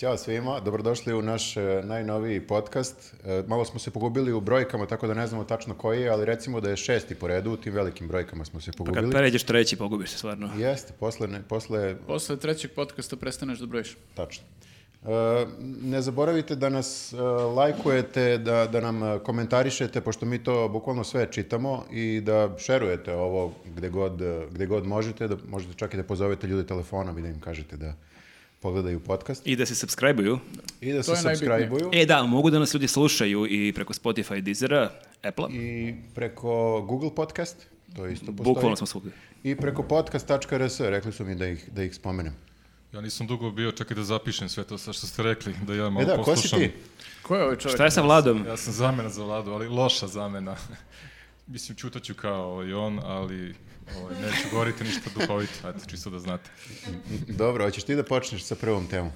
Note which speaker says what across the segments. Speaker 1: Ćao svima, dobrodošli u naš e, najnoviji podcast. E, Malo smo se pogubili u brojkama, tako da ne znamo tačno koji je, ali recimo da je šesti po redu, u tim velikim brojkama smo se
Speaker 2: Pa
Speaker 3: Kad
Speaker 1: pogubili.
Speaker 3: pređeš treći, pogubiš se stvarno.
Speaker 1: Jeste, posle, ne, posle
Speaker 2: Posle trećeg podcasta prestaneš da brojiš.
Speaker 1: Tačno. E, ne zaboravite da nas e, lajkujete, da, da nam e, komentarišete, pošto mi to bukvalno sve čitamo i da šerujete ovo gde god, e, gde god možete, da možete čak i da pozovete ljude telefonom i da im kažete da pogledaju podcast
Speaker 3: I da se subscribe-uju.
Speaker 1: i da
Speaker 2: To
Speaker 1: se
Speaker 2: je najbitnije.
Speaker 1: subscribe-uju
Speaker 3: E da, mogu da nas ljudi slušaju i preko Spotify, Deezera, Apple-a.
Speaker 4: Da
Speaker 1: i preko Google podcast, to isto postoji.
Speaker 3: Bukvalno smo svugdje.
Speaker 1: I preko podcast.rs, rekli su mi da ih, da ih spomenem.
Speaker 4: Ja nisam dugo bio, čekaj da zapišem sve to sa što ste rekli, da ja malo
Speaker 1: E da, ko si
Speaker 4: poslušam.
Speaker 1: ti?
Speaker 2: Ko je ovaj čovjek?
Speaker 3: Šta je sa Vladom?
Speaker 4: Ja znači, sam zamena za vladu, ali loša zamena. Mislim, čutaću kao i on, ali ovaj, neću govoriti ništa duhovito, eto, čisto da znate.
Speaker 1: Dobro, hoćeš ti da počneš sa prvom temom?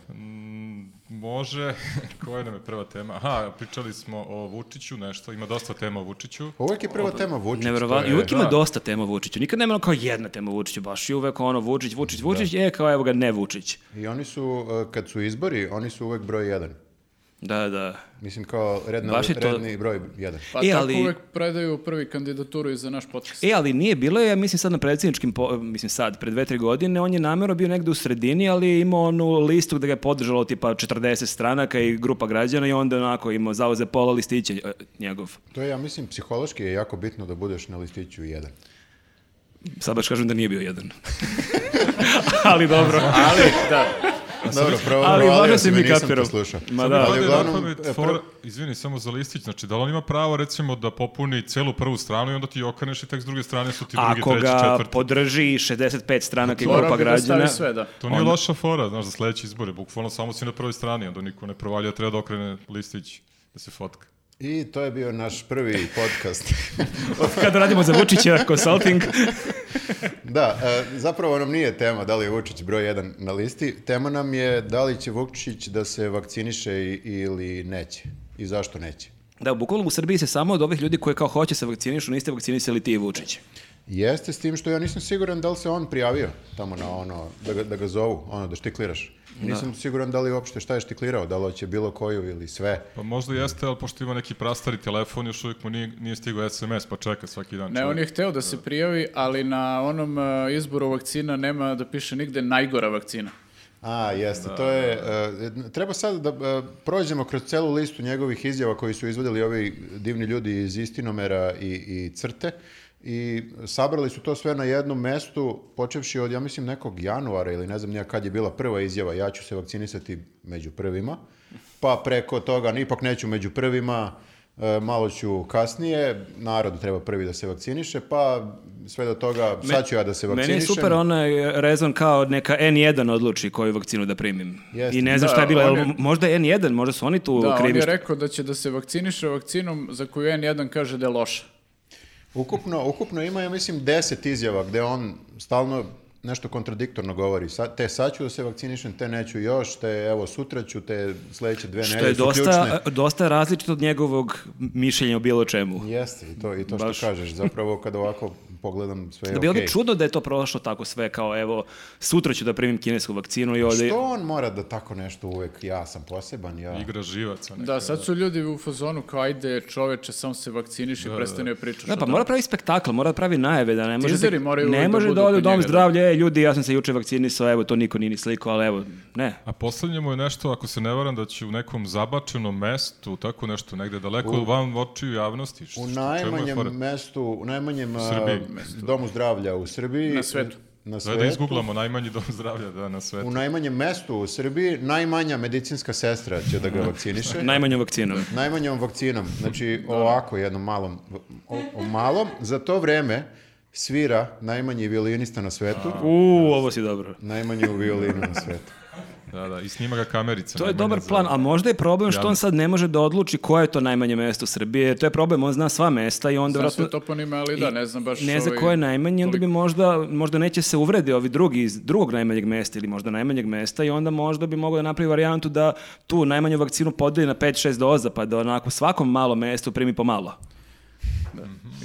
Speaker 4: Može, koja nam je prva tema? Aha, pričali smo o Vučiću nešto, ima dosta tema o Vučiću.
Speaker 1: Uvijek je prva tema Vučić.
Speaker 3: Neverovatno.
Speaker 4: to
Speaker 3: I
Speaker 4: je,
Speaker 3: uvijek ima
Speaker 4: da.
Speaker 3: dosta tema o Vučiću. Nikad nema ono kao jedna tema o Vučiću, baš i uvek ono Vučić, Vučić, Vučić,
Speaker 4: Da.
Speaker 3: e kao evo ga ne Vučić.
Speaker 1: I oni su, e, kad su izbori, oni su uvek broj jedan.
Speaker 3: Da, da.
Speaker 1: Mislim kao redna,
Speaker 3: Baš je to-
Speaker 1: redni broj jedan.
Speaker 2: Pa
Speaker 3: E,
Speaker 2: tako
Speaker 3: ali-
Speaker 2: uvek predaju prvi kandidaturu i za naš podcast.
Speaker 3: E, ali nije bilo, je, ja mislim sad na predsjedničkim, po- mislim sad, pre dve, tri godine, on je namjerno bio negde u sredini, ali je imao onu listu gde ga je podržalo tipa 40 stranaka i grupa građana i onda onako imao zauze pola listića e, njegov.
Speaker 1: To je, ja mislim, psihološki je jako bitno da budeš na listiću jedan.
Speaker 3: Sad baš kažem da nije bio jedan. ali dobro.
Speaker 2: Ali, da.
Speaker 1: Dobro, prvo,
Speaker 3: ali
Speaker 1: provalio
Speaker 3: važno
Speaker 1: si
Speaker 3: si
Speaker 1: me,
Speaker 3: mi
Speaker 1: da nisam
Speaker 3: kapirao.
Speaker 1: te slušao.
Speaker 3: Ma
Speaker 1: Sad
Speaker 3: da.
Speaker 1: mi
Speaker 4: Ali
Speaker 1: pade
Speaker 4: je
Speaker 1: uglavnom,
Speaker 4: na pamet
Speaker 1: e,
Speaker 4: fora-
Speaker 1: prvo-
Speaker 4: izvini, samo za listić, znači da li on ima pravo recimo da popuni celu prvu stranu i onda ti okreneš i tek s druge strane su ti drugi,
Speaker 3: Ako
Speaker 4: treći,
Speaker 3: ga
Speaker 4: četvrti.
Speaker 3: podrži 65 stranaka i
Speaker 2: Mora
Speaker 3: grupa
Speaker 2: bi da
Speaker 3: građana,
Speaker 2: stavi sve, da.
Speaker 4: To nije loša fora, znaš, za sledeći izbore, bukvalno samo si na prvoj strani, onda niko ne provalja, treba da okrene listić, da se fotka.
Speaker 1: I to je bio naš prvi podcast.
Speaker 3: kad radimo za Vučića consulting,
Speaker 1: da, e, zapravo nam nije tema da li je Vučić broj jedan na listi. Tema nam je da li će Vučić da se vakciniše i- ili neće. I zašto neće.
Speaker 3: da, bukvalno u Srbiji se samo od ovih ljudi koji kao hoće se vakcinišu, niste vakcinisali ti i Vučić.
Speaker 1: Jeste s tim što ja nisam siguran da li se on prijavio tamo na ono, da ga, da ga zovu, ono, da štikliraš. Nisam siguran da li uopšte šta je štiklirao, da li hoće bilo koju ili sve.
Speaker 4: Pa možda jeste, ali pošto ima neki prastari telefon, još uvijek mu nije, nije stigao SMS, pa čeka svaki dan.
Speaker 2: Ne,
Speaker 4: čovjek.
Speaker 2: on je hteo da se prijavi, ali na onom e, izboru vakcina nema da piše nigde najgora vakcina.
Speaker 1: A, jeste, to je...
Speaker 3: Da,
Speaker 1: e, treba sad da e, prođemo kroz celu listu njegovih izjava koji su izvodili ovi divni ljudi iz Istinomera i, i Crte i sabrali su to sve na jednom mestu, počevši od, ja mislim, nekog januara ili ne znam nija kad je bila prva izjava, ja ću se vakcinisati među prvima, pa preko toga, ipak neću među prvima, e, malo ću kasnije, narod treba prvi da se vakciniše, pa sve do toga, sad ću ja da se vakcinišem.
Speaker 3: Meni je super onaj rezon kao neka N1 odluči koju vakcinu da primim.
Speaker 1: Jeste.
Speaker 3: I ne znam
Speaker 2: Da,
Speaker 3: šta je bilo,
Speaker 2: on
Speaker 3: jel
Speaker 2: je-
Speaker 3: možda je N1, možda su oni tu
Speaker 2: Da, on
Speaker 3: krivi.
Speaker 2: je
Speaker 3: što-
Speaker 2: rekao da će da se vakciniše vakcinom za koju N1 kaže da je loša.
Speaker 1: Ukupno, ukupno ima, ja mislim, deset izjava gde on stalno nešto kontradiktorno govori. Sa, te sad ću da se vakcinišem, te neću još, te evo sutra ću, te sledeće dve
Speaker 3: Što
Speaker 1: nedelje
Speaker 3: je
Speaker 1: su
Speaker 3: dosta,
Speaker 1: ključne.
Speaker 3: dosta različito od njegovog mišljenja o bilo čemu.
Speaker 1: Jeste, i to, i to što
Speaker 3: Baš.
Speaker 1: kažeš. Zapravo, kada ovako pogledam sve je
Speaker 2: E,
Speaker 3: Da bilo
Speaker 1: okej.
Speaker 3: bi čudno da je to prošlo tako sve kao evo sutra ću da primim kinesku vakcinu i ovdje...
Speaker 1: Što on mora da tako nešto uvek, ja sam poseban, ja...
Speaker 4: Igra živaca. Neka.
Speaker 2: Da, sad su ljudi u fazonu kao ajde čoveče, samo se vakciniš i prestani da pričaš.
Speaker 3: Da,
Speaker 2: o
Speaker 3: pa
Speaker 2: tome.
Speaker 3: mora pravi spektakl, mora da pravi najave da ne može,
Speaker 2: Teaseri moraju
Speaker 3: ne
Speaker 2: uvek da
Speaker 3: može
Speaker 2: budu
Speaker 3: da ode u
Speaker 2: kod
Speaker 3: dom
Speaker 2: njega, da.
Speaker 3: zdravlja, e ljudi ja sam se juče vakcinisao, evo to niko nije ni slikao, ali evo, ne.
Speaker 4: A posljednje mu je nešto, ako se ne varam, da će u nekom zabačenom mestu, tako nešto, negde daleko van očiju javnosti. Što,
Speaker 1: U
Speaker 4: što- čemu je
Speaker 1: najmanjem
Speaker 4: fora?
Speaker 1: mestu, u najmanjem a,
Speaker 4: Srbiji.
Speaker 1: domu zdravlja u Srbiji...
Speaker 2: Na svetu.
Speaker 1: Na
Speaker 4: Da,
Speaker 1: svetu.
Speaker 4: da izguglamo najmanji dom zdravlja da, na svetu.
Speaker 1: u najmanjem mestu u Srbiji najmanja medicinska sestra će da ga vakciniše.
Speaker 3: Najmanjom
Speaker 2: Da.
Speaker 3: vakcinom.
Speaker 1: Najmanjom vakcinom, znači
Speaker 4: Da.
Speaker 1: ovako jednom malom, o, o malom, za to vreme svira najmanji violinista na svetu,
Speaker 3: U, ovo si dobro.
Speaker 1: najmanju violinu na svetu.
Speaker 4: Da, da, i snima ga kamerica.
Speaker 3: To je
Speaker 4: najmanja
Speaker 3: dobar
Speaker 4: za-
Speaker 3: plan, a možda je problem što
Speaker 4: Javno.
Speaker 3: on sad ne može da odluči koje je to najmanje mesto u Srbiji, jer to je problem, on zna sva mesta i onda
Speaker 2: Znam
Speaker 3: vratno
Speaker 2: sve toponime,
Speaker 4: E
Speaker 2: ali da, ne znam baš...
Speaker 3: ne zna
Speaker 2: ovaj,
Speaker 3: koje je najmanje, onda bi
Speaker 2: toliko.
Speaker 3: možda, možda neće se uvrede ovi drugi iz drugog najmanjeg mesta ili možda najmanjeg mesta i onda možda bi mogao da napravi varijantu da tu najmanju vakcinu podeli na 5-6 doza pa da onako svakom malo mestu primi po malo.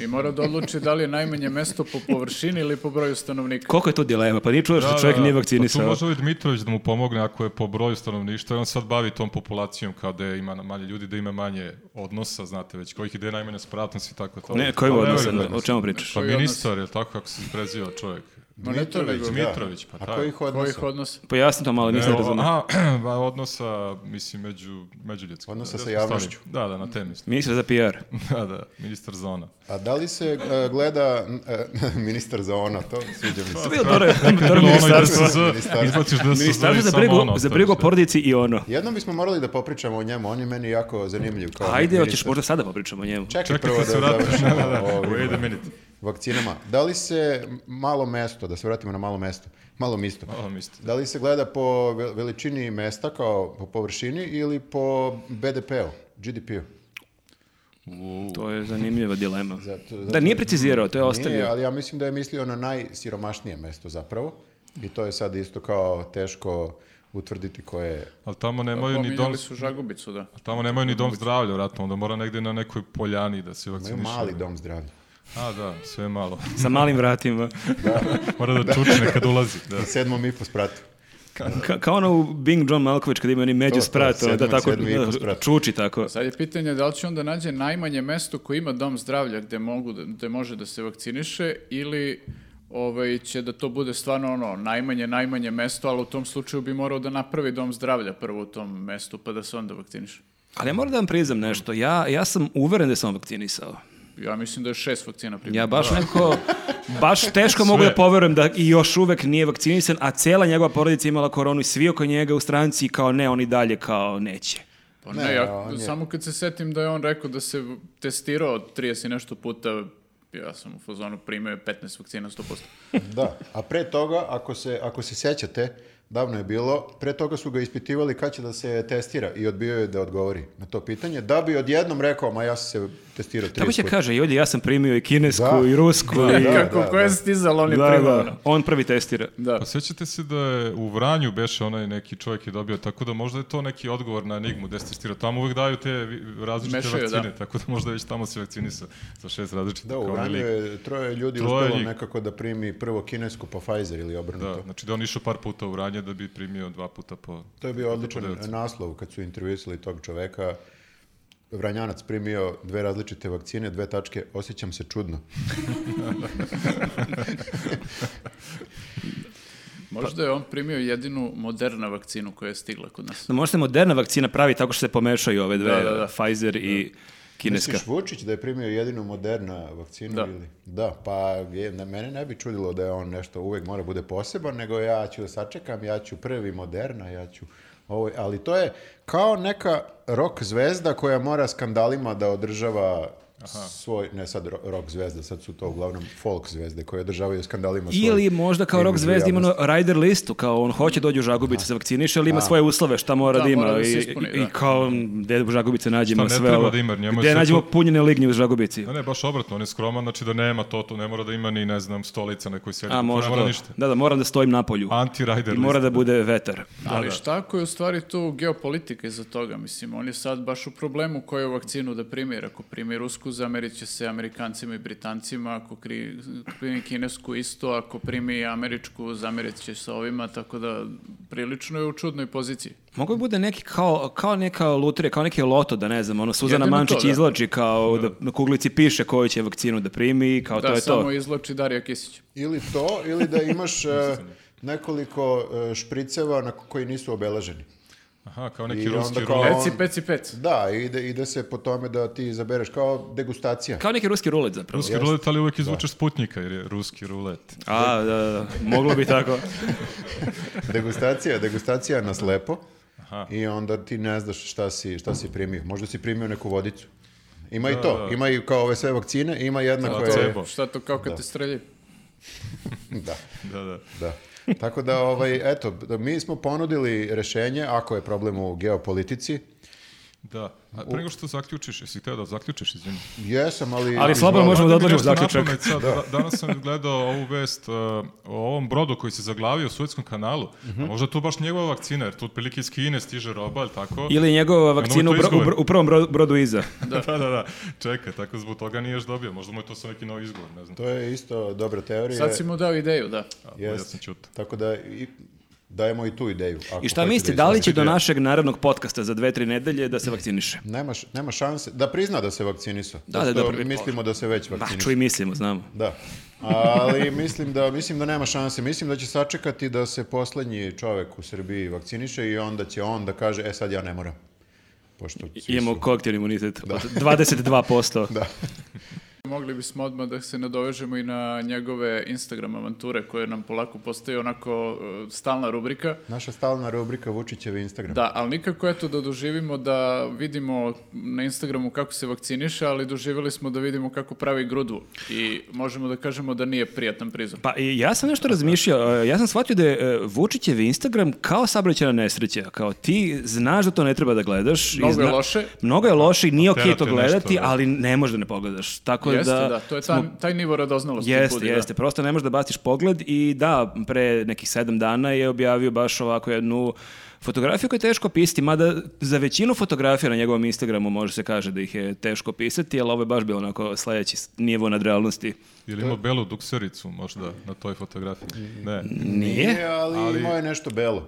Speaker 2: I mora da odluči da li je najmanje mesto po površini ili po broju stanovnika.
Speaker 3: Koliko je to dilema? Pa nije čuo što čovjek nije
Speaker 4: Pa tu
Speaker 3: vakcinisao.
Speaker 4: može ovaj Dmitrović da mu pomogne ako je po broju stanovništva, jer on sad bavi tom populacijom kao da je ima manje ljudi, da ima manje odnosa, znate već, kojih ide najmanje spratnost i tako to.
Speaker 3: Ne, kojim odnosom? O čemu pričaš?
Speaker 4: Pa
Speaker 2: Koji odnos?
Speaker 4: ministar je tako kako se preziva čovjek.
Speaker 2: Ma ne to nego-
Speaker 4: Dmitrović, pa
Speaker 1: da. A
Speaker 4: taj.
Speaker 1: kojih
Speaker 2: Kojih
Speaker 1: odnosa?
Speaker 2: odnosa?
Speaker 3: Pojasni to malo, Pa nisam
Speaker 4: Evo,
Speaker 3: razumio.
Speaker 4: aha, ba, odnosa, mislim, među, među ljudskim.
Speaker 1: Odnosa sa javnošću.
Speaker 4: Da, da, na te mislim.
Speaker 3: Ministar za PR.
Speaker 4: Da, da, ministar zona.
Speaker 1: A da li se e, gleda e, ministar za ona, to sviđa mi se.
Speaker 3: To je bilo dobro, dobro
Speaker 4: Bilo Pa ono i
Speaker 3: ministarstvo.
Speaker 4: DSZ,
Speaker 1: Ministarstvo.
Speaker 4: izbaciš DSZ i
Speaker 3: Ministarstvo za
Speaker 4: samo
Speaker 3: brigu,
Speaker 4: ono
Speaker 3: za
Speaker 4: ostaviš,
Speaker 3: brigu o
Speaker 4: da.
Speaker 3: porodici i ono.
Speaker 1: Jednom bismo morali da popričamo o njemu, on je meni jako zanimljiv. Kao
Speaker 3: Ajde,
Speaker 1: ministar.
Speaker 3: hoćeš možda sada da popričamo o njemu.
Speaker 1: Čekaj,
Speaker 4: Čekaj
Speaker 1: prvo da
Speaker 4: kad se vratiš.
Speaker 1: završimo
Speaker 4: Da, da, da.
Speaker 1: o ovim
Speaker 4: Wait a minute.
Speaker 1: vakcinama. Da li se malo mesto, da se vratimo na malo mesto, malo misto,
Speaker 4: Malo misto.
Speaker 1: da li se gleda po ve- veličini mesta kao po površini ili po BDP-u, GDP-u?
Speaker 3: To je zanimljiva dilema.
Speaker 1: Zato-
Speaker 3: Da,
Speaker 1: zato-
Speaker 3: nije precizirao, to je
Speaker 1: Nije,
Speaker 3: ostavio.
Speaker 1: ali ja mislim da je mislio na najsiromašnije mesto zapravo i to je sad isto kao teško utvrditi koje je
Speaker 4: Ali
Speaker 1: Pa
Speaker 4: tamo nemaju ni dom,
Speaker 2: Pominjali su Žagubicu, da.
Speaker 4: tamo nemaju ni dom zdravlja, vjerojatno, onda mora negdje na nekoj poljani da se
Speaker 1: Imaju
Speaker 4: vakciniše.
Speaker 1: mali dom zdravlja.
Speaker 4: A, da, sve je malo.
Speaker 3: Sa malim vratima.
Speaker 4: Mora da čučne kad ulazi. Da.
Speaker 1: Na sedmom i po spratu.
Speaker 3: Ka- kao ono u Bing John Malkovich kad ima oni među
Speaker 1: To, to,
Speaker 3: sprat,
Speaker 1: sedmi-
Speaker 3: onda tako da,
Speaker 1: sedmi i po sprat.
Speaker 3: čuči tako.
Speaker 2: Sad je pitanje da li će onda nađe najmanje mesto koje ima dom zdravlja gde, mogu, da- gde može da se vakciniše ili ovaj, će da to bude stvarno ono najmanje, najmanje mesto, ali u tom slučaju bi morao da napravi dom zdravlja prvo u tom mestu pa da se onda vakciniše.
Speaker 3: Ali ja moram da vam priznam nešto, ja, ja sam uveren da sam vakcinisao.
Speaker 2: Ja mislim da je šest vakcina primljeno.
Speaker 3: Ja baš nekako, baš teško mogu da poverujem da i još uvek nije vakcinisan, a cela njegova porodica imala koronu i svi oko njega u stranci i kao ne, on i dalje kao neće.
Speaker 2: Pa
Speaker 1: Ne,
Speaker 2: ne, ja
Speaker 1: on je-
Speaker 2: samo kad se setim da je on rekao da se v- testirao 30 i nešto puta, ja sam u fazonu primio je 15 vakcina 100%.
Speaker 1: Da, a pre toga, ako se, ako se sećate, davno je bilo, pre toga su ga ispitivali kad će da se testira i odbio je da odgovori na to pitanje, da bi odjednom rekao, ma ja sam se testirao 30
Speaker 3: Tako će
Speaker 1: puta."
Speaker 3: kaže, ljudi, ja sam primio i kinesku
Speaker 1: Da.
Speaker 3: i rusku. i-
Speaker 1: Da,
Speaker 2: Kako,
Speaker 1: da,
Speaker 2: ko je
Speaker 1: da.
Speaker 2: stizalo, on je
Speaker 3: Da,
Speaker 2: primio,
Speaker 3: da.
Speaker 2: ono.
Speaker 3: on prvi testira.
Speaker 2: Da.
Speaker 4: Pa sjećate se da je u Vranju beše onaj neki čovjek je dobio, tako da možda je to neki odgovor na enigmu gde se testirao. Tamo uvek daju te vi- različite
Speaker 2: Mešaju,
Speaker 4: vakcine,
Speaker 2: da.
Speaker 4: tako da možda već tamo se vakcinisao sa šest različitih.
Speaker 1: Da,
Speaker 4: kao
Speaker 1: u
Speaker 4: onaj
Speaker 1: Vranju
Speaker 4: lik.
Speaker 1: je troje ljudi
Speaker 4: Troje
Speaker 1: uspelo
Speaker 4: njih.
Speaker 1: nekako da primi prvo kinesku pa Pfizer ili obrnuto.
Speaker 4: Da, znači da je on išao par puta u Vranje da bi primio dva puta po...
Speaker 1: To je bio odličan
Speaker 4: Podeoci.
Speaker 1: naslov kad su intervjuisali tog čoveka. Vranjanac primio dve različite vakcine, dve tačke, osjećam se čudno.
Speaker 3: pa-
Speaker 2: Možda je on primio jedinu moderna vakcinu koja je stigla kod nas.
Speaker 3: Da, možda se moderna vakcina pravi tako što se pomešaju ove dve,
Speaker 2: Da, da, da.
Speaker 3: Pfizer i kineska.
Speaker 1: Misliš Vučić da je primio jedinu moderna vakcinu?
Speaker 2: Da.
Speaker 1: Ili? Da, pa je, na mene ne bi čudilo da je on nešto uvek mora bude poseban, nego ja ću da sačekam, ja ću prvi moderna, ja ću... Ovo, ali to je kao neka rock zvezda koja mora skandalima da održava svoj, ne sad ro- rock zvezda, sad su to uglavnom folk zvezde koje održavaju skandalima
Speaker 4: Pa
Speaker 1: svoj
Speaker 3: Ili možda kao rock
Speaker 1: imidž u
Speaker 3: zvezda ima
Speaker 1: javnosti.
Speaker 3: ono rider listu, kao on hoće dođu u
Speaker 4: Da.
Speaker 3: Žagubice se vakciniše, ali ima svoje uslove šta mora da,
Speaker 2: Da,
Speaker 3: ima.
Speaker 2: mora da se
Speaker 3: i,
Speaker 2: ispuni,
Speaker 3: i- i
Speaker 2: da.
Speaker 3: kao gde u Žagubice nađemo
Speaker 4: Šta ne
Speaker 3: sve
Speaker 4: treba
Speaker 3: ovo.
Speaker 4: da ima, njemu je
Speaker 3: gde
Speaker 4: sve
Speaker 3: nađemo
Speaker 4: to- Pa
Speaker 3: punjene lignje u Žagubici.
Speaker 4: Ne, Da ne, baš obratno, on je skroman, znači da nema to, to ne mora da ima ni, ne znam, stolica na kojoj sjedi,
Speaker 3: A
Speaker 4: ne
Speaker 3: možda.
Speaker 4: mora ništa. Pa,
Speaker 3: Da, da, moram da stojim na polju.
Speaker 4: Anti-rider
Speaker 3: I mora
Speaker 4: list.
Speaker 3: da bude vetar.
Speaker 2: Ali šta ako je u stvari tu geopolitika iza toga? Mislim, on je sad baš u problemu koju vakcinu da primi. Jer Ako primi rusku, zamerit će se Amerikancima i Britancima. Ako kri- primi kinesku isto, ako primi američku, zamerit će se ovima. Tako da prilično je u čudnoj poziciji.
Speaker 3: Mogu da bude neki kao, kao neka lutrija, kao neki loto, da ne znam, ono Suzana
Speaker 2: Jedino to,
Speaker 3: Mančić
Speaker 2: da.
Speaker 3: izlači kao da na kuglici piše koju će vakcinu da primi i kao
Speaker 2: Da,
Speaker 3: to je
Speaker 2: samo
Speaker 3: to.
Speaker 2: izloči Darija Kisić.
Speaker 1: Ili to, ili da imaš e, nekoliko e, špriceva na koji nisu obeleženi.
Speaker 4: Aha, kao neki
Speaker 1: I onda
Speaker 4: ruski
Speaker 1: kao-
Speaker 4: rulet.
Speaker 1: Pa on-
Speaker 2: Peci, peci, peci.
Speaker 1: Da, i da, i da se po tome da ti izabereš kao degustacija.
Speaker 3: Kao neki ruski rulet zapravo.
Speaker 4: Ruski rulet, ali
Speaker 1: Da.
Speaker 4: uvek izvučeš sputnika jer je ruski rulet.
Speaker 3: A, da, da, da, moglo bi tako.
Speaker 1: Degustacija, degustacija na slepo.
Speaker 4: Aha.
Speaker 1: I onda ti ne znaš šta si, šta si primio. Možda si primio neku vodicu. Ima i to. Ima i kao ove sve vakcine, ima jedna koja je...
Speaker 4: Placebo.
Speaker 2: Šta to kao kad te streljaju?
Speaker 1: Da,
Speaker 4: Da, da.
Speaker 1: da. Tako da, ovaj, eto, da mi smo ponudili rešenje, ako je problem u geopolitici,
Speaker 4: Da. A pre nego što zaključiš, jesi hteo da zaključiš, izvini.
Speaker 1: Jesam, ali...
Speaker 3: Ali slobodno možemo da
Speaker 4: Date mi
Speaker 3: odložimo
Speaker 4: nešto na
Speaker 3: zaključak.
Speaker 4: pamet sad. Da- Danas sam gledao ovu vest uh, o ovom brodu koji se zaglavio u Suetskom kanalu.
Speaker 1: Mhm.
Speaker 4: A možda to baš njegova vakcina, jer tu otprilike iz Kine stiže roba, ali tako?
Speaker 3: Ili njegova vakcina u,
Speaker 4: to
Speaker 3: bro- u,
Speaker 4: izgovor.
Speaker 3: bro- u prvom bro- brodu iza.
Speaker 4: Da. da, da, da. Čeka, tako zbog toga nije još dobio. Možda mu je to sa neki novi izgovor, ne znam.
Speaker 1: To je isto dobra teorija.
Speaker 2: Sad si mu dao ideju, da.
Speaker 4: A,
Speaker 1: Jest.
Speaker 4: Ja sam čut.
Speaker 1: Tako da i, dajemo i tu ideju. ako
Speaker 3: I šta
Speaker 1: hoćete
Speaker 3: mislite,
Speaker 1: da
Speaker 3: da li
Speaker 2: znači
Speaker 3: će
Speaker 1: iznesete.
Speaker 3: do našeg narodnog podcasta za dve, tri nedelje da se vakciniše?
Speaker 1: Nema, š- nema šanse da prizna da se vakcinisao.
Speaker 3: Da,
Speaker 1: Pošto
Speaker 3: da, dobro, bi
Speaker 1: Mislimo da se već
Speaker 3: Pa,
Speaker 1: vakcinisao.
Speaker 3: čuj, mislimo, znamo.
Speaker 1: Da. Ali mislim da, mislim da nema šanse. Mislim da će sačekati da se poslednji čovek u Srbiji vakciniše i onda će on da kaže, e sad ja ne moram. Pošto svi
Speaker 3: Imamo
Speaker 1: su-
Speaker 3: koktel imunitet
Speaker 2: Da.
Speaker 3: od 22%.
Speaker 1: Da.
Speaker 2: Mogli bismo odmah da se nadovežemo i na njegove Instagram avanture koje nam polako postaju onako e, stalna rubrika.
Speaker 1: Naša stalna rubrika Vučićevi Instagram.
Speaker 2: Da, ali nikako eto da doživimo da vidimo na Instagramu kako se vakciniše, ali doživjeli smo da vidimo kako pravi grudvu i možemo da kažemo da nije prijatan prizor.
Speaker 3: Pa i ja sam nešto razmišljao, e, ja sam shvatio da je e, Vučićev Instagram kao sabraćena nesreća, kao ti znaš da to ne treba da gledaš. i
Speaker 2: Mnogo je
Speaker 3: zna-
Speaker 2: loše.
Speaker 3: Mnogo je loše i nije okej
Speaker 4: Tera te
Speaker 3: to gledati,
Speaker 4: nešto, da.
Speaker 3: ali ne možeš da ne pogledaš. Tako
Speaker 2: Jeste,
Speaker 3: da,
Speaker 2: da, to je ta, taj nivo radoznalosti.
Speaker 3: Jeste,
Speaker 2: budi, da.
Speaker 3: jeste. Prosto ne možeš da baciš pogled i da, pre nekih sedam dana je objavio baš ovako jednu fotografiju koju je teško pisati, mada za većinu fotografija na njegovom Instagramu može se kaže da ih je teško pisati, ali ovo je baš bio onako sledeći s- nivo nadrealnosti.
Speaker 4: Ili ima belu duksericu možda na toj fotografiji?
Speaker 1: Mm.
Speaker 4: Ne.
Speaker 3: Nije?
Speaker 1: ali, imao je nešto belo.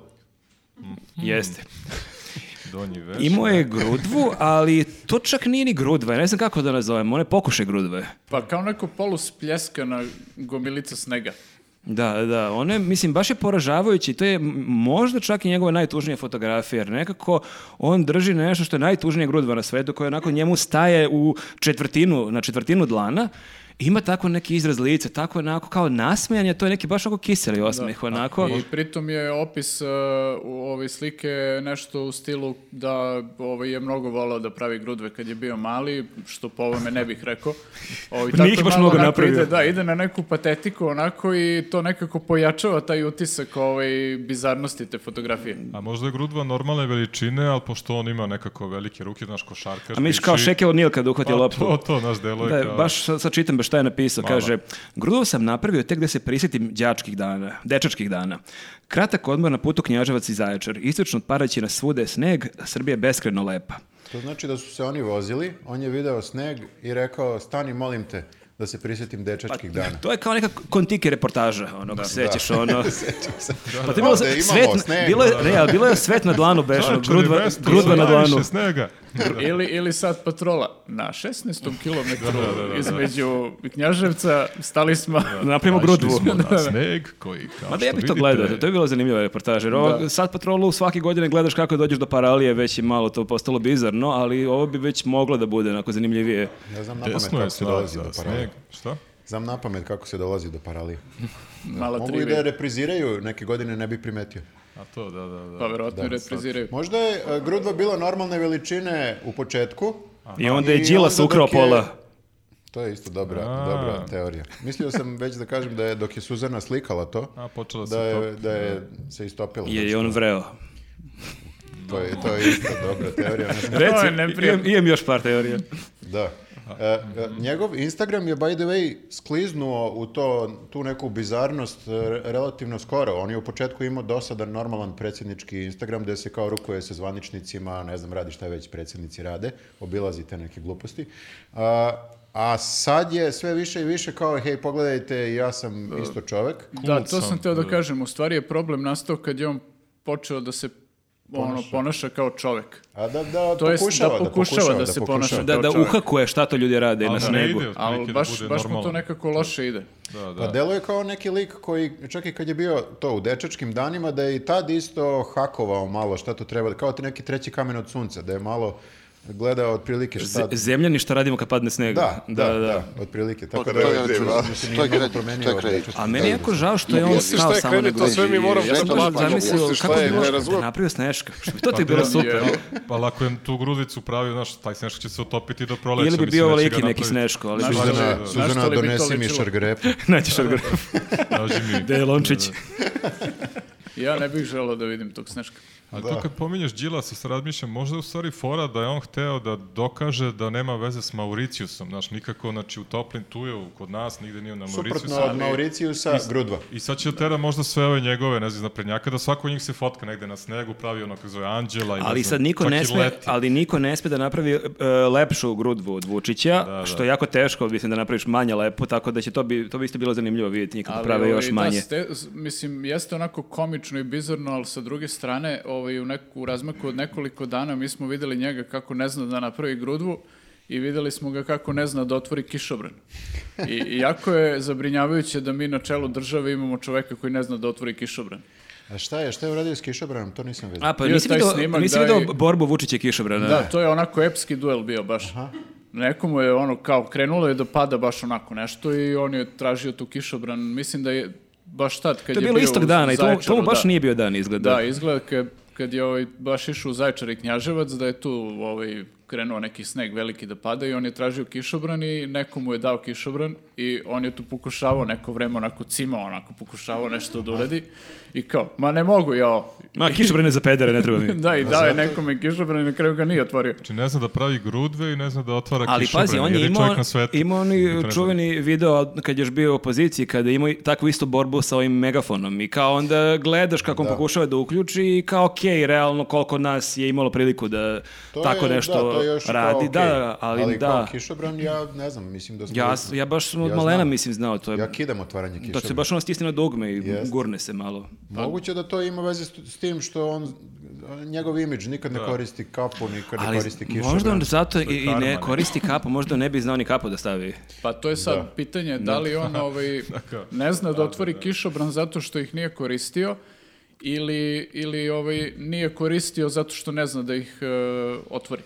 Speaker 3: Jeste.
Speaker 4: Donji veš.
Speaker 3: Imao je grudvu, ali to čak nije ni grudva, ja ne znam kako da nazovem, one pokuše grudve.
Speaker 2: Pa kao neko poluspljeskana gomilica snega.
Speaker 3: Da, da, one, mislim, baš je poražavajući, to je m- možda čak i njegova najtužnija fotografija, jer nekako on drži nešto što je najtužnija grudva na svetu, koja onako njemu staje u četvrtinu, na četvrtinu dlana, ima tako neki izraz lice, tako onako kao nasmejanje, to je neki baš onako kiseli
Speaker 4: Da,
Speaker 3: osmeh, onako.
Speaker 2: I pritom je opis uh, u ove slike nešto u stilu da ovaj, je mnogo volao da pravi grudve kad je bio mali, što po ovome ne bih rekao. Ovaj,
Speaker 3: Nije ih baš
Speaker 2: malo
Speaker 3: mnogo
Speaker 2: onako
Speaker 3: napravio.
Speaker 2: Ide, da, ide na neku patetiku onako i to nekako pojačava taj utisak ovaj, bizarnosti te fotografije.
Speaker 4: A možda je grudva normalne veličine, ali pošto on ima nekako velike ruke, znaš, košarkaš.
Speaker 3: A misliš kao
Speaker 4: piši.
Speaker 3: Šekel Nil kad uhvati
Speaker 4: Pa
Speaker 3: loptu.
Speaker 4: To, to, znaš, delo je
Speaker 3: Da,
Speaker 4: kao...
Speaker 3: baš sa- sad čitam baš šta je napisao.
Speaker 4: Mala.
Speaker 3: Kaže, grudo sam napravio tek da se prisjetim đačkih dana, dečačkih dana. Kratak odmor na putu Knjaževac i Zaječar. Istočno od Paraćina svuda je sneg, a Srbija je beskreno lepa.
Speaker 1: To znači da su se oni vozili, on je video sneg i rekao, stani molim te da se prisjetim dečačkih dana.
Speaker 3: To je kao neka kontiki reportaža, ono,
Speaker 1: Da,
Speaker 3: ako se sećaš, ono...
Speaker 1: Sećam se.
Speaker 3: Pa to je bilo,
Speaker 1: Ovde Da, imamo
Speaker 3: svet, na-
Speaker 1: sneg, da,
Speaker 3: bilo je, ne, ali bilo je svet na dlanu, bešno,
Speaker 4: Čarčani
Speaker 3: grudva,
Speaker 4: vest,
Speaker 3: grudva na
Speaker 4: ima najviše
Speaker 3: dlanu.
Speaker 4: snega.
Speaker 2: Ili, ili sad patrola na 16. kilometru
Speaker 4: Da, da, da, da.
Speaker 2: između Knjaževca stali smo...
Speaker 3: Napravimo grudvu.
Speaker 4: Išli
Speaker 1: da.
Speaker 4: smo na sneg koji, kao
Speaker 3: Ma da
Speaker 4: što
Speaker 3: ja bih to
Speaker 4: vidite,
Speaker 3: gledao, to je bilo zanimljiva reportaža. Jer ovo, sad patrolu svake godine gledaš kako dođeš do paralije, već je malo to postalo bizarno, ali ovo bi već moglo da bude onako zanimljivije.
Speaker 1: Ne znam na pamet
Speaker 4: Desno je
Speaker 1: kako se
Speaker 4: snag,
Speaker 1: dolazi do
Speaker 4: da,
Speaker 1: paralije.
Speaker 4: sneg. Šta?
Speaker 1: Znam na pamet kako se dolazi do paralije.
Speaker 2: Mala
Speaker 1: Mogu i da
Speaker 2: trivija.
Speaker 1: repriziraju, neke godine ne bi primetio.
Speaker 4: A to, da, da, da.
Speaker 2: Pa verovatno i repriziraju.
Speaker 1: Možda je e, grudva bila normalne veličine u početku.
Speaker 3: I onda je
Speaker 1: I
Speaker 3: Đilas
Speaker 1: onda dok
Speaker 3: ukrao
Speaker 1: je-
Speaker 3: pola.
Speaker 1: To je isto dobra,
Speaker 4: A.
Speaker 1: dobra teorija. Mislio sam već da kažem da je dok je Suzana slikala to,
Speaker 2: Pa,
Speaker 4: A, počela se
Speaker 1: da je,
Speaker 4: to.
Speaker 1: da je se istopila. Znači,
Speaker 3: Je i on vreo.
Speaker 1: To je, to je isto dobra teorija. ne znam.
Speaker 2: To je
Speaker 3: Reci,
Speaker 2: neprijatno.
Speaker 3: imam, imam još par teorija.
Speaker 1: Da. E, e, njegov Instagram je, by the way, skliznuo u to, tu neku bizarnost e, re- relativno skoro. On je u početku imao dosadan normalan predsjednički Instagram gde se kao rukuje sa zvaničnicima, ne znam, radi šta već predsjednici rade, obilazi te neke gluposti. A, a sad je sve više i više kao, hej, pogledajte, ja sam isto čovek.
Speaker 2: Da, to sam
Speaker 4: sam,
Speaker 2: teo da
Speaker 4: da.
Speaker 2: kažem. U stvari je problem nastao kad je on počeo da se ono, ponaša kao čovek.
Speaker 1: A da, da,
Speaker 2: To jest da
Speaker 1: pokušava,
Speaker 2: pokušava da se
Speaker 3: Da,
Speaker 2: ponaša.
Speaker 3: da
Speaker 2: Kao čovjek.
Speaker 3: uhakuje šta to ljudi rade na
Speaker 4: Ali ne
Speaker 3: snegu.
Speaker 4: ide otprilike
Speaker 2: Ali
Speaker 4: da
Speaker 2: baš,
Speaker 4: bude
Speaker 2: baš mu to
Speaker 4: normalno.
Speaker 2: nekako loše ide.
Speaker 4: Da, da.
Speaker 1: Pa deluje kao neki lik koji, čak i kad je bio to u dečačkim danima, da je i tad isto hakovao malo šta to treba, kao te neki treći kamen od sunca, da je malo gledao otprilike šta...
Speaker 3: Z- zemljani šta radimo kad padne sneg.
Speaker 1: Da, da, da, otprilike. Tako da,
Speaker 5: To je
Speaker 1: da se
Speaker 5: odlično.
Speaker 1: nije
Speaker 5: To
Speaker 1: mnogo
Speaker 5: je kreativno,
Speaker 1: promenio
Speaker 5: to je
Speaker 1: od
Speaker 5: kreativno.
Speaker 1: dečačkih
Speaker 3: A meni je jako žao što je on
Speaker 6: Misliš
Speaker 3: stao
Speaker 6: šta je
Speaker 3: samo na
Speaker 6: krenuto,
Speaker 3: gruđi.
Speaker 6: sve mi moramo
Speaker 3: Ja sam
Speaker 6: nešto
Speaker 3: baš
Speaker 6: platiti.
Speaker 3: zamislio
Speaker 6: Misliš šta
Speaker 3: kako
Speaker 6: je,
Speaker 3: bi
Speaker 6: ne
Speaker 3: možda
Speaker 6: razumem.
Speaker 3: napravio sneška. Što bi to
Speaker 4: Pa
Speaker 3: ti bilo
Speaker 4: da,
Speaker 3: super.
Speaker 4: je, Pa lako je tu grudicu pravio, znaš, taj sneško će se otopiti do proleća.
Speaker 3: Ili bi
Speaker 4: mislim,
Speaker 3: bio
Speaker 4: neće
Speaker 3: veliki
Speaker 4: ga
Speaker 3: neki
Speaker 4: napraviti.
Speaker 3: sneško, ali
Speaker 2: Znaš
Speaker 3: bi
Speaker 2: šta
Speaker 1: Suzana-
Speaker 2: bi- znaš
Speaker 1: Suzana,
Speaker 2: šta li bi to
Speaker 1: donesi mi
Speaker 2: ličilo?
Speaker 1: šargarepu.
Speaker 3: naćiš odgovor.
Speaker 4: Nađi mi.
Speaker 3: da,
Speaker 4: E,
Speaker 3: Lončić.
Speaker 2: Ja ne bih želeo da vidim tog sneška.
Speaker 4: Ali to kad pominješ Đilasa, se razmišljam, možda je u stvari fora da je on hteo da dokaže da nema veze s Mauriciusom, znaš, nikako, znači u Toplin tu je, kod nas, nigde nije na Mauriciusu.
Speaker 1: Suprotno od Mauricijusa, Grudva.
Speaker 4: I sad će da tera možda sve ove njegove, ne znam, naprednjaka, da svako od njih se fotka negde na snegu, pravi ono kako zove Anđela i ne
Speaker 3: Ali
Speaker 4: znam,
Speaker 3: sad niko
Speaker 4: čak
Speaker 3: ne
Speaker 4: i
Speaker 3: sme,
Speaker 4: leti.
Speaker 3: ali niko ne sme da napravi e, lepšu grudvu od Vučića,
Speaker 2: Da,
Speaker 3: što je jako teško, mislim da napraviš manje lepu, tako da će to bi to bi isto bilo zanimljivo vidjeti nikako prave
Speaker 2: ovaj,
Speaker 3: još manje.
Speaker 2: Da, ste, s- mislim, jeste onako komično i bizarno, ali sa druge strane, ovaj, u, neku, u razmaku od nekoliko dana mi smo videli njega kako ne zna da napravi grudvu i videli smo ga kako ne zna da otvori kišobran. I, i jako je zabrinjavajuće da mi na čelu države imamo čoveka koji ne zna da otvori kišobran.
Speaker 1: A šta je, šta je uradio s kišobranom, to nisam vidio.
Speaker 3: A pa
Speaker 2: Bio
Speaker 3: nisi
Speaker 2: taj
Speaker 3: video,
Speaker 2: snimak
Speaker 3: nisi
Speaker 2: da
Speaker 3: video
Speaker 2: i-
Speaker 3: borbu Vučića i Kišobrana.
Speaker 2: Da, to je onako epski duel bio baš. Nekomu je ono kao krenulo je da pada baš onako nešto i on je tražio tu kišobran. Mislim da je baš tad kad
Speaker 3: To
Speaker 2: je,
Speaker 3: je bilo
Speaker 2: bio
Speaker 3: istog
Speaker 2: u
Speaker 3: dana i to, mu- to mu
Speaker 2: Zaječaru,
Speaker 3: baš
Speaker 2: da.
Speaker 3: nije bio dan izgleda.
Speaker 2: Da, izgleda kad, kad je ovaj baš išao u Zaječar i Knjaževac, da je tu ovaj, krenuo neki sneg veliki da pada i on je tražio kišobran i neko mu je dao kišobran i on je tu pokušavao neko vreme onako cimao, onako pokušavao nešto da uradi i kao, ma ne mogu ja ovo."
Speaker 3: Ma, Kišobran je za pedere, ne treba mi.
Speaker 2: Da, i dao je nekome kišobran i na kraju ga nije otvorio.
Speaker 4: Znači ne zna da pravi grudve i ne zna da otvara
Speaker 3: Ali
Speaker 4: kišobran.
Speaker 3: pazi, on je
Speaker 4: jedini
Speaker 3: imao,
Speaker 4: čovjek na svetu.
Speaker 3: imao
Speaker 4: I to ne
Speaker 3: oni
Speaker 4: zna.
Speaker 3: čuveni video kad je još bio u opoziciji, kada je imao i takvu istu borbu sa ovim megafonom i kao onda gledaš kako on pokušava da uključi i kao okej, realno koliko nas je imalo priliku da
Speaker 1: To
Speaker 3: tako
Speaker 1: je,
Speaker 3: nešto
Speaker 1: da, to je još kao
Speaker 3: radi.
Speaker 1: okej.
Speaker 3: Da, ali,
Speaker 1: kao
Speaker 3: da.
Speaker 1: kišobran, ja ne znam, mislim da smo...
Speaker 3: Ja, s- ja baš sam od
Speaker 1: Ja
Speaker 3: malena
Speaker 1: znam.
Speaker 3: mislim znao to. Je,
Speaker 1: Ja kidam otvaranje kišobrana.
Speaker 3: da se baš ono stisne na dugme i
Speaker 1: Jest.
Speaker 3: gurne se malo.
Speaker 1: Moguće da to ima veze s, s tim što on, njegov imidž nikad ne koristi kapu, nikad ne
Speaker 3: Da. Ali
Speaker 1: Da koristi kišobran.
Speaker 3: možda on zato i, i
Speaker 4: karma,
Speaker 3: ne
Speaker 4: ne?
Speaker 3: koristi kapu, možda ne bi znao ni kapu da stavi.
Speaker 2: Pa to je sad pitanje da li on ovaj, ne zna da otvori kišobran zato što ih nije koristio ili, ili ovaj, nije koristio zato što ne zna da ih e, otvori.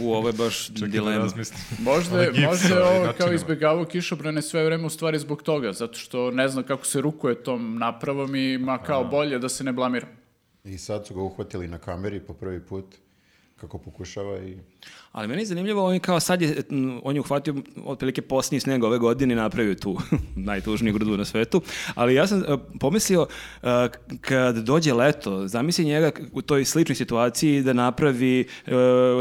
Speaker 3: U, ovo je baš
Speaker 4: Čekaj da
Speaker 3: dilema.
Speaker 4: razmislim.
Speaker 2: Možda,
Speaker 4: Onaj
Speaker 2: je-
Speaker 4: gips
Speaker 2: možda je
Speaker 4: sa
Speaker 2: ovo kao
Speaker 4: jednačinama.
Speaker 2: izbjegavao kišobrane sve vreme u stvari zbog toga, zato što ne zna kako se rukuje tom napravom i ma kao bolje da se ne blamira.
Speaker 1: I sad su ga uhvatili na kameri po prvi put kako pokušava i...
Speaker 3: Ali meni je zanimljivo, on je kao sad je, m, on je uhvatio otprilike posljednji sneg ove godine i napravio tu najtužniju grudu na svetu. Ali ja sam e, pomislio e, k- kad dođe leto, zamisli njega k- u toj sličnoj situaciji da napravi e,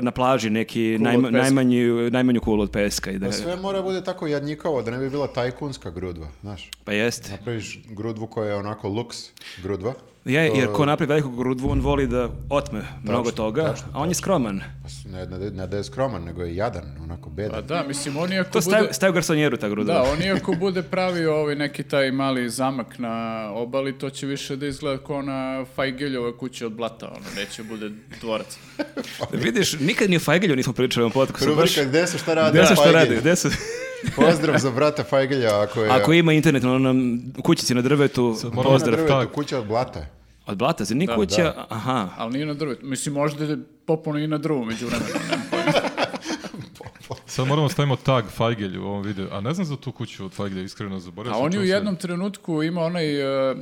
Speaker 3: na plaži neki
Speaker 2: Kulu od
Speaker 3: najma-
Speaker 2: peska.
Speaker 3: najmanju, najmanju kulu od peska. I da,
Speaker 1: Pa sve mora bude tako jadnjikavo da ne bi bila tajkunska grudva, znaš.
Speaker 3: pa
Speaker 2: Da.
Speaker 3: jeste.
Speaker 1: Napraviš grudvu koja je onako luks grudva.
Speaker 3: Ja, jer ko napravi veliku grudvu, on voli da otme mnogo toga, a on je skroman.
Speaker 1: Pa s- Ne, ne, ne da je skroman, nego je jadan, onako
Speaker 2: Pa
Speaker 1: bedan.
Speaker 2: da, mislim, on iako
Speaker 3: To staje,
Speaker 2: bude...
Speaker 3: staje u garsonjeru ta grudva.
Speaker 2: Da, on iako bude pravio ovaj neki taj mali zamak na obali, to će više da izgleda kao ona Fajgeljova kuća od blata, ono, neće bude dvorac.
Speaker 3: Vidiš, nikad ni o Fajgelju nismo pričali u ovom podcastu. baš-
Speaker 1: Rubrika, gde se šta radi?
Speaker 3: Gde se šta
Speaker 1: Fajgelj?
Speaker 3: radi? Gde se...
Speaker 1: Pozdrav za brata Fajgelja, ako je...
Speaker 3: Ako ima internet na onom kućici na drvetu,
Speaker 4: moramo
Speaker 1: Ona
Speaker 3: pozdrav.
Speaker 1: drvetu,
Speaker 4: tak.
Speaker 1: kuća od blata. je.
Speaker 3: Od blata, zar
Speaker 1: Da,
Speaker 3: nije kuća? Aha.
Speaker 2: Ali nije na drvetu. Mislim, možda je popuno i na drvu među vremenu.
Speaker 4: Sad moramo da stavimo tag Fajgelju u ovom videu. A ne znam za tu kuću od Fajgelja, iskreno zaboravio.
Speaker 2: A
Speaker 4: sam
Speaker 2: on je
Speaker 4: čuo
Speaker 2: u
Speaker 4: sam-
Speaker 2: jednom trenutku ima onaj e,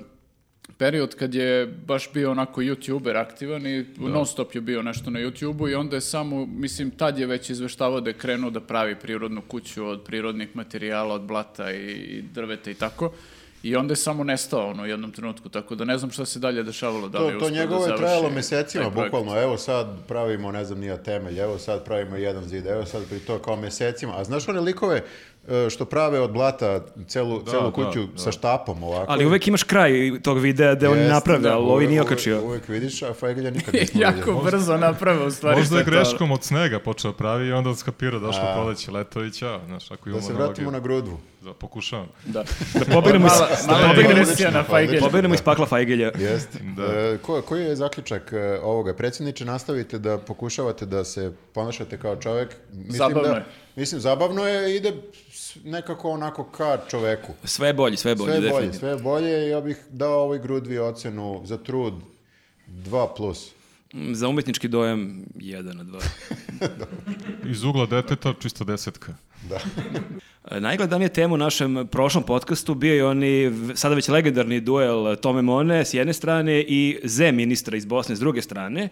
Speaker 2: period kad je baš bio onako youtuber aktivan i
Speaker 4: Da.
Speaker 2: non stop je bio nešto na youtubeu i onda je samo, mislim, tad je već izveštavao da je krenuo da pravi prirodnu kuću od prirodnih materijala, od blata i, i drveta i tako. I onda je samo nestao ono u jednom trenutku, tako da ne znam šta se dalje dešavalo. Da li
Speaker 1: To,
Speaker 2: je
Speaker 1: to
Speaker 2: uspeo da
Speaker 1: njegovo je
Speaker 2: završi E,
Speaker 1: trajalo
Speaker 2: taj
Speaker 1: mesecima,
Speaker 2: projekat.
Speaker 1: bukvalno. Evo sad pravimo, ne znam, nija temelj, evo sad pravimo jedan zid, evo sad pri to kao mesecima. A znaš one likove e, što prave od blata celu, celu
Speaker 4: da,
Speaker 1: kuću
Speaker 4: da.
Speaker 1: sa štapom ovako?
Speaker 3: Ali uvek imaš kraj tog videa gde on
Speaker 1: Jeste,
Speaker 3: napravlja,
Speaker 1: da,
Speaker 3: ali ovi
Speaker 1: uvek-
Speaker 3: nije
Speaker 1: uvek-
Speaker 3: okačio.
Speaker 1: Uvek vidiš, a Fajgelja nikad nismo
Speaker 2: jako
Speaker 1: vidjeli.
Speaker 2: brzo naprave u stvari.
Speaker 4: Možda je
Speaker 2: sve to, ali-
Speaker 4: greškom od snega počeo pravi i onda skapirao došlo proleće, leto i ćao. Znaš, ako
Speaker 1: Da
Speaker 4: imamo
Speaker 1: se
Speaker 4: analogiju,
Speaker 1: vratimo na grudvu.
Speaker 4: da pokušavam.
Speaker 2: Da.
Speaker 3: Da pobegnemo iz,
Speaker 2: Mala,
Speaker 3: da
Speaker 2: mala
Speaker 1: Pobegnemo-
Speaker 2: digresija na Fajgelj.
Speaker 3: pobegnemo iz pakla Fajgelja.
Speaker 1: Jeste.
Speaker 2: Da.
Speaker 1: E, ko, koji je zaključak e, ovoga? Predsjedniče, nastavite da pokušavate da se ponašate kao čovjek. Mislim
Speaker 2: Zabavno
Speaker 1: da,
Speaker 2: je.
Speaker 1: Mislim, zabavno je, ide s- nekako onako ka čoveku.
Speaker 3: Sve je bolje, sve je bolje,
Speaker 1: Sve je bolje,
Speaker 3: definitivno.
Speaker 1: sve je bolje. Ja bih dao ovoj grudvi ocenu za trud 2 plus.
Speaker 3: Mm, Za umetnički dojam, jedan od dva.
Speaker 4: Iz ugla deteta čisto desetka.
Speaker 3: E, Najgledanija tema u našem prošlom podcastu bio je oni v- sada već legendarni duel e, Tome Mone s jedne strane i Z ministra iz Bosne s druge strane.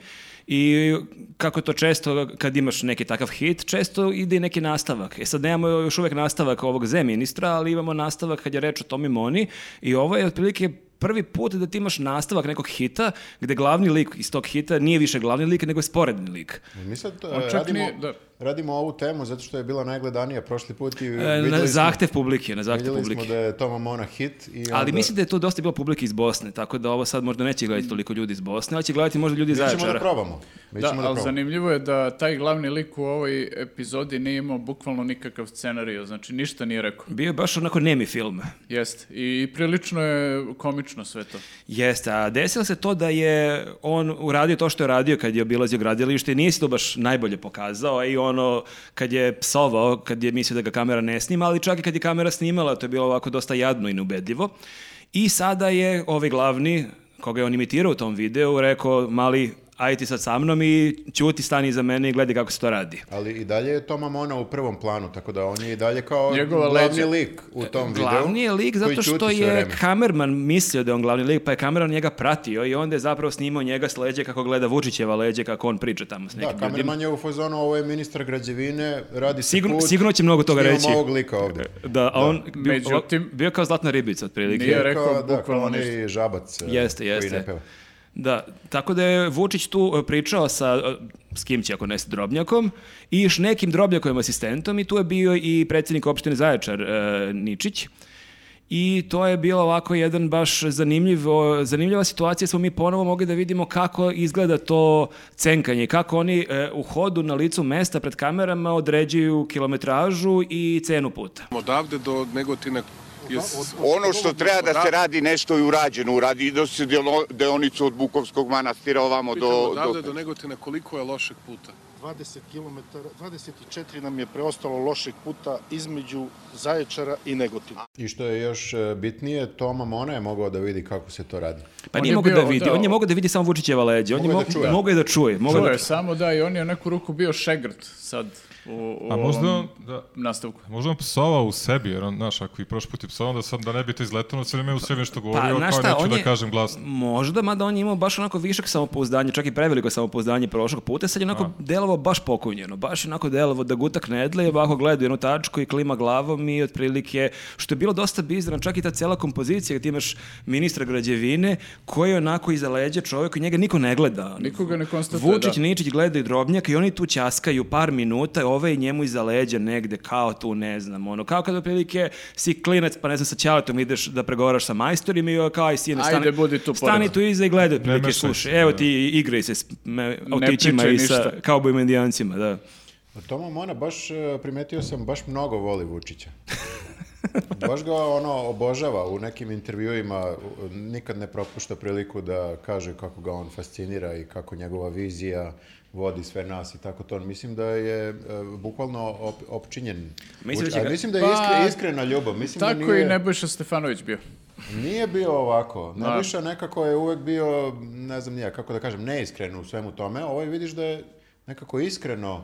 Speaker 3: I kako to često kad imaš neki takav hit, često ide i neki nastavak. E sad nemamo još uvek nastavak ovog Z ministra, ali imamo nastavak kad je reč o Tomi Moni i ovo je otprilike prvi put da ti imaš nastavak nekog hita gde glavni lik iz tog hita nije više glavni lik nego je sporedni lik.
Speaker 1: Mi sad e,
Speaker 2: On čak
Speaker 1: radimo,
Speaker 2: nije- da.
Speaker 1: radimo ovu temu zato što je bila najgledanija prošli put i
Speaker 3: E,
Speaker 1: vidjeli,
Speaker 3: na
Speaker 1: smo,
Speaker 3: zahtev publike, na zahtev
Speaker 1: vidjeli smo
Speaker 3: publike.
Speaker 1: da je Toma Mona hit. I onda,
Speaker 3: Ali mislim da je to dosta bilo publike iz Bosne, tako da ovo sad možda neće gledati toliko ljudi iz Bosne, ali će gledati možda ljudi iz
Speaker 1: Mi ćemo da
Speaker 3: Zaječara.
Speaker 1: probamo. Mi
Speaker 2: Da,
Speaker 1: ćemo da
Speaker 2: ali
Speaker 1: probamo.
Speaker 2: zanimljivo je da taj glavni lik u ovoj epizodi nije imao bukvalno nikakav scenariju, znači ništa nije rekao.
Speaker 3: Bio je baš onako nemi film.
Speaker 2: Jest. I prilično je komično sve to.
Speaker 3: Jeste, a desilo se to da je on uradio to što je radio kad je obilazio gradilište i nije se to baš najbolje pokazao a i ono kad je psovao, kad je mislio da ga kamera ne snima, ali čak i kad je kamera snimala to je bilo ovako dosta jadno i neubedljivo. I sada je ovaj glavni, koga je on imitirao u tom videu, rekao mali aj ti sad sa mnom i ćuti stani iza mene i gledaj kako se to radi.
Speaker 1: Ali i dalje je Toma Mona u prvom planu, tako da on je i dalje kao
Speaker 2: Njegova
Speaker 1: glavni
Speaker 2: leđa.
Speaker 1: lik u tom videu.
Speaker 3: E, Glavni je lik
Speaker 1: koji
Speaker 3: zato što
Speaker 1: ćuti sve
Speaker 3: je
Speaker 1: vreme.
Speaker 3: kamerman mislio da je on glavni lik, pa je kameran njega pratio i onda je zapravo snimao njega s leđe kako gleda Vučićeva leđe, kako on priča tamo s
Speaker 1: Da,
Speaker 3: nekim ljudima.
Speaker 1: kamerman je u fazonu, ovo je ministar građevine, radi se
Speaker 3: Sigurno-
Speaker 1: put,
Speaker 3: sigurno će mnogo toga
Speaker 1: snimam
Speaker 3: reći.
Speaker 1: ovog lika
Speaker 2: E,
Speaker 1: ovdje.
Speaker 3: Da, a on bio,
Speaker 2: Međutim-
Speaker 3: bio kao zlatna ribica otprilike.
Speaker 2: Nije
Speaker 1: Kao,
Speaker 2: rekao
Speaker 1: da,
Speaker 2: bukvalno
Speaker 1: kao onaj
Speaker 2: ništa.
Speaker 1: žabac e,
Speaker 3: Jeste,
Speaker 1: koji ne
Speaker 3: jeste.
Speaker 1: peva.
Speaker 3: Da, tako da je Vučić tu e, pričao sa, e, s kim će ako ne s Drobnjakom, i još nekim Drobnjakovim asistentom i tu je bio i predsjednik opštine Zaječar e, Ničić. I to je bilo ovako jedan baš zanimljiv, o, zanimljiva situacija, smo mi ponovo mogli da vidimo kako izgleda to cenkanje, kako oni e, u hodu na licu mesta pred kamerama određuju kilometražu i cenu puta.
Speaker 5: Odavde do Negotina je s-
Speaker 6: Ono što treba da se radi, nešto je urađeno. Uradi do se djelo- deonicu od Bukovskog manastira ovamo
Speaker 5: Pitam
Speaker 6: do...
Speaker 5: odavde
Speaker 6: do...
Speaker 5: do Negotina koliko je lošeg puta.
Speaker 7: 20 km, 24 nam je preostalo lošeg puta između Zaječara i Negotina.
Speaker 1: I što je još e, bitnije, Toma Mona je mogao da vidi kako se to radi.
Speaker 3: Pa
Speaker 2: On
Speaker 3: nije
Speaker 2: je
Speaker 3: mogao
Speaker 2: bio-
Speaker 3: da vidi,
Speaker 2: da,
Speaker 3: on je
Speaker 2: o-
Speaker 3: mogao da vidi samo Vučićeva leđa, on je
Speaker 1: Mogao je
Speaker 3: mogao
Speaker 1: da čuje.
Speaker 3: mogao je da čuje, mogao je
Speaker 2: Čuo
Speaker 3: da
Speaker 2: je samo da i on je u neku ruku bio šegrt sad u, u
Speaker 4: A možda
Speaker 2: ovom
Speaker 4: on, da,
Speaker 2: nastavku.
Speaker 4: možda on psovao u sebi, jer on, znaš, ako i prošli put je psovao, da, sad, da ne bi to izletano, na sve vreme u sebi što govorio,
Speaker 3: Pa, znaš
Speaker 4: kao
Speaker 3: šta,
Speaker 4: neću
Speaker 3: on
Speaker 4: da
Speaker 3: je-
Speaker 4: kažem glasno.
Speaker 3: Možda, mada on je imao baš onako višak samopouzdanja, čak i preveliko samopouzdanje prošlog puta, sad je onako
Speaker 2: Da.
Speaker 3: delovo baš pokunjeno, baš je onako delovo da gutak ne dle, ovako gleda u jednu tačku i klima glavom i otprilike, što je bilo dosta bizarno, čak i ta cela kompozicija gdje ti imaš ministra građevine koji je onako iza leđa čovjek i njega niko ne gleda.
Speaker 2: Nikoga ne konstatuje,
Speaker 3: Vučić,
Speaker 2: da.
Speaker 3: Ničić gledaju drobnjak i oni tu ćaskaju par minuta, ovaj njemu iza leđa negde, kao tu, ne znam, ono, kao kad otprilike si klinac, pa ne znam, sa ćaletom ideš da pregovaraš sa majstorima i ovo kao, aj sine, stani,
Speaker 2: Ajde, budi tu
Speaker 3: stani
Speaker 2: pored.
Speaker 3: tu iza i gledaj, otprilike,
Speaker 4: mešaj se,
Speaker 3: slušaj, evo
Speaker 4: da.
Speaker 3: ti igraj se s me, autićima
Speaker 2: pričaj
Speaker 3: i sa
Speaker 2: ništa.
Speaker 3: kaubojima indijancima, da.
Speaker 1: A Toma Mona baš, e, primetio sam, baš mnogo voli Vučića. Baš ga ono obožava u nekim intervjuima, u- nikad ne propušta priliku da kaže kako ga on fascinira i kako njegova vizija vodi sve nas i tako to. Mislim da je e, bukvalno op- opčinjen.
Speaker 3: Mislim da
Speaker 1: Vuči-
Speaker 3: će
Speaker 1: a
Speaker 3: ga-
Speaker 1: mislim da je
Speaker 2: Pa,
Speaker 1: iskre- iskrena ljubav. Mislim da
Speaker 2: Tako
Speaker 1: nije-
Speaker 2: i Nebojša Stefanović bio.
Speaker 1: Nije bio ovako.
Speaker 3: Da.
Speaker 1: Nebojša nekako je uvek bio, ne znam nija, kako da kažem, neiskren u svemu tome. Ovo je vidiš da je nekako iskreno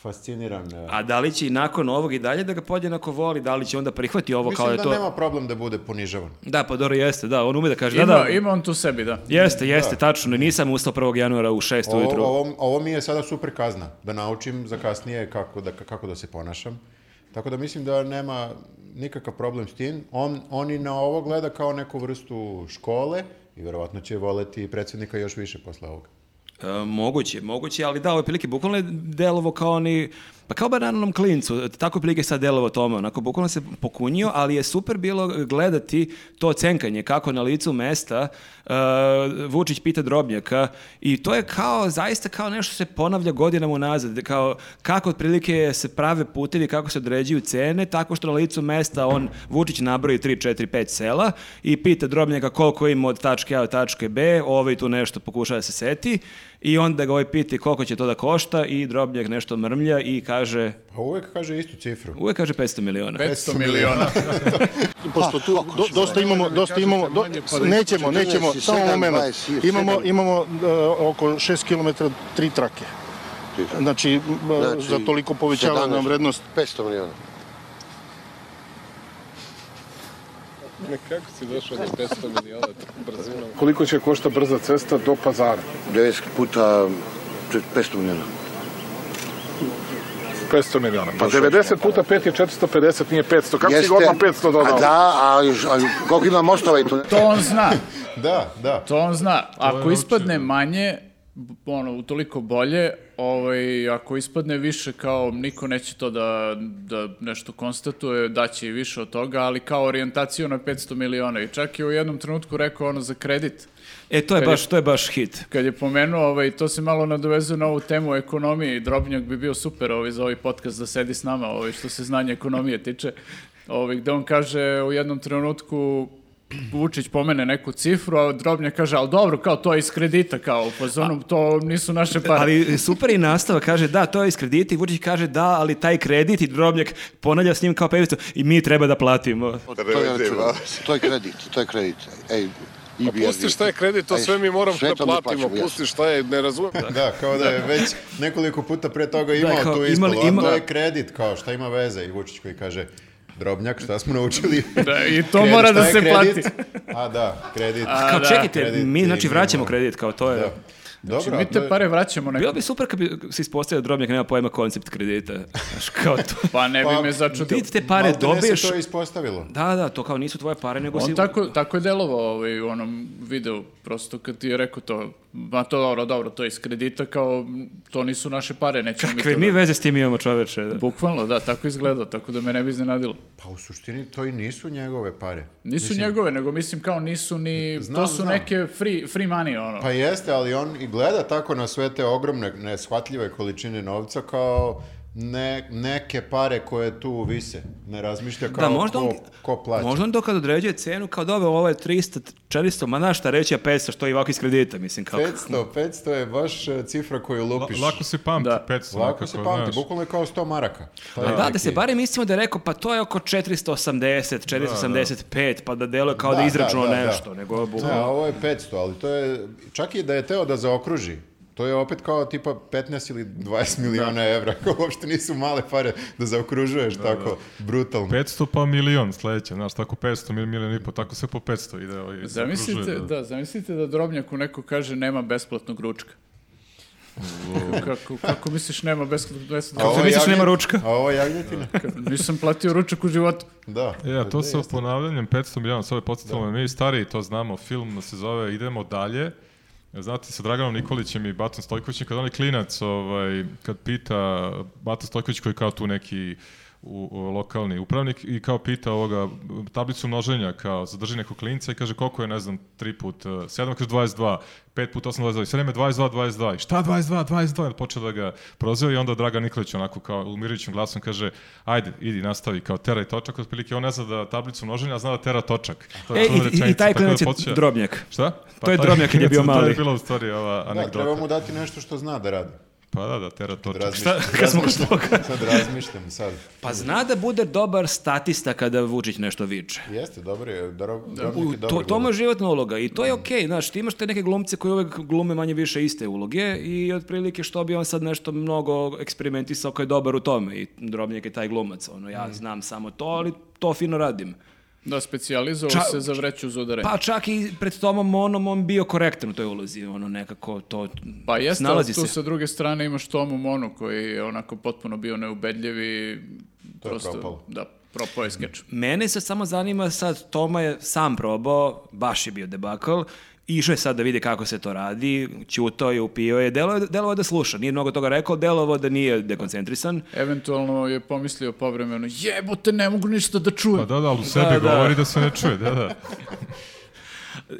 Speaker 1: fasciniran. e,
Speaker 3: A da li će i nakon ovog i dalje da ga podjednako voli, da li će onda prihvati ovo
Speaker 1: Mislim
Speaker 3: kao
Speaker 1: da
Speaker 3: je to...
Speaker 1: nema problem da bude ponižavan.
Speaker 3: Da, pa dobro, jeste, da, on ume da kaže,
Speaker 2: Ima,
Speaker 3: da, da,
Speaker 2: ima on tu sebi, da.
Speaker 3: jeste, jeste, tačno, nisam ustao 1. januara u 6
Speaker 1: Ovo,
Speaker 3: ujutru.
Speaker 1: ovo, ovo mi je sada super kazna, da naučim za kasnije kako da, kako da se ponašam. Tako da mislim da nema nikakav problem s tim. On, on i na ovo gleda kao neku vrstu škole i verovatno će voleti predsjednika još više posle ovoga.
Speaker 3: E, moguće, moguće, ali da, ove prilike bukvalno je delovo kao oni, pa kao banalnom klincu, tako prilike sad delovo tome, onako bukvalno se pokunio, ali je super bilo gledati to cenkanje, kako na licu mesta e, Vučić pita Drobnjaka i to je kao, zaista kao nešto se ponavlja godinama unazad, kao kako otprilike se prave putevi, kako se određuju cene, tako što na licu mesta on, Vučić nabroji 3, 4, 5 sela i pita Drobnjaka koliko ima od tačke A do tačke B, ovaj tu nešto pokušava da se seti i onda ga ovaj piti koliko će to da košta i Drobnjak nešto mrmlja i kaže,
Speaker 1: Pa uvek kaže istu cifru.
Speaker 3: uvek kaže 500 miliona.
Speaker 2: 500 miliona.
Speaker 7: Pošto tu do- dosta imamo, dosta imamo, do- nećemo, nećemo, samo moment. Imamo, imamo e, oko 6 km tri trake. Znači, m, e,
Speaker 8: Znači,
Speaker 7: za toliko povećava nam
Speaker 8: 17.
Speaker 7: vrednost.
Speaker 8: 500 miliona.
Speaker 5: Kako si došao do 500 miliona brzinom? Koliko će košta brza cesta do pazara?
Speaker 8: 90 puta 500 miliona.
Speaker 5: 500 miliona. Pa 90 puta 5 je 450, nije 500. Kako si
Speaker 8: Jeste-
Speaker 5: ga odmah 500 dodao?
Speaker 8: A da, ali, ali koliko ima mostova i tu?
Speaker 2: To on zna.
Speaker 1: Da, da.
Speaker 2: To on zna. Ako
Speaker 4: je
Speaker 2: ispadne
Speaker 4: očigledno.
Speaker 2: manje, b- ono, utoliko bolje, ovaj, ako ispadne više, kao niko neće to da, da nešto konstatuje, daće i više od toga, ali kao orijentaciju na 500 miliona. I čak je u jednom trenutku rekao ono za kredit.
Speaker 3: E, to je
Speaker 2: Kad je-
Speaker 3: baš, to je baš hit.
Speaker 2: Kad je pomenuo, ovaj, to se malo nadovezuje na ovu temu ekonomije i Drobnjak bi bio super ovaj, za ovaj podcast da sedi s nama, ovaj, što se znanje ekonomije tiče, ovaj, gde on kaže u jednom trenutku Vučić pomene neku cifru, a Drobnjak kaže, ali dobro, kao to je iz kredita, kao, po zonu, to nisu naše
Speaker 1: Pa-
Speaker 2: pare.
Speaker 3: Ali super i nastava, kaže da, to je iz kredita i Vučić kaže da, ali taj kredit i drobnjak ponavlja s njim kao pevicu i mi treba da platimo.
Speaker 8: To je, račun. to je kredit, to je kredit. Ej,
Speaker 5: Pa pusti šta je kredit, to
Speaker 8: Ej,
Speaker 5: sve mi moramo
Speaker 8: sve
Speaker 5: da
Speaker 8: to mi
Speaker 5: platimo.
Speaker 8: plaćamo, jasno.
Speaker 5: Pusti šta je, ne razumijem.
Speaker 1: Da, kao da je već nekoliko puta pre toga imao
Speaker 3: kao,
Speaker 1: tu ispalo,
Speaker 3: imali- ima-
Speaker 1: a to je kredit, kao šta ima veze. I Vučić koji kaže, Drobnjak, šta smo naučili?
Speaker 2: Da, i to
Speaker 1: Kredit,
Speaker 2: mora
Speaker 1: šta
Speaker 2: da
Speaker 1: je
Speaker 2: se
Speaker 1: kredit?
Speaker 2: plati.
Speaker 1: A da, kredit.
Speaker 3: Kao čekajte,
Speaker 1: Kredit
Speaker 3: mi
Speaker 1: i
Speaker 3: znači
Speaker 1: mi
Speaker 3: vraćamo
Speaker 1: imamo.
Speaker 3: kredit, kao to je.
Speaker 1: Da. Dobro,
Speaker 2: Znači, Mi te
Speaker 1: no-
Speaker 2: pare vraćamo
Speaker 3: Bilo
Speaker 2: nekako.
Speaker 3: bi super kad bi se ispostavio da drobnjak nema pojma koncept kredita. Znaš, kao to.
Speaker 2: Pa ne bi
Speaker 1: Pa,
Speaker 2: me začudilo.
Speaker 3: Ti te pare
Speaker 1: Maltene
Speaker 3: dobiješ.
Speaker 1: se to ispostavilo.
Speaker 3: Da, da, to kao nisu tvoje pare, nego si...
Speaker 2: On tako, tako je delovao ovaj, u onom videu, prosto kad ti je rekao to, ma to dobro, dobro, to je iz kredita, kao m, to nisu naše pare, nećemo mi
Speaker 3: Kakve
Speaker 2: to
Speaker 3: mi
Speaker 2: da-
Speaker 3: veze s tim imamo čoveče? Da.
Speaker 2: Bukvalno, da, tako izgleda, tako da me ne bi iznenadilo.
Speaker 1: Pa u suštini to i nisu njegove pare.
Speaker 2: Nisu njegove, nego mislim kao nisu ni,
Speaker 1: Znam,
Speaker 2: to su
Speaker 1: znam.
Speaker 2: neke free, free money, ono.
Speaker 1: Pa jeste, ali on i gleda tako na sve te ogromne, neshvatljive količine novca kao ne, neke pare koje tu vise. Ne razmišlja kao
Speaker 3: Da, možda
Speaker 1: ko,
Speaker 3: on,
Speaker 1: ko plaća.
Speaker 3: možda on dokad određuje cenu, kao dobro, ovo je 300, 400, ma znaš šta reći, a 500, što je i ovako iz kredita, mislim, kao...
Speaker 1: 500, 500 je baš e, cifra koju
Speaker 4: La-
Speaker 1: lupiš.
Speaker 4: lako se pamti,
Speaker 2: Da.
Speaker 4: 500.
Speaker 1: Lako se
Speaker 4: nekako,
Speaker 1: pamti,
Speaker 4: znaš.
Speaker 1: bukvalno je kao 100 maraka. To je
Speaker 3: A da, da
Speaker 1: neki-
Speaker 3: se barem mislimo da je rekao, pa to je oko 480, 485, pa da deluje kao da,
Speaker 1: Da,
Speaker 3: je
Speaker 1: da,
Speaker 3: izračunao
Speaker 1: da, da.
Speaker 3: nešto, nego
Speaker 1: Da,
Speaker 3: bukvalno.
Speaker 1: ovo je 500, ali to je, čak i da je teo da zaokruži, to je opet kao tipa 15 ili
Speaker 4: Da.
Speaker 1: 20 miliona evra, kao uopšte nisu male pare da zaokružuješ tako brutalno.
Speaker 4: 500 pa milion sledeće, znaš, tako 500, mil- milion i po, tako sve po 500 ide. Ovaj,
Speaker 2: Zamislite,
Speaker 4: zaokružuje,
Speaker 2: da. zamislite da Drobnjaku neko kaže nema besplatnog ručka. kako, kako misliš nema besplatnog
Speaker 1: A ovo
Speaker 2: ručka?
Speaker 3: Kako
Speaker 4: da
Speaker 3: misliš,
Speaker 1: jagnje-
Speaker 3: nema ručka?
Speaker 1: A ovo jagnjetina?
Speaker 2: Nisam platio ručak u životu.
Speaker 1: Da.
Speaker 4: Ja, E, to sa ponavljanjem 500 miliona, sve podsjetilo me, mi stariji to znamo, film se zove Idemo dalje, E, Znate, sa Draganom Nikolićem i Batom Stojkovićem, kad on je klinac, ovaj, kad pita Bato Stojković koji je kao tu neki u, u- lokalni upravnik i kao pita ovoga tablicu množenja, kao zadrži neko klinca i kaže koliko je, ne znam, 3 put 7, kaže 22, 5 put 8, 22, sve vreme 22, 22, i šta 22, 22, počeo da ga proziva i onda Dragan Nikolić onako kao umirujućim glasom kaže ajde, idi, nastavi, kao teraj točak, otprilike on ne zna da tablicu množenja, a zna da tera točak. To
Speaker 3: E, i-
Speaker 4: čudna
Speaker 3: i- i
Speaker 4: rečenica,
Speaker 3: taj
Speaker 4: tako da
Speaker 3: klinac je
Speaker 4: podsjeća-
Speaker 3: drobnjak.
Speaker 4: Šta? Pa
Speaker 3: To je
Speaker 4: taj
Speaker 3: drobnjak kad je bio
Speaker 4: klinac, To
Speaker 3: mali.
Speaker 4: je bila u stvari ova
Speaker 1: Da,
Speaker 4: anegdota.
Speaker 1: treba mu dati nešto što zna da radi.
Speaker 4: Pa da, da, tera točak.
Speaker 1: Razmišljam,
Speaker 3: Kad smo kod
Speaker 1: razmišljam, sad razmišljam, sad.
Speaker 3: Pa zna da bude dobar statista kada Vučić nešto viče.
Speaker 1: Jeste, dobro je, dobro,
Speaker 3: U, to, to mu je životna uloga i
Speaker 2: Da.
Speaker 3: to je okej, znaš, ti imaš te neke glumce koji uvek glume manje više iste uloge i otprilike što bi on sad nešto mnogo eksperimentisao koji je dobar u tome i drobnjak je taj glumac, ono,
Speaker 2: Mm.
Speaker 3: ja znam samo to, ali to fino radim.
Speaker 2: Da, specijalizovao
Speaker 3: Ča-
Speaker 2: se za vreću za udaranje.
Speaker 3: Pa čak i pred Tomom Monom on bio korektan u toj ulozi, ono nekako to
Speaker 2: Pa jeste, ali
Speaker 3: snalazi
Speaker 2: tu
Speaker 3: se.
Speaker 2: sa druge strane imaš Tomu Monu koji je onako potpuno bio neubedljiv i
Speaker 1: To je propalo.
Speaker 2: da, propao je skeč.
Speaker 3: Mene se samo zanima sad, Toma je sam probao, baš je bio debakl, išao je sad da vidi kako se to radi, ćutao je, upio je, delovao delovao je da sluša, nije mnogo toga rekao, delovao je da nije dekoncentrisan.
Speaker 2: Eventualno je pomislio povremeno, jebote, ne mogu ništa da čujem.
Speaker 4: Pa da, da, ali u sebi
Speaker 3: Da, da.
Speaker 4: govori da se ne čuje, da, da.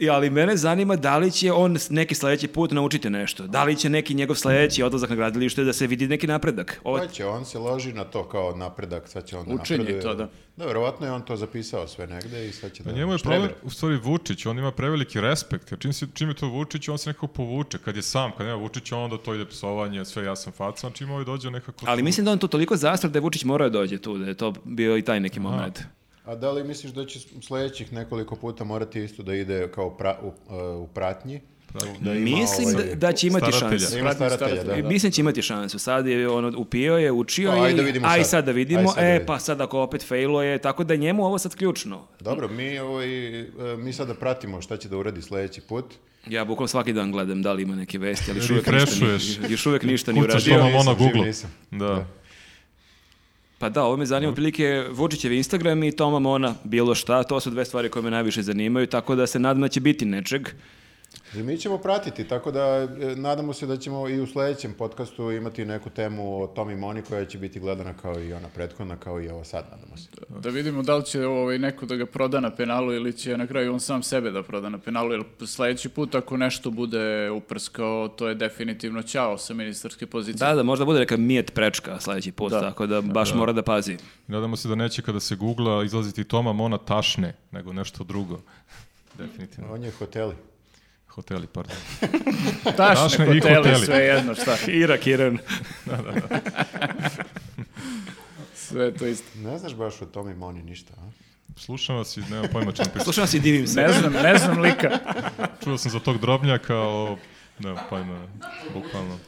Speaker 3: I, ali mene zanima da li će on s- neki sledeći put naučiti nešto, da li će neki njegov sledeći odlazak na gradilište da se vidi neki napredak. Ovo,
Speaker 1: Hoće, on se loži na to kao napredak, sad će on da
Speaker 2: Učenje
Speaker 1: napreduje.
Speaker 2: to, da.
Speaker 1: Da, verovatno je on to zapisao sve negde i sad će da...
Speaker 4: Pa Njemu je
Speaker 1: štreber.
Speaker 4: problem, u stvari, Vučić, on ima preveliki respekt, jer čim, si, čim je to Vučić, on se nekako povuče. Kad je sam, kad nema Vučića, onda to ide psovanje, sve ja sam facan, čim ovaj dođe nekako...
Speaker 3: ali
Speaker 4: tu-
Speaker 3: mislim da on to toliko zastra da je Vučić morao da dođe tu, da je to bio i taj neki moment.
Speaker 1: A da li misliš da će sledećih nekoliko puta morati isto da ide kao pra- u, e, u pratnji? Da ima
Speaker 3: Mislim
Speaker 1: ovaj-
Speaker 3: da, da će imati
Speaker 4: staratelja.
Speaker 3: šansu.
Speaker 1: Da ima staratelja, da,
Speaker 2: staratelja.
Speaker 1: da.
Speaker 3: E, Mislim će imati šansu. Sad je ono upio je, učio
Speaker 1: Kao,
Speaker 3: je.
Speaker 1: ajde vidimo
Speaker 3: aj
Speaker 1: sad.
Speaker 3: sad da vidimo.
Speaker 1: Aj sad da
Speaker 3: e
Speaker 1: vidimo.
Speaker 3: pa sad ako opet failo je, tako da je njemu ovo sad ključno.
Speaker 1: Dobro, mi, ovaj, e, mi sada pratimo šta će da uradi sledeći put.
Speaker 3: Ja bukvalno svaki dan gledam da li ima neke vesti, ali još uvek ništa,
Speaker 4: Refreshuješ.
Speaker 3: ni- još uvek ništa ni
Speaker 4: Kucaš
Speaker 3: uradio.
Speaker 4: tamo ono
Speaker 1: nisam, živ
Speaker 4: Google.
Speaker 1: nisam.
Speaker 4: Da.
Speaker 3: Pa da, ovo me
Speaker 2: Mhm.
Speaker 3: zanima, otprilike Vučićev Instagram i Toma Mona, bilo šta, to su dve stvari koje me najviše zanimaju, tako da se nadam da će biti nečeg.
Speaker 1: I Znači, mi ćemo pratiti, tako da e, nadamo se da ćemo i u sledećem podcastu imati neku temu o Tomi Moni koja će biti gledana kao i ona prethodna, kao i ova sad, nadamo se.
Speaker 2: Da vidimo da li će ovaj, neko da ga proda na penalu ili će na kraju on sam sebe da proda na penalu, jer sledeći put ako nešto bude uprskao, to je definitivno ćao sa ministarske pozicije.
Speaker 3: Da, da, možda bude neka mijet prečka sledeći put, tako da baš mora da pazi.
Speaker 4: Nadamo se da neće kada se googla izlaziti Toma Mona tašne, nego nešto drugo. Definitivno.
Speaker 1: On je hoteli.
Speaker 4: Hoteli, pardon.
Speaker 2: Tašne
Speaker 4: Tašne i
Speaker 2: hoteli,
Speaker 4: hoteli.
Speaker 2: sve jedno, šta.
Speaker 3: Irak, Iran.
Speaker 2: Sve je to isto.
Speaker 1: Ne znaš baš o Tomi Moni ništa, a?
Speaker 4: Slušam vas i nemam pojma čemu pričam.
Speaker 3: Slušam vas i divim se.
Speaker 2: Ne znam, ne znam lika.
Speaker 4: Čuo sam za tog drobnjaka, o... Nemam pojma, bukvalno.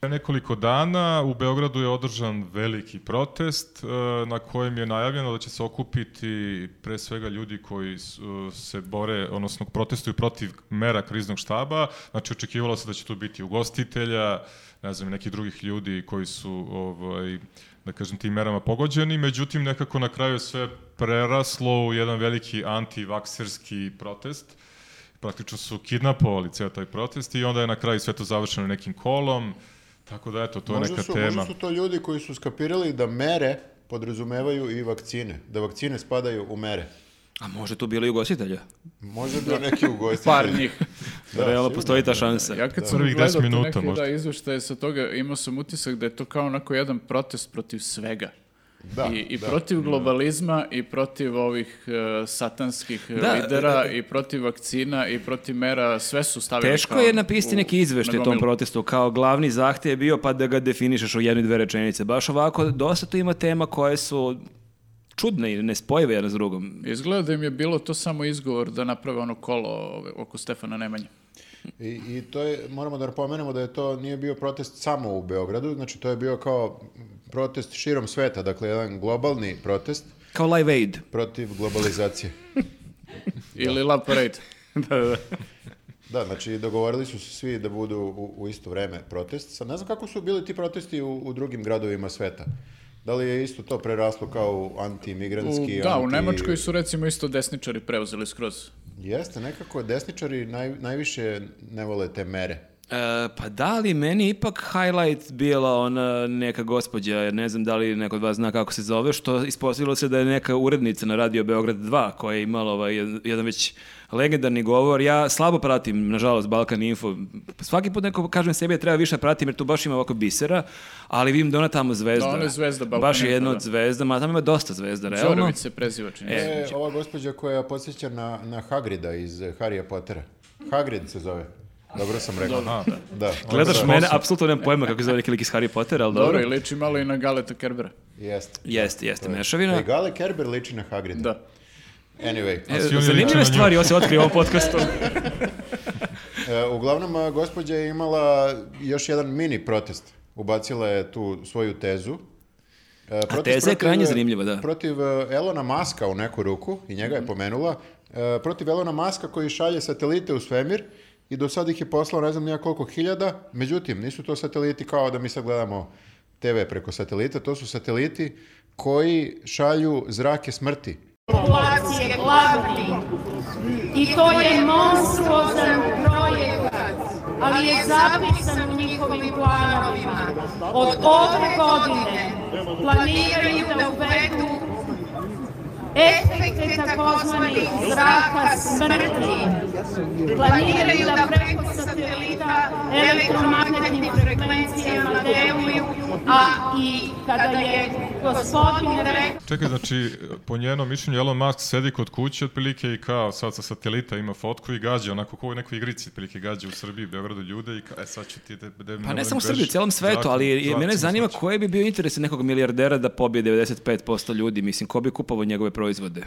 Speaker 4: Pre nekoliko dana u Beogradu je održan veliki protest e, na kojem je najavljeno da će se okupiti pre svega ljudi koji s- e, se bore, odnosno protestuju protiv mera kriznog štaba. Znači očekivalo se da će tu biti ugostitelja, ne znam, i nekih drugih ljudi koji su ovaj, da kažem, tim merama pogođeni, međutim nekako na kraju je sve preraslo u jedan veliki antivakserski protest praktično su kidnapovali ceo taj protest i onda je na kraju sve to završeno nekim kolom, tako da eto, to je neka
Speaker 1: su,
Speaker 4: tema.
Speaker 1: Možda su to ljudi koji su skapirali da mere podrazumevaju i vakcine, da vakcine spadaju u mere.
Speaker 3: A može tu bilo i ugostitelja?
Speaker 1: Može bi neki ugostitelj.
Speaker 2: Da. Par njih.
Speaker 1: Da,
Speaker 3: Realno
Speaker 1: sigurno.
Speaker 3: postoji ta šansa.
Speaker 2: Ja kad sam
Speaker 4: Prvih
Speaker 2: gledao
Speaker 4: 10
Speaker 2: te
Speaker 4: minuta
Speaker 2: neke
Speaker 4: možda.
Speaker 2: da, izveštaje sa toga, imao sam utisak da je to kao onako jedan protest protiv svega.
Speaker 1: Da,
Speaker 2: I, i
Speaker 1: da.
Speaker 2: protiv globalizma i protiv ovih e, satanskih e,
Speaker 3: Da,
Speaker 2: lidera i protiv vakcina i protiv mera, sve su stavili
Speaker 3: Teško
Speaker 2: kao
Speaker 3: je napisati
Speaker 2: u-
Speaker 3: neki izveštaj
Speaker 2: na
Speaker 3: o tom
Speaker 2: gomilu.
Speaker 3: protestu, kao glavni zahtjev je bio pa da ga definišeš u jednu i dve rečenice. Baš ovako, dosta tu ima tema koje su čudne i nespojive jedna s drugom.
Speaker 2: Izgleda da im je bilo to samo izgovor da naprave ono kolo ove, oko Stefana Nemanja.
Speaker 1: I, I to je, moramo da napomenemo da je to nije bio protest samo u Beogradu, znači to je bio kao protest širom sveta, dakle jedan globalni protest
Speaker 3: Kao Live Aid.
Speaker 1: protiv globalizacije.
Speaker 2: Ili Love Parade.
Speaker 1: Da, znači dogovorili su se svi da budu u, u isto vreme protest. Sad ne znam kako su bili ti protesti u, u drugim gradovima sveta. Da li je isto to preraslo kao u
Speaker 2: U,
Speaker 1: anti-migrantski...
Speaker 2: da, u
Speaker 1: anti-
Speaker 2: Nemačkoj su recimo isto desničari preuzeli skroz.
Speaker 1: Jeste, nekako desničari naj, najviše ne vole te mere.
Speaker 3: E, pa da li meni ipak highlight bila ona neka gospođa, jer ne znam da li neko od vas zna kako se zove, što ispostavilo se da je neka urednica na Radio Beograd 2 koja je imala ovaj jed- jedan već legendarni govor. Ja slabo pratim, nažalost, Balkan Info. Svaki put neko kažem sebi da treba više pratim jer tu baš ima ovako bisera, ali vidim da ona tamo zvezda.
Speaker 2: Da, ona je zvezda Balkan
Speaker 3: Baš je
Speaker 2: Info,
Speaker 3: jedna
Speaker 2: da.
Speaker 3: od zvezda, ma tamo ima dosta zvezda, realno.
Speaker 2: Đorović se preziva čini.
Speaker 1: To
Speaker 3: E,
Speaker 2: mi se.
Speaker 1: je E, ova gospođa koja podsjeća na, na Hagrida iz eh, Harrya Pottera. Hagrid se zove. Dobro sam rekao.
Speaker 4: Aha.
Speaker 1: Da.
Speaker 3: Gledaš
Speaker 1: Onda-
Speaker 3: mene, apsolutno nemam pojma kako se zove neki lik iz Harry Pottera, ali dobro.
Speaker 2: Dobro, i liči malo i na Galeta Kerbera.
Speaker 1: Jeste.
Speaker 3: Jeste, jeste,
Speaker 1: Da.
Speaker 3: mešavina.
Speaker 1: E, Gale Kerber liči na Hagrida.
Speaker 2: Da.
Speaker 1: Anyway.
Speaker 3: E,
Speaker 4: oni liče na
Speaker 3: Zanimljive
Speaker 4: nju.
Speaker 3: stvari, ovo se otkrio u ovom podcastu.
Speaker 1: E, uglavnom, a, gospođa je imala još jedan mini protest. Ubacila je tu svoju tezu. E, protest
Speaker 3: teza je
Speaker 1: protiv-
Speaker 3: krajnje zanimljiva, da. Mhm.
Speaker 1: Protiv e, Elona Maska u neku ruku, i njega je pomenula, e, protiv Elona Maska koji šalje satelite u svemir i do sad ih je poslao ne znam nija koliko hiljada, međutim, nisu to sateliti kao da mi sad gledamo TV preko satelita, to su sateliti koji šalju zrake smrti.
Speaker 9: populacije gladni. I to je monstruozan projekat, ali je zapisan u njihovim planovima. Od ove godine planiraju da uvedu efekte takozvanih zraka smrti. Planiraju da preko satelita elektromagnetnim frekvencijama deluju, a i kada je gospodin rekao
Speaker 4: Čekaj, znači, po njenom mišljenju, Elon Musk sedi kod kuće otprilike i kao sad sa satelita ima fotku i gađa, onako kao u nekoj igrici, otprilike gađa u Srbiji, Beogradu ljude i kao, e sad ću ti da... da Dakle,
Speaker 3: Pa ne samo u Srbiji, u celom svetu, ali i mene zanima koji bi bio interes nekog milijardera da pobije 95% ljudi, mislim, ko bi kupovao njegove proizvode?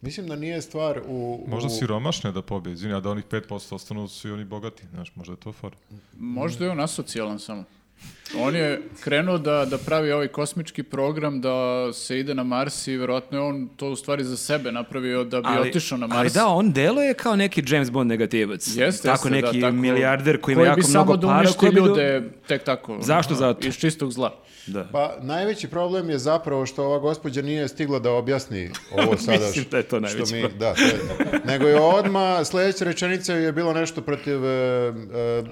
Speaker 1: Mislim da nije stvar u...
Speaker 4: Možda
Speaker 1: u-
Speaker 4: siromašne da pobije, izvini, a da onih 5% ostanu su i oni bogati, znaš, možda je to for.
Speaker 2: Možda je on asocijalan samo. On je krenuo da, da pravi ovaj kosmički program da se ide na Mars i verovatno je on to u stvari za sebe napravio da bi otišao na Mars.
Speaker 3: Ali da, on deluje kao neki James Bond negativac.
Speaker 2: Jeste,
Speaker 3: tako
Speaker 2: jeste,
Speaker 3: neki
Speaker 2: da, tako,
Speaker 3: milijarder koji ima jako
Speaker 2: bi samo
Speaker 3: mnogo
Speaker 2: da
Speaker 3: para.
Speaker 2: uništi
Speaker 3: koji bi do-
Speaker 2: ljude tek tako.
Speaker 3: Zašto
Speaker 2: ono,
Speaker 3: zato?
Speaker 2: Iz čistog zla.
Speaker 3: Da.
Speaker 1: Pa najveći problem je zapravo što ova gospođa nije stigla da objasni ovo sada.
Speaker 3: Mislim
Speaker 1: što-
Speaker 3: da je to
Speaker 1: što
Speaker 3: najveći
Speaker 1: mi-
Speaker 3: problem.
Speaker 1: da, to je- nego je odma sljedeća rečenica je bilo nešto protiv e, e,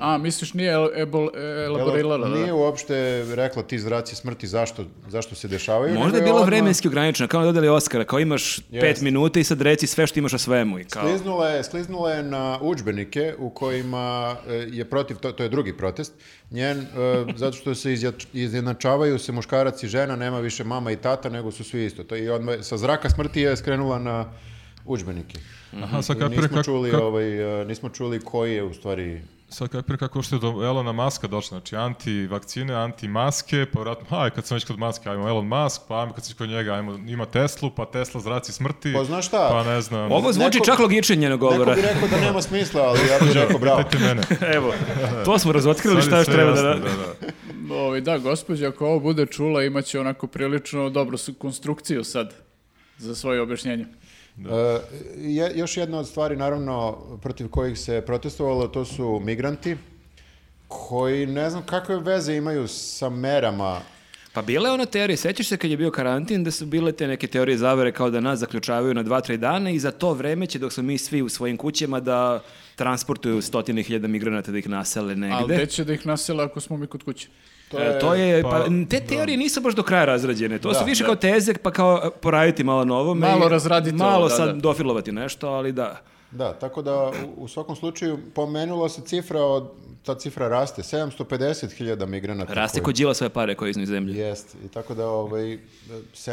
Speaker 2: A, misliš nije el- ebol, e, elaborirala? da?
Speaker 1: Nije uopšte rekla ti zraci smrti zašto, zašto se dešavaju. nego
Speaker 3: Možda je
Speaker 1: je
Speaker 3: bilo
Speaker 1: odmah
Speaker 3: vremenski ograničeno, kao da dodali Oscara, kao imaš pet minuta i sad reci sve što imaš o svemu. I kao,
Speaker 1: Skliznula je, skliznula je na udžbenike u kojima e, je protiv, to, to je drugi protest, njen, e, zato što se izja- izjednačavaju se muškarac i žena, nema više mama i tata, nego su svi isto. To je i odmah, sa zraka smrti je skrenula na udžbenike.
Speaker 4: Aha, sad
Speaker 1: I
Speaker 4: kapire
Speaker 1: nismo,
Speaker 4: kako-
Speaker 1: čuli,
Speaker 4: kako-
Speaker 1: ovaj, e, nismo čuli koji je u stvari...
Speaker 4: Sad kapir kako što je do Elona Muska došlo, znači anti-vakcine, anti-maske, pa vratno, aj kad sam već kod maske, ajmo Elon Musk, pa ajmo kad sam već kod njega, ajmo, ima Teslu, pa Tesla zraci smrti,
Speaker 1: Pa znaš šta?
Speaker 4: pa ne znam,
Speaker 3: Ovo zvuči
Speaker 1: Neko-
Speaker 3: čak logičnije njenog govora.
Speaker 1: Neko bi rekao da nema smisla, ali ja bih rekao bravo.
Speaker 4: pitajte mene.
Speaker 3: Evo, to smo razotkrili
Speaker 4: Sad je
Speaker 3: šta još
Speaker 4: sve
Speaker 3: treba da...
Speaker 4: jasno,
Speaker 3: ra-
Speaker 4: da,
Speaker 2: Ovaj, da, gospođa, ako ovo bude čula, imaće onako prilično dobru su- konstrukciju sad za svoje objašnjenje.
Speaker 1: E, je- još jedna od stvari, naravno, protiv kojih se protestovalo, to su migranti, koji ne znam kakve veze imaju sa merama.
Speaker 3: Pa bila je ona teorija, sećaš se kad je bio karantin da su bile te neke teorije zavere kao da nas zaključavaju na dva, tri dana i za to vreme će dok smo mi svi u svojim kućama da transportuju stotine hiljada migranata da ih nasele
Speaker 2: Ali
Speaker 3: negde.
Speaker 2: gde će da ih nasela ako smo mi kod kuće?
Speaker 1: To
Speaker 3: E,
Speaker 1: je,
Speaker 3: To je,
Speaker 4: pa,
Speaker 3: pa, te
Speaker 2: da.
Speaker 3: teorije nisu baš do kraja razrađene. To su više kao teze, pa kao e, poraditi malo na ovome.
Speaker 2: Malo
Speaker 3: i
Speaker 2: razraditi ovo,
Speaker 3: Malo
Speaker 2: da,
Speaker 3: sad
Speaker 2: da.
Speaker 3: dofilovati nešto, ali da.
Speaker 1: Da, tako da u, u svakom slučaju pomenulo se cifra od, ta cifra raste, 750.000 migranata.
Speaker 3: Raste
Speaker 1: koji-
Speaker 3: kod džila svoje pare koje je iz zemlje.
Speaker 1: Jest, i tako da ovaj,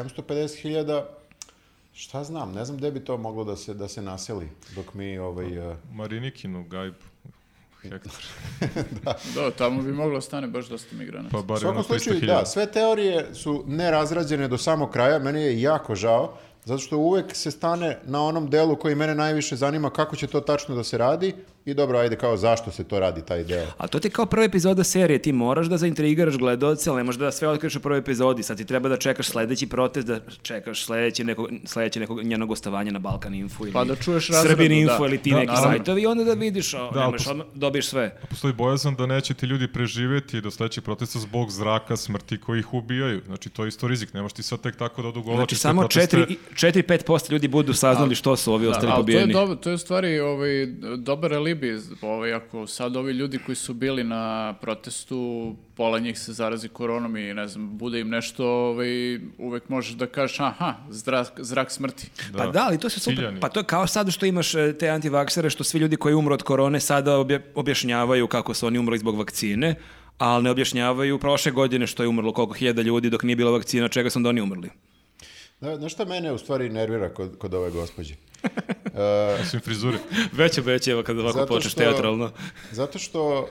Speaker 1: 750.000, šta znam, ne znam gde bi to moglo da se, da se naseli dok mi ovaj... e,
Speaker 4: Marinikinu gajbu, hektar,
Speaker 2: Da, tamo bi moglo stane baš dosta migranata.
Speaker 4: pa
Speaker 1: U
Speaker 4: bar ono
Speaker 1: svakom
Speaker 4: 300.000.
Speaker 1: slučaju, da, sve teorije su nerazrađene do samog kraja, meni je jako žao, zato što uvek se stane na onom delu koji mene najviše zanima kako će to tačno da se radi i dobro, ajde, kao zašto se to radi taj deo.
Speaker 3: A to ti je kao prva epizoda serije, ti moraš da zaintrigiraš gledaoce, ali ne možeš da sve otkriš u prvoj epizodi, sad ti treba da čekaš sledeći protest, da čekaš sledeći nekog, sledeće nekog njeno gostovanje na Balkan Info ili
Speaker 2: Pa da čuješ
Speaker 3: Srbin
Speaker 2: razradu,
Speaker 3: Info
Speaker 2: da.
Speaker 3: ili ti
Speaker 4: Da,
Speaker 3: neki
Speaker 4: naravno.
Speaker 3: sajtovi i onda da vidiš, a,
Speaker 4: Da,
Speaker 3: nemaš,
Speaker 4: pos-
Speaker 3: odmah dobiješ sve.
Speaker 4: Postoji bojazan da neće ti ljudi preživeti do sledećeg protesta zbog zraka, smrti koji ih ubijaju. Znači, to je isto rizik. Ne možeš ti sad tek tako da
Speaker 3: Znači
Speaker 4: odugovlačiš te
Speaker 3: samo
Speaker 4: proteste.
Speaker 3: 4-5% ljudi budu saznali što su ovi ostali
Speaker 2: da, Ali to je,
Speaker 3: pobijeni.
Speaker 2: dobro, to je u stvari ovaj, dobar alibi, ovaj, ako sad ovi ljudi koji su bili na protestu, pola njih se zarazi koronom i ne znam, bude im nešto, ovaj, uvek možeš da kažeš, aha, zrak, zrak smrti.
Speaker 3: Pa da, ali to se super.
Speaker 4: Ciljani.
Speaker 3: Pa to je kao sad što imaš e, te antivaksere, što svi ljudi koji umru od korone sada obje- objašnjavaju kako su oni umrli zbog vakcine, ali ne objašnjavaju prošle godine što je umrlo koliko hiljada ljudi dok nije bila vakcina, čega su onda oni umrli.
Speaker 1: Zna- Znaš šta mene u stvari nervira kod, kod ove gospođe?
Speaker 4: Osim frizure.
Speaker 3: Već obeće, evo kad ovako
Speaker 1: Zato
Speaker 3: počneš
Speaker 1: što-
Speaker 3: teatralno.
Speaker 1: Zato što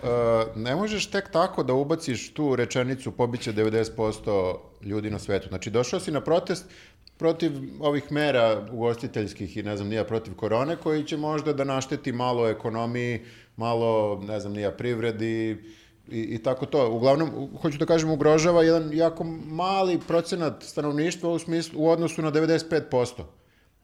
Speaker 1: e, ne možeš tek tako da ubaciš tu rečenicu pobiće 90% ljudi na svetu. Znači, došao si na protest protiv ovih mera ugostiteljskih i ne znam nija protiv korone koji će možda da našteti malo ekonomiji, malo ne znam nija privredi i, i tako to. Uglavnom, u- hoću da kažem, ugrožava jedan jako mali procenat stanovništva u, smislu, u odnosu na 95%.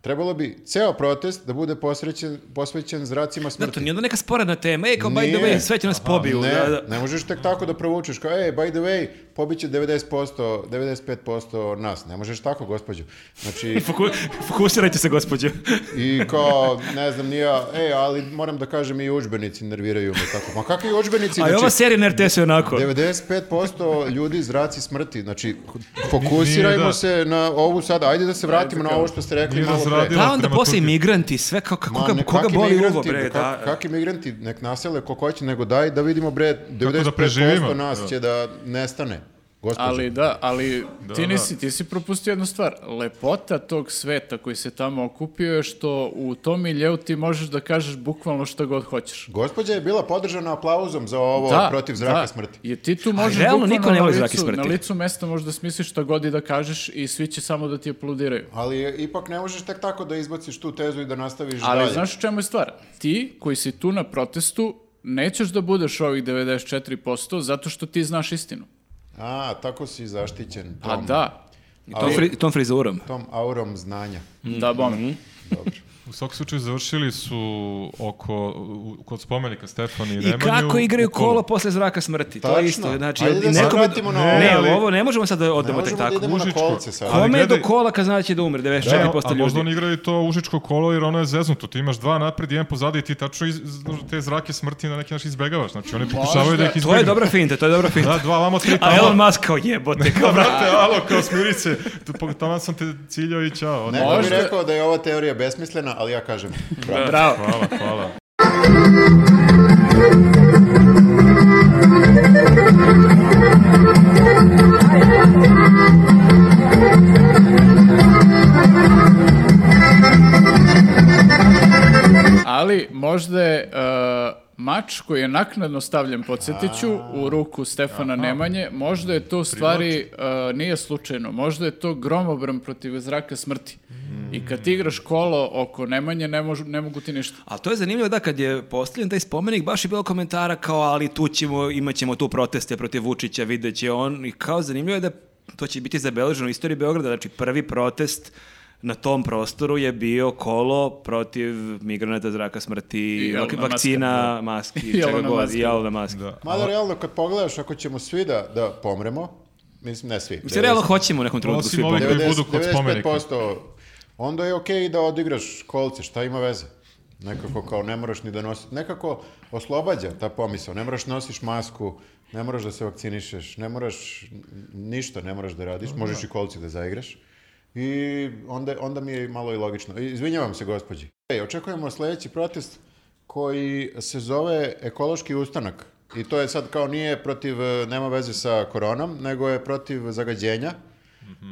Speaker 1: Trebalo bi ceo protest da bude posrećen, posvećen zracima
Speaker 3: Da,
Speaker 1: smrti.
Speaker 3: to nije onda neka sporana tema, ej, kao by the
Speaker 1: Nije.
Speaker 3: way, sve će nas pobiju.
Speaker 1: Ne,
Speaker 3: da, da.
Speaker 1: ne možeš tek tako da provučeš kao, ej, by the way, pobiće 90%, 95% nas. Ne možeš tako, gospođo. Znači,
Speaker 3: Foku- Fokusirajte se, gospođo.
Speaker 1: i kao, ne znam, nije, ej, ali moram da kažem i udžbenici nerviraju me tako. Ma kakvi udžbenici?
Speaker 3: A i ova
Speaker 1: Znači,
Speaker 3: serija na RTS-u je onako.
Speaker 1: 95% ljudi zraci smrti. Znači, fokusirajmo
Speaker 4: Nije, da.
Speaker 1: se na ovu sada. Ajde da se vratimo na ovo što ste rekli
Speaker 4: Nije
Speaker 1: malo pre.
Speaker 4: razradila.
Speaker 3: Da, onda
Speaker 4: prema
Speaker 3: posle i
Speaker 4: Turciji.
Speaker 3: migranti, sve kao, kako
Speaker 1: Ma,
Speaker 3: ga,
Speaker 1: ne,
Speaker 3: koga
Speaker 1: kakvi
Speaker 3: boli uvo,
Speaker 1: migranti,
Speaker 3: bre,
Speaker 1: kak-
Speaker 3: da.
Speaker 1: kakvi migranti, nek nasele ko hoće, nego daj da vidimo, bre, 95%
Speaker 4: preživimo.
Speaker 1: nas će da nestane. Gospođo.
Speaker 2: Ali da, ali ti
Speaker 4: da.
Speaker 2: nisi, ti si propustio jednu stvar. Lepota tog sveta koji se tamo okupio je što u tom miljeu ti možeš da kažeš bukvalno šta god hoćeš.
Speaker 1: Gospođa je bila podržana aplauzom za ovo
Speaker 2: Da,
Speaker 1: protiv zraka
Speaker 2: da.
Speaker 1: smrti.
Speaker 2: Jer ti tu možeš
Speaker 3: realno
Speaker 2: bukvalno
Speaker 3: niko ne
Speaker 2: na
Speaker 3: voli
Speaker 2: licu-
Speaker 3: zrake smrti.
Speaker 2: Na licu mesta možeš da smisliš šta god i da kažeš i svi će samo da ti aplodiraju.
Speaker 1: Ali ipak ne možeš tek tako da izbaciš tu tezu i da nastaviš
Speaker 2: Ali
Speaker 1: dalje.
Speaker 2: znaš u čemu je stvar? Ti koji si tu na protestu nećeš da budeš ovih 94% zato što ti znaš istinu.
Speaker 1: A, tako si zaštićen
Speaker 2: A
Speaker 1: tom,
Speaker 2: da,
Speaker 3: I tom, fri- tom frizurom.
Speaker 1: tom aurom znanja.
Speaker 2: da bome.
Speaker 1: Dobro.
Speaker 4: U svakom slučaju završili su oko, u- kod spomenika Stefani i
Speaker 3: I
Speaker 4: Nemanju.
Speaker 3: kako igraju
Speaker 4: u kolu.
Speaker 3: kolo posle zraka smrti. To je
Speaker 1: Tačno.
Speaker 3: isto. Znači,
Speaker 1: Ajde da se
Speaker 3: nekome-
Speaker 1: vratimo na
Speaker 3: ne,
Speaker 4: ovo.
Speaker 3: ovo ne možemo sad da
Speaker 1: Ne
Speaker 3: odemo tek
Speaker 1: možemo da
Speaker 3: tako.
Speaker 1: idemo na
Speaker 4: Užičko.
Speaker 1: kolce sad.
Speaker 4: Ali
Speaker 3: Kome je do
Speaker 4: gledaj-
Speaker 3: kola kad znači da umre,
Speaker 4: Da, a
Speaker 3: 94%
Speaker 4: možda oni
Speaker 3: ljudi.
Speaker 4: igraju to užičko kolo jer ono je zeznuto. Ti imaš dva napred i jedan pozadi i ti tačno iz, iz- te zrake smrti na neki način izbegavaš. Znači oni pokušavaju da ih izbegnu.
Speaker 3: To je dobra finta, to je dobra finta.
Speaker 4: Da, dva vamo, tri tamo.
Speaker 3: A Elon Musk kao jebote, kao
Speaker 4: Da, brate, alo, kao smiri se. Tu, po- Tamo sam te ciljao i čao.
Speaker 1: Neko bi
Speaker 2: Možda-
Speaker 1: rekao da je ova teorija besmislena, ali ja kažem, bravo.
Speaker 3: bravo.
Speaker 4: Hvala, hvala.
Speaker 2: Ali možda je uh, mač koji je naknadno stavljen, podsjetiću, u ruku Stefana Nemanje, možda je to u stvari, uh, nije slučajno, možda je to gromobran protiv zraka smrti. I kad ti igraš kolo oko Nemanje, ne, možu- ne mogu ti ništa.
Speaker 3: Ali to je zanimljivo da kad je postavljen taj spomenik, baš je bilo komentara kao ali tu ćemo, imat ćemo tu proteste protiv Vučića, vidjet će on. I kao zanimljivo je da to će biti zabeleženo u istoriji Beograda. Znači prvi protest na tom prostoru je bio kolo protiv migranata zraka smrti,
Speaker 2: I
Speaker 3: vak-
Speaker 2: Elona Muska,
Speaker 3: vakcina,
Speaker 2: da.
Speaker 3: maski,
Speaker 2: I
Speaker 3: čega
Speaker 2: Elona
Speaker 3: god,
Speaker 2: Muska.
Speaker 3: i Elona Muska.
Speaker 4: Da.
Speaker 1: Mada realno kad pogledaš, ako ćemo svi da, da pomremo, mislim ne svi.
Speaker 3: Mislim, realno hoćemo u nekom trenutku
Speaker 4: Osim
Speaker 3: svi
Speaker 4: ovih-
Speaker 3: pomoći.
Speaker 4: koji budu kod
Speaker 1: 90,
Speaker 4: spomenika.
Speaker 1: 95%, onda je okej da odigraš kolce, šta ima veze? Nekako kao ne moraš ni da nosiš, nekako oslobađa ta pomisao, ne moraš da nosiš masku, ne moraš da se vakcinišeš, ne moraš n- ništa, ne moraš da radiš, možeš i kolci da zaigraš. I onda, onda mi je malo i logično. I- Izvinjavam se, gospođi. Ej, očekujemo sljedeći protest koji se zove ekološki ustanak. I to je sad kao nije protiv, e, nema veze sa koronom, nego je protiv zagađenja.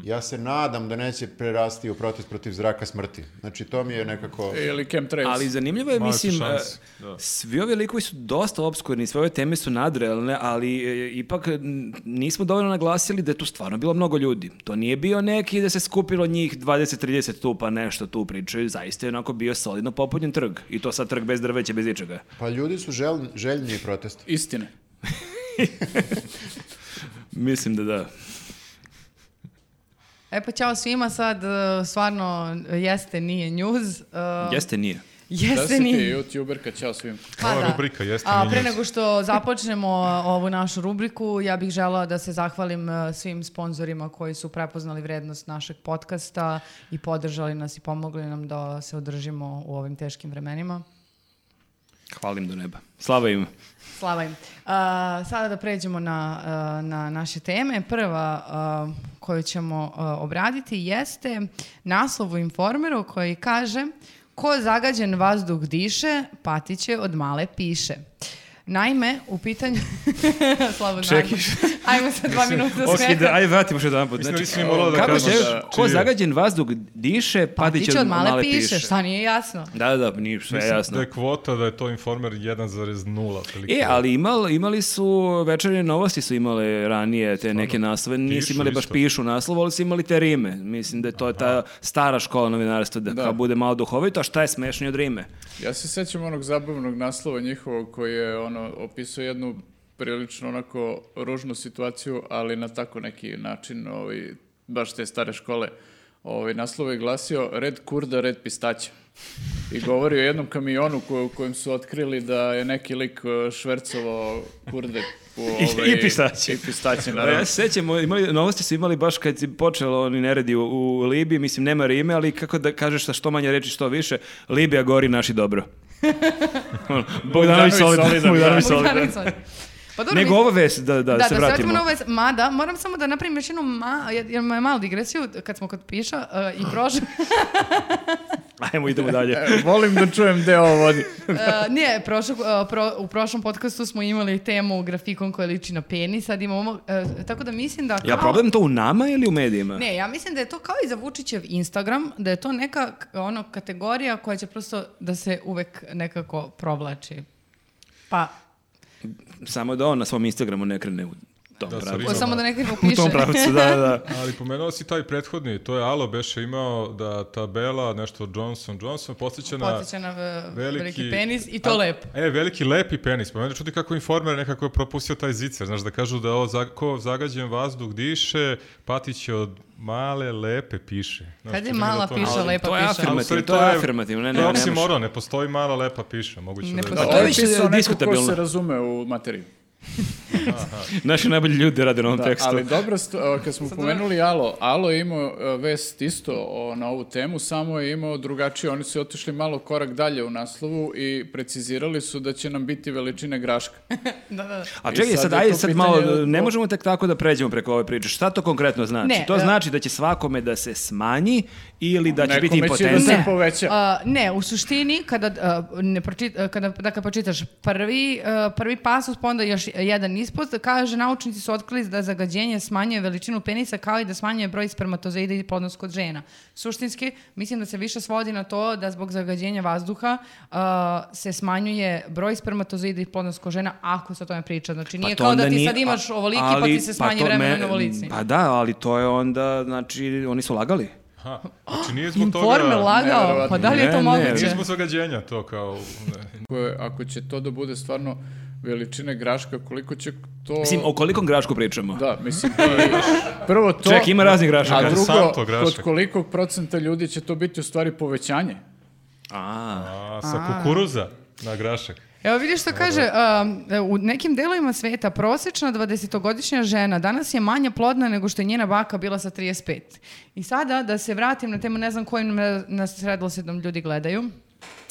Speaker 1: Ja se nadam da neće prerasti u protest protiv zraka smrti. Znači, to mi je nekako...
Speaker 2: Ili chemtrails.
Speaker 3: Ali zanimljivo je,
Speaker 4: Male su
Speaker 3: mislim,
Speaker 4: šanse,
Speaker 3: e,
Speaker 4: da.
Speaker 3: svi ovi likovi su dosta obskurni, sve ove teme su nadrealne, ali e, ipak n- nismo dovoljno naglasili da je tu stvarno bilo mnogo ljudi. To nije bio neki da se skupilo njih 20-30 tu pa nešto tu pričaju, zaista je onako bio solidno popunjen trg. I to sad trg bez drveća, bez ičega.
Speaker 1: Pa ljudi su žel- željni protesta.
Speaker 2: Istine.
Speaker 3: Mislim da da.
Speaker 10: E pa čao svima, sad e, stvarno jeste, nije njuz. e,
Speaker 3: Jeste, nije.
Speaker 2: Da
Speaker 10: Jeste,
Speaker 2: si ti
Speaker 10: nije.
Speaker 2: youtuberka, ćao svima.
Speaker 10: Pa
Speaker 4: Ova
Speaker 10: da.
Speaker 4: rubrika jeste
Speaker 10: A,
Speaker 4: nije
Speaker 10: pre
Speaker 4: njuz.
Speaker 10: nego što započnemo e, ovu našu rubriku, ja bih žela da se zahvalim e, svim sponzorima koji su prepoznali vrednost našeg podcasta i podržali nas i pomogli nam da se održimo u ovim teškim vremenima.
Speaker 3: Hvalim do neba. Slava im.
Speaker 10: Slava im. Uh, sada da pređemo na, uh, na naše teme. Prva uh, koju ćemo uh, obraditi jeste naslov u informeru koji kaže Ko zagađen vazduh diše, patiće od male piše. Naime, u pitanju... Slavo
Speaker 3: Čekaj.
Speaker 10: Ajmo sa dva minuta
Speaker 3: Ok, da,
Speaker 10: smeha.
Speaker 3: ajde vratimo što jedan
Speaker 4: Mislim da nisi ni morala da
Speaker 3: Znači, kako
Speaker 4: kažeš
Speaker 3: se,
Speaker 4: da-
Speaker 3: ko
Speaker 4: čiji je.
Speaker 3: zagađen vazduh diše,
Speaker 10: Patiće Pa, od male, piše.
Speaker 3: piše.
Speaker 10: Šta nije jasno?
Speaker 3: Da, da, nije sve jasno.
Speaker 4: Da je kvota, da je to informer 1,0. otprilike.
Speaker 3: E, ali imal, imali su, večernje novosti su imale ranije te neke naslove, nisu
Speaker 4: Pišu
Speaker 3: imali baš
Speaker 4: isto.
Speaker 3: pišu naslov, ali su imali te rime. Mislim da je to ta stara škola novinarstva, da, kao bude malo duhovito, a šta je smešnije od rime?
Speaker 2: Ja se sjećam onog zabavnog naslova njihovog koji je ono, opisao jednu prilično onako ružnu situaciju, ali na tako neki način, ovaj, baš te stare škole. Ovaj, naslov je glasio Red kurda, red pistaća. I govori o jednom kamionu ko- u kojem su otkrili da je neki lik eh, švercovo kurde u ovaj,
Speaker 3: i pistaće.
Speaker 2: I pistaće,
Speaker 3: Da,
Speaker 2: naravno.
Speaker 3: ja se sjećam, imali, novosti su imali baš kad je počelo oni neredi u, u Libiji, mislim nema rime, ali kako da kažeš sa što manje reči što više, Libija gori naši dobro. Ono, Bogdanović
Speaker 2: Bogdanović
Speaker 3: solidan.
Speaker 2: solidan,
Speaker 3: Bogdanović
Speaker 2: da.
Speaker 3: solidan.
Speaker 10: Solidarno. Pa dobro,
Speaker 3: Nego
Speaker 10: mislim-
Speaker 3: ova vest, da, da,
Speaker 10: da, da
Speaker 3: se vratimo.
Speaker 10: na ovaj, mada, moram samo da napravim još jednu ma, jer ima malu digresiju, kad smo kod piša e, i prošle,
Speaker 3: Ajmo, idemo dalje.
Speaker 2: Volim da čujem gde ovo vodi.
Speaker 10: E, ne, prošlog, e, pro- u prošlom podcastu smo imali temu grafikon koja liči na penis, sad imamo, e, tako da mislim da...
Speaker 3: Ja
Speaker 10: kao-
Speaker 3: problem to u nama ili u medijima?
Speaker 10: Ne, ja mislim da je to kao i za Vučićev Instagram, da je to neka k- ono kategorija koja će prosto da se uvek nekako provlači. Pa,
Speaker 3: Samo da on na svom Instagramu ne krene u tom
Speaker 4: Da, sa
Speaker 3: pravcu.
Speaker 4: rimama. Samo da
Speaker 10: ne krivo
Speaker 3: U tom
Speaker 10: piše.
Speaker 3: pravcu, da, da.
Speaker 4: Ali pomenuo si taj prethodni, to je Alo Beše imao da tabela, nešto Johnson, Johnson,
Speaker 3: da.
Speaker 4: podsjeća na...
Speaker 10: Podsjeća na v- veliki penis i to lepo.
Speaker 4: E, veliki lepi penis. Pa mene čudi kako informer nekako je propustio taj zicer. Znaš, da kažu da ovo za, ko zagađen vazduh diše, patići od male lepe piše. Znaš,
Speaker 10: Kad je
Speaker 4: čudi me da
Speaker 10: mala
Speaker 4: to-
Speaker 10: piša,
Speaker 4: Ali-
Speaker 10: lepa
Speaker 4: to je
Speaker 10: piša?
Speaker 4: afirmativno,
Speaker 3: A u stvari, to je afirmativno, ne, ne,
Speaker 4: To je
Speaker 3: ne može.
Speaker 4: oksimoron, ne postoji mala lepa piša, moguće
Speaker 10: Ne
Speaker 4: da je.
Speaker 10: postoji.
Speaker 2: Ovo je
Speaker 3: više
Speaker 2: pisao neko ko
Speaker 3: diskutabilno.
Speaker 2: se razume u materiju.
Speaker 3: Naši najbolji ljudi rade na ovom
Speaker 2: Da,
Speaker 3: tekstu.
Speaker 2: ali dobra stvar, kad
Speaker 10: da-
Speaker 2: smo pomenuli Alo, Alo je imao e, vest isto o- na ovu temu, samo je imao drugačije, oni su otišli malo korak dalje u naslovu i precizirali su da će nam biti veličine graška.
Speaker 10: Da, da, da.
Speaker 3: A
Speaker 2: I
Speaker 3: čekaj,
Speaker 2: sad
Speaker 3: sad,
Speaker 2: je
Speaker 3: ajde,
Speaker 2: to
Speaker 3: sad
Speaker 2: pitanje da-
Speaker 3: malo,
Speaker 2: od-
Speaker 3: ne možemo tek tako da pređemo preko ove priče. Šta to konkretno znači?
Speaker 10: Ne,
Speaker 3: to
Speaker 10: e,
Speaker 3: znači da će svakome da se smanji ili da će biti
Speaker 2: Nekome će da
Speaker 3: impotentan?
Speaker 2: se
Speaker 10: Ne.
Speaker 2: poveća.
Speaker 10: A, ne, u suštini, kada, a, ne pročit- a, kada dakle, pročitaš prvi, a, prvi pasus, pa onda još jedan ispod, kaže, naučnici su otkrili da zagađenje smanjuje veličinu penisa kao i da smanjuje broj spermatozoida i plodnost kod žena. Suštinski, mislim da se više svodi na to da zbog zagađenja vazduha a, se smanjuje broj spermatozoida i plodnost kod žena ako se o tome priča. Znači, nije
Speaker 3: Pa to
Speaker 10: kao da
Speaker 3: onda
Speaker 10: ti
Speaker 3: nije-
Speaker 10: sad imaš
Speaker 3: a-
Speaker 10: ovoliki, pa
Speaker 3: ali-
Speaker 10: ti se smanji
Speaker 3: to
Speaker 10: vremena
Speaker 3: me-
Speaker 10: na ovolici.
Speaker 3: Pa da, ali to je onda, znači, oni su lagali.
Speaker 4: Aha, znači nije zbog toga...
Speaker 10: Informer lagao, pa
Speaker 2: nevjerovatno.
Speaker 10: da li je to
Speaker 3: Ne, ne,
Speaker 10: moguće?
Speaker 4: Nije zbog zagađenja to kao... Ne.
Speaker 2: Ako, je- ako će to da bude stvarno veličine graška, koliko će to...
Speaker 3: Mislim, o kolikom grašku pričamo?
Speaker 2: Da, mislim, to je- prvo to...
Speaker 3: Ček, ima raznih grašaka.
Speaker 4: Kaže,
Speaker 2: A drugo,
Speaker 4: santo grašak.
Speaker 2: kod kolikog procenta ljudi će to biti u stvari povećanje?
Speaker 3: A,
Speaker 4: A, sa kukuruza na grašak.
Speaker 10: Evo vidiš što kaže, um, u nekim delovima sveta prosječna 20-godišnja žena danas je manje plodna nego što je njena baka bila sa 35. I sada da se vratim na temu, ne znam kojim na- nas redosledom ljudi gledaju,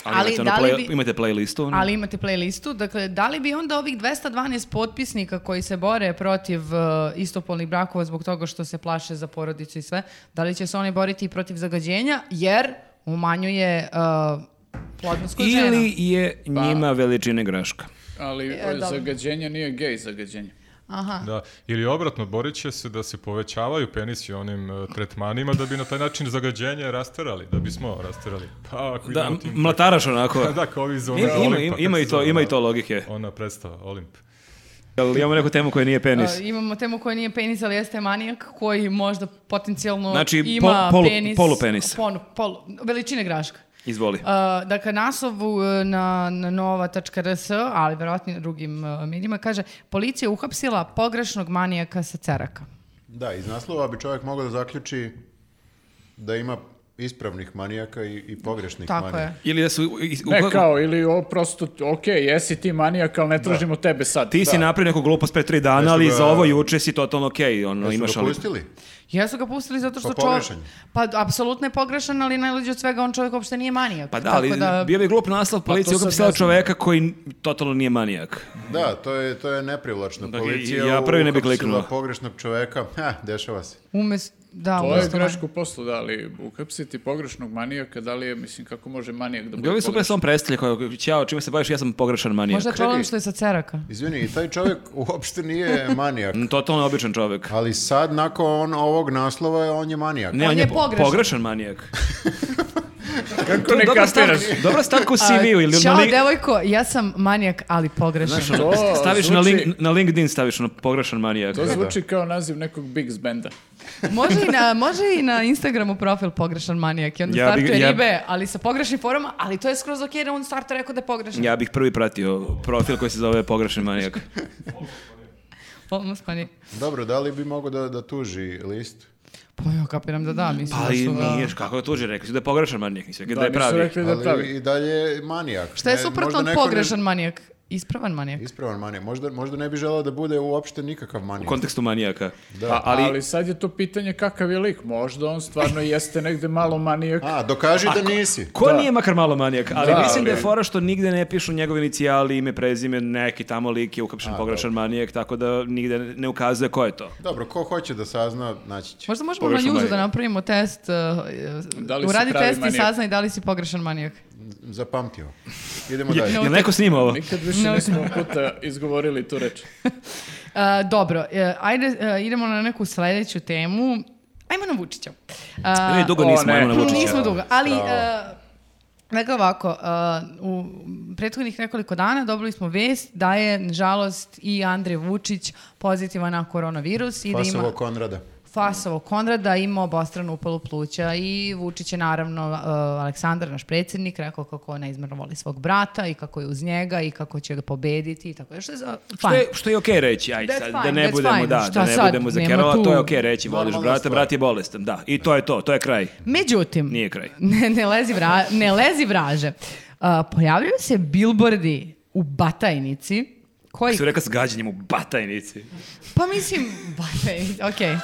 Speaker 3: ali,
Speaker 10: Ali
Speaker 3: imate,
Speaker 10: da
Speaker 3: ono
Speaker 10: li
Speaker 3: play-
Speaker 10: bi-
Speaker 3: imate playlistu? ono?
Speaker 10: ali imate playlistu, dakle, da li bi onda ovih 212 potpisnika koji se bore protiv uh, istopolnih brakova zbog toga što se plaše za porodicu i sve, da li će se oni boriti i protiv zagađenja, jer umanjuje uh, plodnost kod žena?
Speaker 3: Ili je njima veličine graška?
Speaker 2: Ali
Speaker 10: E, dobro.
Speaker 2: zagađenje nije gej zagađenje.
Speaker 10: Aha.
Speaker 4: Da. Ili obratno, borit će se da se povećavaju penisi onim e, tretmanima da bi na taj način zagađenje rasterali, da bismo rasterali. Pa ako
Speaker 3: Da,
Speaker 4: idemo tim...
Speaker 3: mlataraš onako.
Speaker 4: Da, kao ovi iz
Speaker 3: Ima,
Speaker 4: one
Speaker 3: ima,
Speaker 4: Olimpa,
Speaker 3: ima i
Speaker 4: kako se
Speaker 3: to,
Speaker 4: zove
Speaker 3: ima i
Speaker 4: ona-
Speaker 3: to logike.
Speaker 4: Ona predstava, Olimp.
Speaker 3: Jel imamo neku temu koja nije penis?
Speaker 10: Uh, imamo temu koja nije penis, ali jeste manijak koji možda potencijalno
Speaker 3: Znači,
Speaker 10: ima
Speaker 3: pol- polu-
Speaker 10: penis.
Speaker 3: polupenis.
Speaker 10: Ponu- polu- veličine graška.
Speaker 3: Izvoli.
Speaker 10: Uh, dakle, naslovu uh, na, na nova.rs, ali verovatno i na drugim uh, medijima, kaže policija je uhapsila pogrešnog manijaka sa ceraka.
Speaker 1: Da, iz naslova bi čovjek mogao da zaključi da ima ispravnih manijaka i, i pogrešnih
Speaker 10: Tako
Speaker 1: manijaka.
Speaker 10: je.
Speaker 3: Ili da su... i- i-
Speaker 2: Ne
Speaker 3: u-
Speaker 2: kao, ili ovo prosto, ok, jesi ti manijak, ali ne tražimo tebe sad.
Speaker 3: Da.
Speaker 2: Da.
Speaker 3: Ti si napravio neku glupost pre tri dana, ali
Speaker 1: ga-
Speaker 3: za ovo juče si totalno okej. ono,
Speaker 1: Jesu
Speaker 3: imaš
Speaker 1: ga
Speaker 3: ali-
Speaker 1: pustili?
Speaker 10: Ja su ga pustili zato što
Speaker 1: Pa
Speaker 10: čovjek...
Speaker 1: pogrešan je.
Speaker 10: Pa, apsolutno je pogrešan, ali najluđe od svega, on čovjek uopšte nije manijak.
Speaker 3: Pa da,
Speaker 10: Tako
Speaker 3: ali bio bi glup naslov policija
Speaker 2: to sad
Speaker 3: ukapsila
Speaker 2: ne znam.
Speaker 3: čoveka koji n- totalno nije manijak.
Speaker 1: Da, to je, to je neprivlačno.
Speaker 3: Dakle,
Speaker 1: Policija
Speaker 3: ja prvi ne bi
Speaker 1: uhapsila
Speaker 3: kliknuo.
Speaker 1: pogrešnog čoveka. Ha, dešava se.
Speaker 10: Umes, da,
Speaker 2: To je
Speaker 10: umesto
Speaker 2: greško u poslu, da, ali uhapsiti pogrešnog manijaka, da li je, mislim, kako može manijak da bude
Speaker 3: Bilo bi super
Speaker 2: pogrešan?
Speaker 3: sam predstavlja kao, ćao, čime se baviš, ja sam pogrešan manijak.
Speaker 10: Možda je problem što je sa ceraka.
Speaker 1: Izvini, i taj čovjek uopšte nije manijak.
Speaker 3: Mm, Totalno običan čovek.
Speaker 1: Ali sad, nakon ovog naslova, Pa on je manijak.
Speaker 3: Ne, on,
Speaker 10: On
Speaker 3: je
Speaker 10: je
Speaker 3: po-
Speaker 10: pogrešan.
Speaker 3: manijak.
Speaker 2: Kako ne
Speaker 3: Dobra stavka,
Speaker 2: kapiraš?
Speaker 3: dobra stavka u CV-u ili na
Speaker 10: Ćao,
Speaker 3: link-
Speaker 10: devojko, ja sam manijak, ali pogrešan.
Speaker 3: znaš, ono,
Speaker 2: To
Speaker 3: staviš na,
Speaker 2: zvuči-
Speaker 3: link- Da. na LinkedIn, staviš ono, pogrešan manijak.
Speaker 2: To zvuči kao naziv nekog Bigs benda.
Speaker 3: Da,
Speaker 10: Može i, na, može i na Instagramu profil pogrešan manijak i onda
Speaker 3: Ja bi-
Speaker 10: startuje
Speaker 3: ja-
Speaker 10: ribe, ali sa pogrešnim forama, ali to je skroz ok jer je on starta rekao da je pogrešan.
Speaker 3: Ja bih prvi pratio profil koji se zove pogrešan manijak.
Speaker 10: Polno spani.
Speaker 1: Dobro, da li bi mogao da, da tuži list?
Speaker 10: Pa ja kapiram da da, mislim
Speaker 3: Pa
Speaker 10: da
Speaker 3: i
Speaker 10: su ga-
Speaker 3: nije, kako je tuđe, rekli su da je pogrešan manijak, nisu rekli da,
Speaker 2: Da,
Speaker 3: je
Speaker 2: nisu
Speaker 3: pravi.
Speaker 2: rekli da je
Speaker 1: Ali
Speaker 2: pravi.
Speaker 1: i dalje je manijak.
Speaker 10: Šta je
Speaker 1: Ne,
Speaker 10: suprotno
Speaker 1: možda
Speaker 10: od
Speaker 1: neko ne-
Speaker 10: pogrešan manijak? Ispravan manijak.
Speaker 1: Ispravan manijak. Možda, možda ne bi želeo da bude uopšte nikakav
Speaker 3: U
Speaker 1: manijak.
Speaker 3: kontekstu manijaka.
Speaker 1: Da.
Speaker 3: ali,
Speaker 2: Ali sad je to pitanje kakav je lik. Možda on stvarno jeste negde malo manijak.
Speaker 1: A, dokaži da nisi.
Speaker 3: Ko nije makar malo manijak, ali
Speaker 2: Da,
Speaker 3: mislim da je
Speaker 2: ali-
Speaker 3: fora što nigde ne pišu njegove inicijali, ime, prezime, neki tamo lik je ukapšen pogrešan manijak, tako da nigde ne ukazuje ko je to.
Speaker 1: Dobro, ko hoće da sazna, naći će.
Speaker 10: Možda možemo
Speaker 3: Pogrešan
Speaker 10: na juzu da
Speaker 3: manijak.
Speaker 10: napravimo test, uh,
Speaker 2: Da li si
Speaker 10: uradi
Speaker 2: pravi
Speaker 10: test i
Speaker 2: manijak?
Speaker 10: saznaj da li si pogrešan manijak.
Speaker 1: Zapamtio. Idemo dalje.
Speaker 3: Jel neko snima ovo?
Speaker 2: Nikad više nismo puta izgovorili tu reč.
Speaker 10: Uh, dobro, e, ajde, e, idemo na neku sledeću temu. Ajmo na Vučića. Uh,
Speaker 3: Ne, dugo
Speaker 2: o,
Speaker 3: nismo,
Speaker 2: ne.
Speaker 3: ajmo na Vučića.
Speaker 10: Nismo dugo, ali
Speaker 1: Bravo.
Speaker 10: e, Dakle ovako, uh, u prethodnih nekoliko dana dobili smo vest da je, nažalost, i Andrej Vučić pozitivan na koronavirus. I da
Speaker 1: Fasovo
Speaker 10: ima...
Speaker 1: Konrada.
Speaker 10: Fasovo Konrada ima obostranu upalu pluća i Vučić je naravno uh, Aleksandar, naš predsjednik, rekao kako neizmjerno voli svog brata i kako je uz njega i kako će ga pobediti i tako je. Što je za...
Speaker 3: Što
Speaker 10: fajn.
Speaker 3: je, što je okej reći, ajde sad,
Speaker 10: That's fine,
Speaker 3: da ne
Speaker 10: that's
Speaker 3: budemo,
Speaker 10: fine.
Speaker 3: da, da
Speaker 10: Šta
Speaker 3: ne
Speaker 10: sad?
Speaker 3: budemo
Speaker 10: Nema
Speaker 3: zakerala,
Speaker 10: tu.
Speaker 3: to je okej reći, voliš
Speaker 10: Normalna
Speaker 3: brata,
Speaker 10: stvar.
Speaker 3: brat je bolestan, da, i to je to, to je kraj,
Speaker 10: Međutim,
Speaker 3: nije kraj.
Speaker 10: Ne, ne, lezi vra, ne lezi vraže. Uh, pojavljuju se billboardi u Batajnici koji...
Speaker 3: Su rekla s gađanjem u batajnici.
Speaker 10: Pa mislim, Batajnici, okej.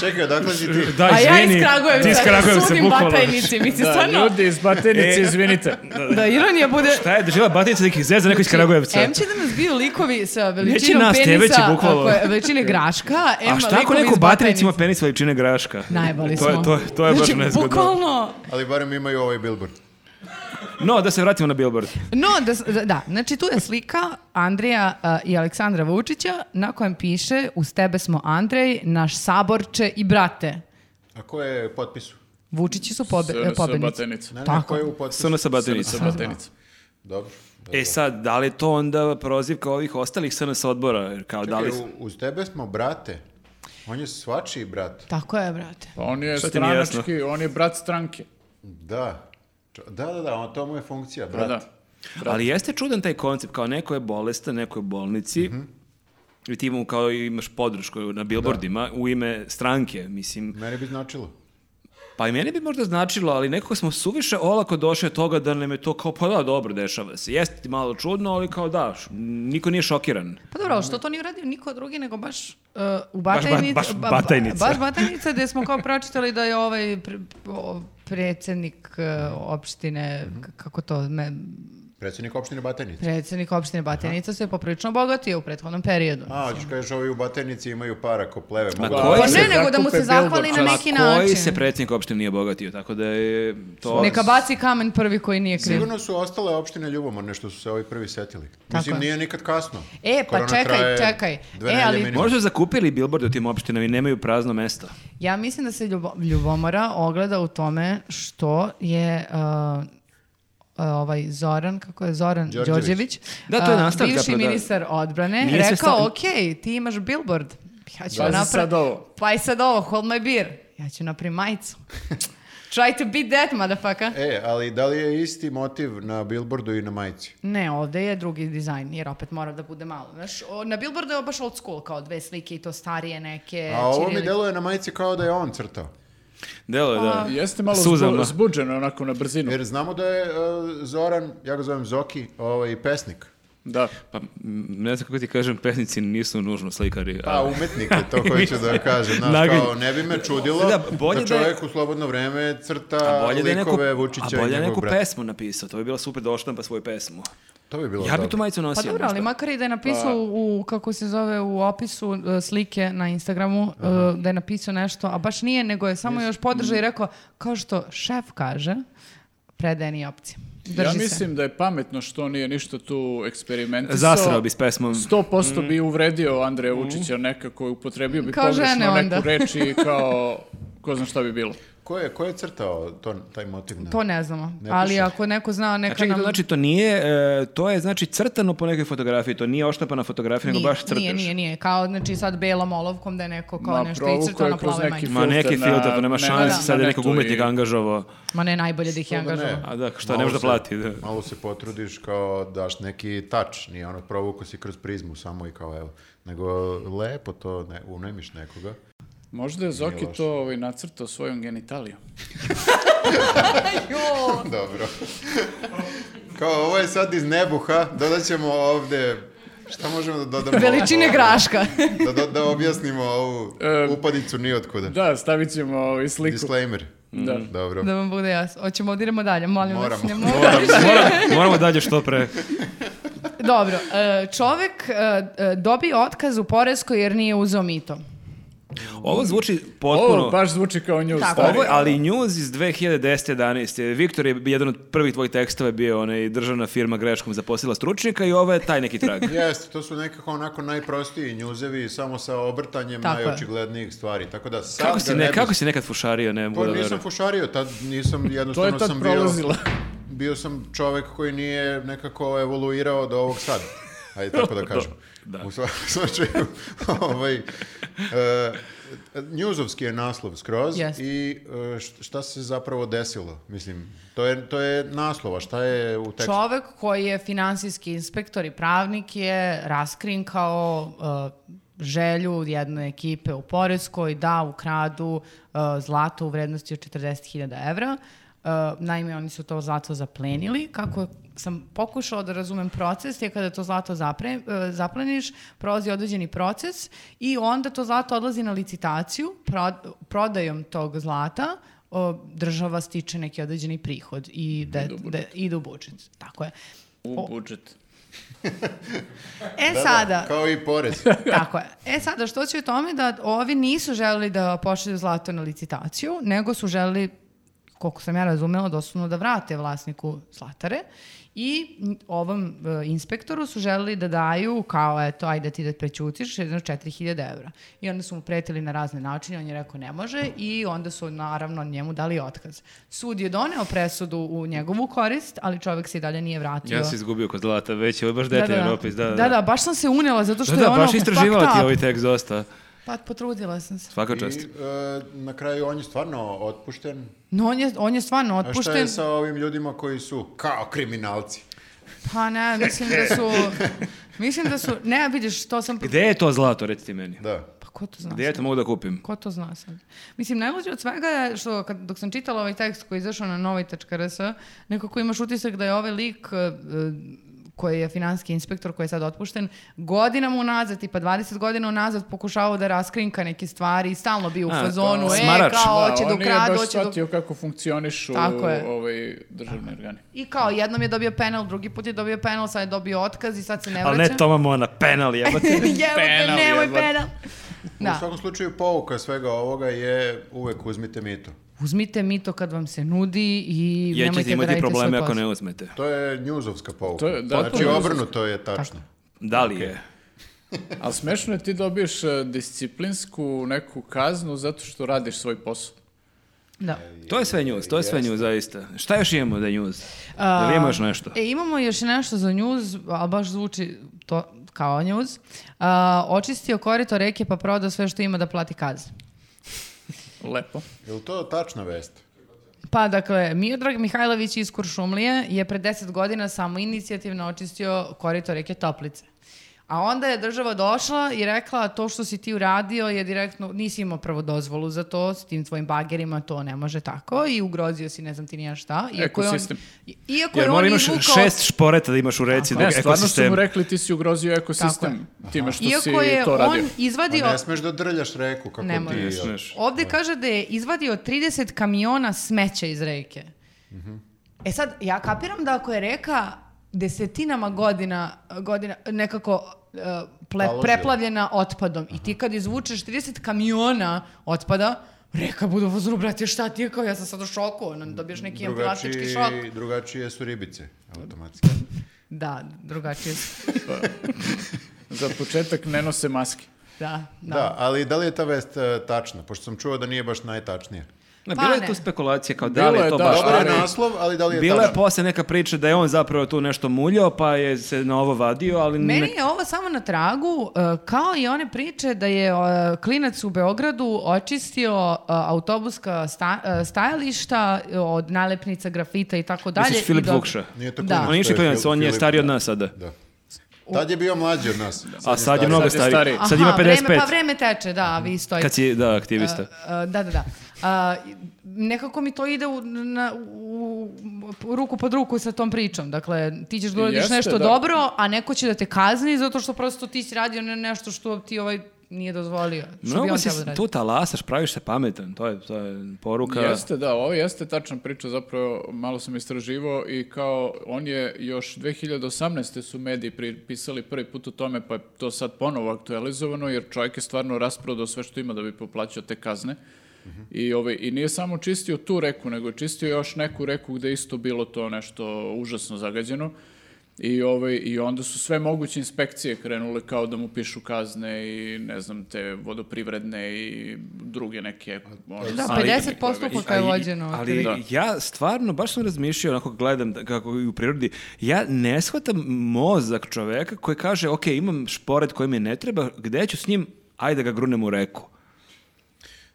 Speaker 1: Čekaj, dakle si ti?
Speaker 3: Da,
Speaker 10: A ja iz
Speaker 3: izvini,
Speaker 10: Kragujevca, da,
Speaker 3: ti iz Kragujevca,
Speaker 10: sudim
Speaker 3: bukvalno. Da,
Speaker 10: Batajnici, mislim, stvarno.
Speaker 2: Da, ljudi iz Batajnice,
Speaker 3: E.
Speaker 2: izvinite.
Speaker 10: Da ironija bude...
Speaker 3: Šta je, doživjela batajnica nekih zeza, neko iz Kragujevca.
Speaker 10: Em će da nas biju likovi sa
Speaker 3: Neće
Speaker 10: veličinom
Speaker 3: nas,
Speaker 10: penisa,
Speaker 3: tebe će bukvalno.
Speaker 10: ako je veličine graška, em
Speaker 3: A šta ako
Speaker 10: likovi
Speaker 3: neko
Speaker 10: iz
Speaker 3: u batajnici ima penis veličine graška?
Speaker 10: Najbali
Speaker 3: to je,
Speaker 10: smo.
Speaker 3: to je, to je baš
Speaker 10: znači,
Speaker 3: nezgodno.
Speaker 10: bukvalno...
Speaker 1: Ali barem imaju ovaj billboard.
Speaker 3: No, da se vratimo na billboard.
Speaker 10: No, da, s- da, da, znači tu je slika Andreja a, i Aleksandra Vučića na kojem piše uz tebe smo Andrej, naš saborče i brate.
Speaker 1: A ko je u potpisu?
Speaker 10: Vučići su pobe,
Speaker 2: Sa- sa
Speaker 10: pobednici.
Speaker 2: Batajnice.
Speaker 1: Ne, ne,
Speaker 10: Tako.
Speaker 1: ko je u potpisu?
Speaker 3: Samo sa batajnici.
Speaker 2: Sa Batajnice.
Speaker 1: Dobro.
Speaker 3: E sad, da li je to onda prozivka ovih ostalih SNS odbora? Jer Kao, da li...
Speaker 1: Čekaj, u- uz tebe smo brate. On je svačiji brat.
Speaker 10: Tako je, brate.
Speaker 2: Pa on je
Speaker 3: Šta ti nije jasno?
Speaker 2: stranački, on je brat stranke.
Speaker 1: Da. Č- Da, da, da, on, to mu je funkcija,
Speaker 2: Pa
Speaker 1: brat.
Speaker 2: da.
Speaker 3: Ali jeste čudan taj koncept, kao neko je bolestan, neko je u bolnici, i ti mu kao imaš podršku na billboardima u ime stranke, mislim.
Speaker 1: Meni bi značilo.
Speaker 3: Pa i meni bi možda značilo, ali nekako smo suviše olako došli od toga da nam je to kao, pa da, dobro, dešava se. Jeste ti malo čudno, ali kao da, š- niko nije šokiran.
Speaker 10: Pa dobro, ali što to nije uradio niko drugi nego baš uh,
Speaker 3: ba-
Speaker 10: u Batajnici.
Speaker 3: baš Batajnica.
Speaker 10: baš Batajnica gde smo kao pročitali da je ovaj pre, o, predsjednik uh, opštine, k- kako to, me,
Speaker 1: Predsjednik opštine Batajnice.
Speaker 10: predsjednik opštine Batajnica se poprilično obogatio u prethodnom periodu.
Speaker 1: A, hoćeš kažeš, ovi u Batajnici imaju para ko pleve. Mogu
Speaker 3: koji
Speaker 1: da-
Speaker 10: Pa
Speaker 3: se
Speaker 10: ne, nego da mu se
Speaker 2: zakupe
Speaker 10: zahvali na
Speaker 2: billboard,
Speaker 10: neki
Speaker 3: Ma Koji
Speaker 10: način.
Speaker 3: se predsjednik uopšte nije obogatio, tako da je to...
Speaker 10: Neka baci kamen prvi koji nije kriv.
Speaker 1: Sigurno su ostale opštine ljubomorne što su se ovi prvi setili. Mislim,
Speaker 10: je.
Speaker 1: nije nikad kasno.
Speaker 10: E, pa
Speaker 1: Korona
Speaker 10: čekaj,
Speaker 1: traje
Speaker 10: čekaj.
Speaker 1: dve
Speaker 10: E,
Speaker 1: nedelje
Speaker 10: ali-
Speaker 1: minimum.
Speaker 3: Možda su zakupili billboard u tim opštinama i nemaju prazno mesto.
Speaker 10: Ja mislim da se ljubo- ljubomora ogleda u tome što je uh, uh, ovaj Zoran, kako je Zoran
Speaker 1: Đorđević.
Speaker 10: Đorđević,
Speaker 3: Da, to je
Speaker 10: uh,
Speaker 3: nastavak
Speaker 10: bivši
Speaker 3: zapravo, da.
Speaker 10: ministar odbrane,
Speaker 3: Nije sve
Speaker 10: rekao,
Speaker 3: sta-
Speaker 10: ok, ti imaš billboard, ja
Speaker 2: Pazi
Speaker 10: ću napraviti...
Speaker 2: sad ovo.
Speaker 10: Pa i sad ovo, hold my beer. Ja ću napraviti majicu. Try to beat that, motherfucker.
Speaker 1: E, ali da li je isti motiv na billboardu i na majici?
Speaker 10: Ne, ovde je drugi dizajn, jer opet mora da bude malo. Znaš, o, na Billboardu je baš old school, kao dve slike i to starije
Speaker 3: E,
Speaker 10: neke.
Speaker 1: A ovo mi
Speaker 10: ćirilice.
Speaker 1: deluje na majici kao da je on crtao.
Speaker 3: Delo je, da.
Speaker 2: Jeste malo
Speaker 3: Suzama.
Speaker 2: zbu, zbuđeno onako na brzinu.
Speaker 1: Jer znamo da je e, Zoran, ja ga zovem Zoki, ovaj, pesnik.
Speaker 2: Da.
Speaker 3: Pa, m, ne znam kako ti kažem, pesnici nisu nužno slikari.
Speaker 1: Pa umetnik je to hoću da kažem. Znaš,
Speaker 3: Naganj.
Speaker 1: kao, ne bi me čudilo
Speaker 3: Da,
Speaker 1: da,
Speaker 3: bolje da je-
Speaker 1: čovjek u slobodno vreme
Speaker 3: A
Speaker 1: crta
Speaker 3: bolje da je neku,
Speaker 1: Pa, likove
Speaker 3: a
Speaker 1: Vučića i
Speaker 3: bolje da je
Speaker 1: njegov
Speaker 3: neku
Speaker 1: brat.
Speaker 3: pesmu napisao, to bi bila super da oštampa svoju pesmu.
Speaker 1: To bi bilo
Speaker 3: Ja bi
Speaker 1: dobro.
Speaker 3: tu majicu
Speaker 10: Pa
Speaker 3: nosio.
Speaker 10: dobro, ali
Speaker 3: možda.
Speaker 10: makar i da je napisao u, kako se zove, u opisu e, slike na Instagramu, e, da je napisao nešto, a baš nije, nego je samo još podržao i rekao, kao što šef kaže, predaje nije opcija. Drži
Speaker 2: ja
Speaker 10: se.
Speaker 2: mislim da je pametno što nije ništa tu eksperimentisao.
Speaker 3: Zasrao bi s pesmom. Mm.
Speaker 2: 100% bi uvredio Andreja Vučića nekako, upotrebio bi
Speaker 10: Kao žene
Speaker 2: pogrešno
Speaker 10: onda.
Speaker 2: neku reč i kao, ko zna šta bi bilo.
Speaker 1: Ko je, ko je crtao to, taj motiv? na-
Speaker 10: To ne znamo,
Speaker 1: Ne
Speaker 10: ali
Speaker 1: piše.
Speaker 10: ako neko zna, neka
Speaker 3: Znači,
Speaker 10: nam...
Speaker 3: to, znači, to nije, e, to je znači crtano po nekoj fotografiji, to nije oštampana fotografija, nego
Speaker 10: Nije,
Speaker 3: baš crtaš.
Speaker 10: nije, nije, nije, kao znači sad belom olovkom da je neko kao
Speaker 2: Ma,
Speaker 10: nešto
Speaker 2: provukao
Speaker 10: iscrtao
Speaker 2: je
Speaker 10: na
Speaker 2: kroz
Speaker 10: plavoj
Speaker 2: neki
Speaker 3: Ma
Speaker 10: majici.
Speaker 3: neki
Speaker 2: Filter na-
Speaker 3: filter, pa nema
Speaker 2: na-
Speaker 3: šanse,
Speaker 10: na-
Speaker 3: sad je
Speaker 2: na
Speaker 3: nekog
Speaker 2: netu i-
Speaker 3: umetnika angažovao.
Speaker 10: Ma ne, najbolje da ih je
Speaker 1: Što da ne?
Speaker 10: angažovao.
Speaker 3: A da, šta,
Speaker 1: Malo
Speaker 3: ne može da
Speaker 1: se-
Speaker 3: plati, da.
Speaker 1: Malo se potrudiš kao daš neki tač, nije ono provuko si kroz prizmu samo i kao evo. Nego lepo to ne, unajmiš nekoga.
Speaker 2: Možda je Zoki to ovaj, nacrtao svojom genitalijom.
Speaker 1: Dobro. kao ovo je sad iz nebuha, dodat ćemo ovde, šta možemo da dodamo?
Speaker 10: Veličine
Speaker 1: Ovo-
Speaker 10: graška.
Speaker 1: Da, da, da objasnimo ovu
Speaker 2: E,
Speaker 1: upadicu nijotkuda.
Speaker 2: Da, stavit ćemo ovaj sliku.
Speaker 1: Disclaimer.
Speaker 2: Da.
Speaker 1: Dobro.
Speaker 10: da vam bude jasno. Hoćemo, da idemo dalje, molim vas.
Speaker 1: Moramo.
Speaker 10: Ne
Speaker 1: Moramo.
Speaker 3: Moram- moramo dalje što pre.
Speaker 10: Dobro, e, čovek e, e, dobio otkaz u Poreskoj jer nije uzeo mito.
Speaker 3: Ovo zvuči potpuno...
Speaker 2: Ovo baš zvuči kao news.
Speaker 10: Tako,
Speaker 2: stari.
Speaker 3: Ovo je- ali News iz 2010-11. Viktor je jedan od prvih tvojih tekstova bio onaj državna firma greškom zaposlila stručnjaka i ovo je taj neki trag.
Speaker 1: Jeste, to su nekako onako najprostiji njuzevi, samo sa obrtanjem
Speaker 10: Tako je.
Speaker 1: najočigledniji stvari. Tako da sad
Speaker 3: Kako
Speaker 1: ga
Speaker 3: si,
Speaker 1: ne
Speaker 3: ne,
Speaker 1: bi-
Speaker 3: kako si nekad fušario, ne mogu
Speaker 1: Pa
Speaker 3: da
Speaker 1: nisam
Speaker 3: verujem.
Speaker 1: fušario, tad nisam jednostavno
Speaker 2: To je tad
Speaker 1: sam bio...
Speaker 2: prolazila.
Speaker 1: Bio sam čovek koji nije nekako evoluirao do ovog sad. Ajde tako da kažem.
Speaker 3: Da.
Speaker 1: U svakom slučaju, ovaj, e, njuzovski je naslov skroz
Speaker 10: Jeste.
Speaker 1: i e, š- šta se zapravo desilo, mislim, to je, to je naslova, šta je u tekstu?
Speaker 10: Čovek koji je finansijski inspektor i pravnik je raskrinkao uh, želju jedne ekipe u Poreskoj da ukradu uh, zlato u vrednosti od 40.000 evra. Uh, naime, oni su to zlato zaplenili. Kako sam pokušao da razumem proces, je kada to zlato zapre, uh, zapleniš, prolazi određeni proces i onda to zlato odlazi na licitaciju pro- prodajom tog zlata o, država stiče neki određeni prihod i da, ide, u ide u budžet. Tako je.
Speaker 2: U budžet.
Speaker 10: E sada,
Speaker 1: Kao i porez.
Speaker 10: tako je. E sada, što će u tome da ovi nisu želeli da pošalju zlato na licitaciju, nego su želeli, koliko sam ja razumela, doslovno da vrate vlasniku zlatare i ovom e, inspektoru su želeli da daju kao, eto, ajde ti da prećutiš, jedno 4000 evra. I onda su mu pretili na razne načine, on je rekao ne može i onda su naravno njemu dali otkaz. Sud je doneo presudu u njegovu korist, ali čovek se i dalje nije vratio.
Speaker 3: Ja se izgubio kod zlata, već je ovo baš detaljan opis. Da, da,
Speaker 10: da, da, baš sam se unela zato što
Speaker 3: Da,
Speaker 10: je
Speaker 3: da,
Speaker 10: ono
Speaker 3: baš istraživala
Speaker 10: fucked
Speaker 3: ti
Speaker 10: up.
Speaker 3: ovaj tekst dosta.
Speaker 10: Pa potrudila sam se.
Speaker 3: Svaka
Speaker 1: I
Speaker 3: čast.
Speaker 1: e, na kraju on je stvarno otpušten.
Speaker 10: No on je, on je stvarno
Speaker 1: A šta je
Speaker 10: otpušten.
Speaker 1: sa ovim ljudima koji su kao kriminalci?
Speaker 10: Pa ne, mislim da su... Mislim da su... Ne, vidiš, to sam...
Speaker 3: Gde je to zlato, reci ti meni?
Speaker 1: Da.
Speaker 10: Pa ko to zna?
Speaker 3: Gde ja to mogu da kupim?
Speaker 10: Ko to zna sad? Mislim, najluđe od svega je što kad, dok sam čitala ovaj tekst koji je izašao na novoj.rs, nekako imaš utisak da je ovaj lik eh, koji je finanski inspektor koji je sad otpušten, godinama unazad, tipa 20 godina unazad pokušavao da raskrinka neke stvari i stalno bio u
Speaker 3: A,
Speaker 10: fazonu,
Speaker 3: kao
Speaker 10: e,
Speaker 3: smarač.
Speaker 10: kao,
Speaker 2: Da,
Speaker 10: hoće
Speaker 2: on nije
Speaker 10: da ukradu,
Speaker 2: baš
Speaker 10: hoće da
Speaker 2: shvatio kako funkcionišu
Speaker 10: Tako je.
Speaker 2: ovaj državni organi.
Speaker 10: I kao, jednom je dobio penal, drugi put je dobio penal, sad je dobio otkaz i sad se ne vraća.
Speaker 3: Ali ne Toma Mona, penal jebate.
Speaker 10: Jebote,
Speaker 2: Penal,
Speaker 10: nemoj
Speaker 2: jebote.
Speaker 10: penal.
Speaker 1: U
Speaker 10: Da.
Speaker 1: svakom slučaju pouka svega ovoga je uvek uzmite mito.
Speaker 10: Uzmite mito kad vam se nudi i
Speaker 3: Jer ćete
Speaker 10: nemojte da
Speaker 3: imati
Speaker 10: radite svoj
Speaker 3: probleme ako
Speaker 10: posao.
Speaker 3: ne uzmete.
Speaker 1: To je njuzovska pouka.
Speaker 2: To je- da,
Speaker 1: znači
Speaker 2: potpuno
Speaker 1: obrnuto je tačno.
Speaker 3: Da li je?
Speaker 2: Ali smešno je ti dobiješ e, disciplinsku neku kaznu zato što radiš svoj posao.
Speaker 10: Da.
Speaker 3: To je sve news, to je sve news, zaista. Šta još imamo da je news? Da li ima još nešto?
Speaker 10: E, imamo još nešto za njuz, ali baš zvuči to kao njuz. očistio korito reke pa prodao sve što ima da plati kaznu.
Speaker 2: Lepo.
Speaker 1: Je li to tačna vest?
Speaker 10: Pa dakle, Miodrag Mihajlović iz Kuršumlije je pre 10 godina samo inicijativno očistio korito reke Toplice. A onda je država došla i rekla to što si ti uradio je direktno, nisi imao prvo dozvolu za to, s tim tvojim bagerima to ne može tako i ugrozio si ne znam ti nija šta. Iako je on,
Speaker 2: Ekosistem.
Speaker 10: iako
Speaker 3: Jer
Speaker 10: je
Speaker 3: mora
Speaker 10: on
Speaker 3: imaš
Speaker 10: izvukao-
Speaker 3: šest šporeta da imaš u reci, da
Speaker 2: Ne, stvarno su
Speaker 3: ekosistem.
Speaker 2: mu rekli ti si ugrozio
Speaker 10: Tako
Speaker 2: ekosistem time što si
Speaker 10: Iako je
Speaker 2: to
Speaker 10: on
Speaker 2: radio.
Speaker 10: izvadio...
Speaker 1: A ne smeš da drljaš reku kako
Speaker 10: Pa Ne
Speaker 1: ti...
Speaker 10: možeš.
Speaker 1: ja.
Speaker 10: Ovde kaže da je izvadio 30 kamiona smeća iz reke.
Speaker 1: Mhm.
Speaker 10: E sad, ja kapiram da ako je reka desetinama godina, godina nekako e, ple-
Speaker 1: Taložila.
Speaker 10: preplavljena otpadom i ti kad izvučeš 30 kamiona otpada, reka bude u fazonu, brate, šta ti je kao, ja sam sad u šoku, ono, dobiješ neki plastički šok.
Speaker 1: Drugačiji, drugačije su ribice automatski.
Speaker 10: Da, drugačije. su.
Speaker 2: Za početak ne nose maske.
Speaker 10: Da, da.
Speaker 1: Da. ali da li je ta vest e, tačna? Pošto sam čuo da nije baš najtačnija.
Speaker 3: Ne,
Speaker 10: Pa
Speaker 3: bila je
Speaker 10: ne.
Speaker 3: tu spekulacija kao da
Speaker 2: Bilo
Speaker 3: li je
Speaker 2: je,
Speaker 3: to
Speaker 2: da.
Speaker 3: baš
Speaker 2: Dobro
Speaker 1: Dobar
Speaker 3: tako.
Speaker 1: je naslov, ali da li je
Speaker 3: Bila je
Speaker 1: tačna?
Speaker 3: posle neka priča da je on zapravo tu nešto muljao, pa je se na ovo vadio, ali... ne-
Speaker 10: Meni je ovo samo na tragu, e, kao i one priče da je e, klinac u Beogradu očistio e, autobuska sta- e, stajališta e, od nalepnica, grafita i tako dalje.
Speaker 3: Misliš Filip
Speaker 10: i do-
Speaker 3: Vukša?
Speaker 1: Nije to
Speaker 10: Da.
Speaker 1: klinac,
Speaker 3: On
Speaker 10: On
Speaker 3: nije
Speaker 1: to je
Speaker 3: klinac,
Speaker 1: Fil-
Speaker 3: on je
Speaker 1: Filip,
Speaker 3: stariji od
Speaker 1: da.
Speaker 3: nas sada.
Speaker 1: Da. Tad je bio mlađi od nas.
Speaker 3: A sad je
Speaker 1: stariji.
Speaker 3: mnogo
Speaker 2: Sad je
Speaker 3: stariji.
Speaker 2: stariji.
Speaker 3: Sad ima
Speaker 10: Aha, Vreme, pa
Speaker 3: 55.
Speaker 10: vreme teče, da, a vi stojite.
Speaker 3: Kad si, da, aktivista.
Speaker 10: E, da, da, da. A, nekako mi to ide u, na, u, u- ruku pod ruku sa tom pričom. Dakle, ti ćeš da uradiš
Speaker 2: Jeste,
Speaker 10: nešto
Speaker 2: da.
Speaker 10: dobro, a neko će da te kazni zato što prosto ti si radio ne- nešto što ti ovaj nije dozvolio. Što bi
Speaker 3: Mnogo
Speaker 10: on
Speaker 3: si
Speaker 10: trebao da radi?
Speaker 3: tu talasaš, praviš se pametan, to je, to je poruka.
Speaker 2: Jeste, da, ovo jeste tačna priča, zapravo malo sam istraživao i kao on je još 2018. su mediji pri- pisali prvi put o tome, pa je to sad ponovo aktualizovano, jer čovjek je stvarno rasprodao sve što ima da bi poplaćao te kazne. I, ovaj, I nije samo čistio tu reku, nego je čistio još neku reku gde je isto bilo to nešto užasno zagađeno. I, ovaj, I onda su sve moguće inspekcije krenule kao da mu pišu kazne i ne znam te vodoprivredne i druge neke možda
Speaker 10: Da,
Speaker 2: sankcije
Speaker 10: 50%
Speaker 2: koje već-
Speaker 10: koliko je
Speaker 2: A i-
Speaker 10: vođeno.
Speaker 3: Ali
Speaker 2: Da.
Speaker 3: ja stvarno, baš sam razmišljao, onako gledam da- kako i u prirodi, ja ne shvatam mozak čoveka koji kaže, ok, imam šporet koji mi ne treba, gde ću s njim, ajde da ga grunem u reku.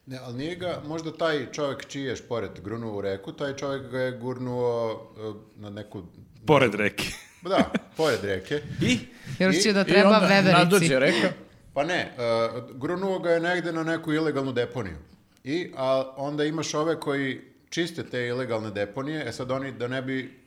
Speaker 1: Ne, ali nije ga, možda taj čovjek čiji je šporet grunuo u reku, taj čovjek ga je gurnuo e, na neku...
Speaker 3: Pored reke.
Speaker 1: Da, pored reke.
Speaker 3: I?
Speaker 10: Još će da
Speaker 2: I
Speaker 10: treba
Speaker 2: onda
Speaker 10: veverici.
Speaker 2: nadođe reka.
Speaker 1: Pa ne, e, grunuo ga je negde na neku ilegalnu deponiju. I a onda imaš ove koji čiste te ilegalne deponije, e sad oni da ne bi,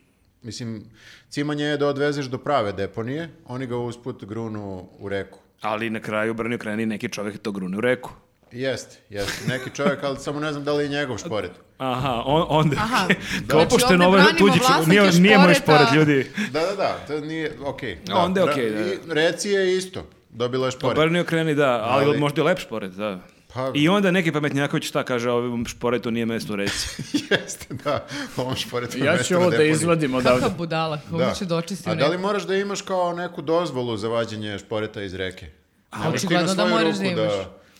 Speaker 1: mislim, cimanje je da odvezeš do prave deponije, oni ga usput grunu u reku.
Speaker 3: Ali na kraju, brani Ukrajini, neki čovek to grune u reku.
Speaker 1: Jeste, jeste, neki čovjek, ali samo ne znam da li je njegov šporet.
Speaker 3: Aha, on, onda.
Speaker 10: Aha.
Speaker 3: Kao
Speaker 10: Znači,
Speaker 3: opušteno
Speaker 10: ovde
Speaker 3: ovo
Speaker 10: branimo
Speaker 3: tuđi čovek,
Speaker 10: vlasnike
Speaker 3: nije, nije moj šporet,
Speaker 10: šporeta.
Speaker 3: ljudi.
Speaker 1: Da, da, da, to nije, okej. da.
Speaker 3: Onda je
Speaker 1: Ra-
Speaker 3: okej, da.
Speaker 1: i Reci je isto, dobila je šporet.
Speaker 3: Brani Ukrajini, da, ali,
Speaker 1: Ali-
Speaker 3: možda je lep šporet, da.
Speaker 1: Pa-
Speaker 3: I onda neki pametnjaković šta kaže, ovom šporetu nije mesto u reci.
Speaker 1: Jeste, da, on šporet na
Speaker 2: Ja
Speaker 1: mestu
Speaker 2: ću
Speaker 1: na
Speaker 2: ovo da
Speaker 1: deponiji.
Speaker 2: izvadim odavde.
Speaker 10: Kakav budala, kako će da očisti
Speaker 1: A
Speaker 10: u
Speaker 1: da li
Speaker 10: reku?
Speaker 1: moraš da imaš kao neku dozvolu za vađenje šporeta iz reke? Ne možeš ti na
Speaker 10: očigledno da
Speaker 1: svoju
Speaker 10: moraš
Speaker 1: ruku
Speaker 10: da imaš.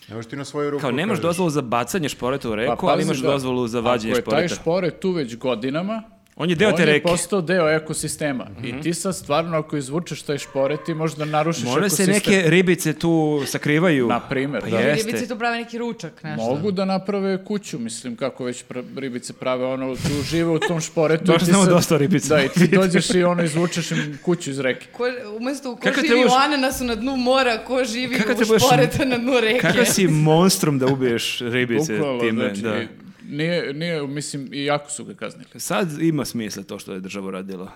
Speaker 1: ne možeš ti na svoju ruku. da
Speaker 3: Kao nemaš
Speaker 1: kažeš.
Speaker 3: dozvolu za bacanje šporeta u
Speaker 2: Pa
Speaker 3: reku, ali
Speaker 2: pazi
Speaker 3: imaš
Speaker 2: da,
Speaker 3: dozvolu za vađenje
Speaker 2: Ako je taj
Speaker 3: šporeta.
Speaker 2: šporet tu već godinama,
Speaker 3: On je deo te
Speaker 2: on je
Speaker 3: reke. Mhm.
Speaker 2: postao deo ekosistema. I ti sad stvarno ako izvučeš taj šporet, ti možda narušiš
Speaker 3: Možda se
Speaker 2: ekosistem.
Speaker 3: neke ribice tu sakrivaju.
Speaker 2: Na primer,
Speaker 3: pa
Speaker 2: da.
Speaker 10: Ili
Speaker 3: jeste.
Speaker 10: ribici tu prave neki ručak, nešto.
Speaker 2: Mogu da naprave kuću, mislim, kako već pra- ribice prave, ono, tu žive u tom šporetu.
Speaker 3: Baš
Speaker 2: i ti
Speaker 3: znamo
Speaker 2: sad-
Speaker 3: dosta o ribicama.
Speaker 2: Da, i ti dođeš i ono, izvučeš im kuću iz reke.
Speaker 10: Ko, umjesto ko
Speaker 3: Kako
Speaker 10: živi
Speaker 3: trebaš-
Speaker 10: u ananasu na dnu mora, ko živi
Speaker 3: Kako
Speaker 10: u
Speaker 3: trebaš-
Speaker 10: šporeta na dnu reke.
Speaker 3: Kako si monstrum da ubiješ ribice
Speaker 2: Bukvalno,
Speaker 3: time,
Speaker 2: znači,
Speaker 3: da.
Speaker 2: Nije, nije, mislim, i jako su ga kaznili.
Speaker 3: Sad ima smisla to što je država radila.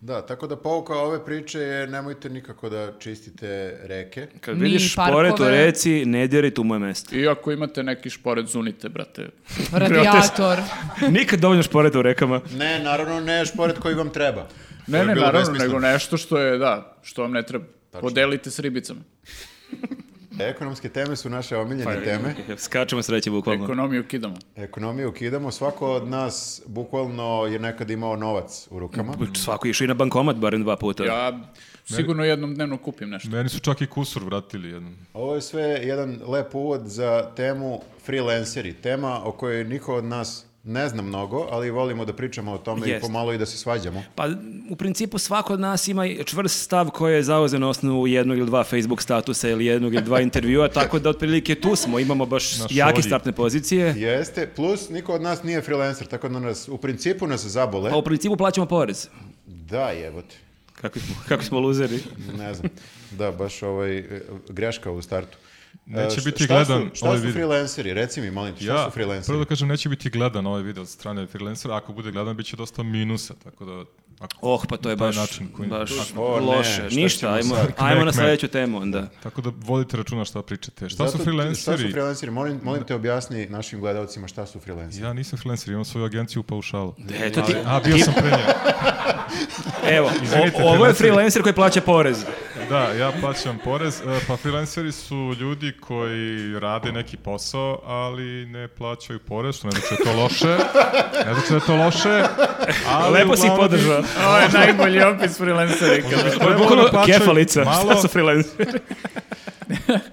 Speaker 1: Da, tako da pouka ove priče je nemojte nikako da čistite reke.
Speaker 3: Kad
Speaker 10: Ni
Speaker 3: vidiš šporet u
Speaker 10: parkove.
Speaker 3: reci, ne diraj tu moje mesto.
Speaker 2: I ako imate neki šporet, zunite, brate.
Speaker 10: Radijator.
Speaker 3: Nikad dovoljno šporeta u rekama.
Speaker 1: Ne, naravno ne šporet koji vam treba. To
Speaker 2: Ne,
Speaker 1: je
Speaker 2: ne,
Speaker 1: bilo
Speaker 2: naravno,
Speaker 1: besmisleno.
Speaker 2: nego nešto što je, da, što vam ne treba. Podelite s ribicama.
Speaker 1: Ekonomske teme su naše omiljene teme.
Speaker 3: Skačemo sreće bukvalno.
Speaker 2: Ekonomiju kidamo.
Speaker 1: Ekonomiju ukidamo. Svako od nas bukvalno je nekad imao novac u rukama.
Speaker 3: Svako je išao i na bankomat barem dva puta.
Speaker 2: Ja sigurno jednom dnevno kupim nešto.
Speaker 4: Meni su čak i kusur vratili jedan.
Speaker 1: Ovo je sve jedan lep uvod za temu freelanceri, tema o kojoj niko od nas ne zna mnogo, ali volimo da pričamo o tome i
Speaker 3: Jeste.
Speaker 1: pomalo i da se svađamo.
Speaker 3: Pa u principu svako od nas ima čvrst stav koji je zauzeo na osnovu jednog ili dva Facebook statusa ili jednog ili dva intervjua, tako da otprilike tu smo, imamo baš
Speaker 4: Naš
Speaker 3: jake
Speaker 4: vodi.
Speaker 3: startne pozicije.
Speaker 1: Jeste, plus niko od nas nije freelancer, tako da nas u principu nas zabole.
Speaker 3: Pa u principu plaćamo porez.
Speaker 1: Da, jebote.
Speaker 3: Kakvi smo, kakvi smo luzeri.
Speaker 1: Ne znam. Da, baš ovaj e, greška u startu.
Speaker 4: Neće
Speaker 1: E, š-
Speaker 4: biti
Speaker 1: šta
Speaker 4: gledan
Speaker 1: Su, šta
Speaker 4: ovaj
Speaker 1: su
Speaker 4: video.
Speaker 1: freelanceri? Reci mi, molim te, šta su freelanceri?
Speaker 4: prvo da kažem, neće biti gledan ovaj video od strane freelancera, ako bude gledan, bit će dosta minusa, tako da... Ako,
Speaker 3: Oh, pa to je
Speaker 4: taj
Speaker 3: baš,
Speaker 4: način koji- Pa,
Speaker 3: baš
Speaker 1: O, ne,
Speaker 3: loše.
Speaker 1: šta
Speaker 3: Ništa,
Speaker 1: ćemo
Speaker 3: ajmo,
Speaker 1: sad?
Speaker 3: ajmo na
Speaker 4: Kmek,
Speaker 3: sledeću temu onda.
Speaker 4: Tako da vodite računa šta pričate. Šta
Speaker 1: Zato-
Speaker 4: su
Speaker 1: Šta su
Speaker 4: freelanceri?
Speaker 1: freelanceri? Molim, molim te objasni našim gledalcima šta su freelanceri.
Speaker 4: Ja nisam freelancer, imam svoju agenciju u paušalu.
Speaker 3: Da, Eto ti,
Speaker 4: A, bio sam pre nje.
Speaker 3: evo, o-
Speaker 4: Izvinite,
Speaker 3: ovo je
Speaker 4: freelanceri.
Speaker 3: freelancer koji plaća porez.
Speaker 4: Da, ja plaćam porez. E, Pa freelanceri su ljudi koji rade neki posao, ali ne plaćaju porez, što ne znači da je to loše. Ne znači da je to loše. Ali
Speaker 3: Lepo si ih
Speaker 4: uglavnom
Speaker 3: podržao.
Speaker 4: bi-
Speaker 2: Ovo je najbolji opis freelancera ikada.
Speaker 3: Ovo je
Speaker 4: trebalo
Speaker 3: bukvalno
Speaker 4: da plaćaju
Speaker 3: kefalica, šta
Speaker 4: malo.
Speaker 3: su freelanceri?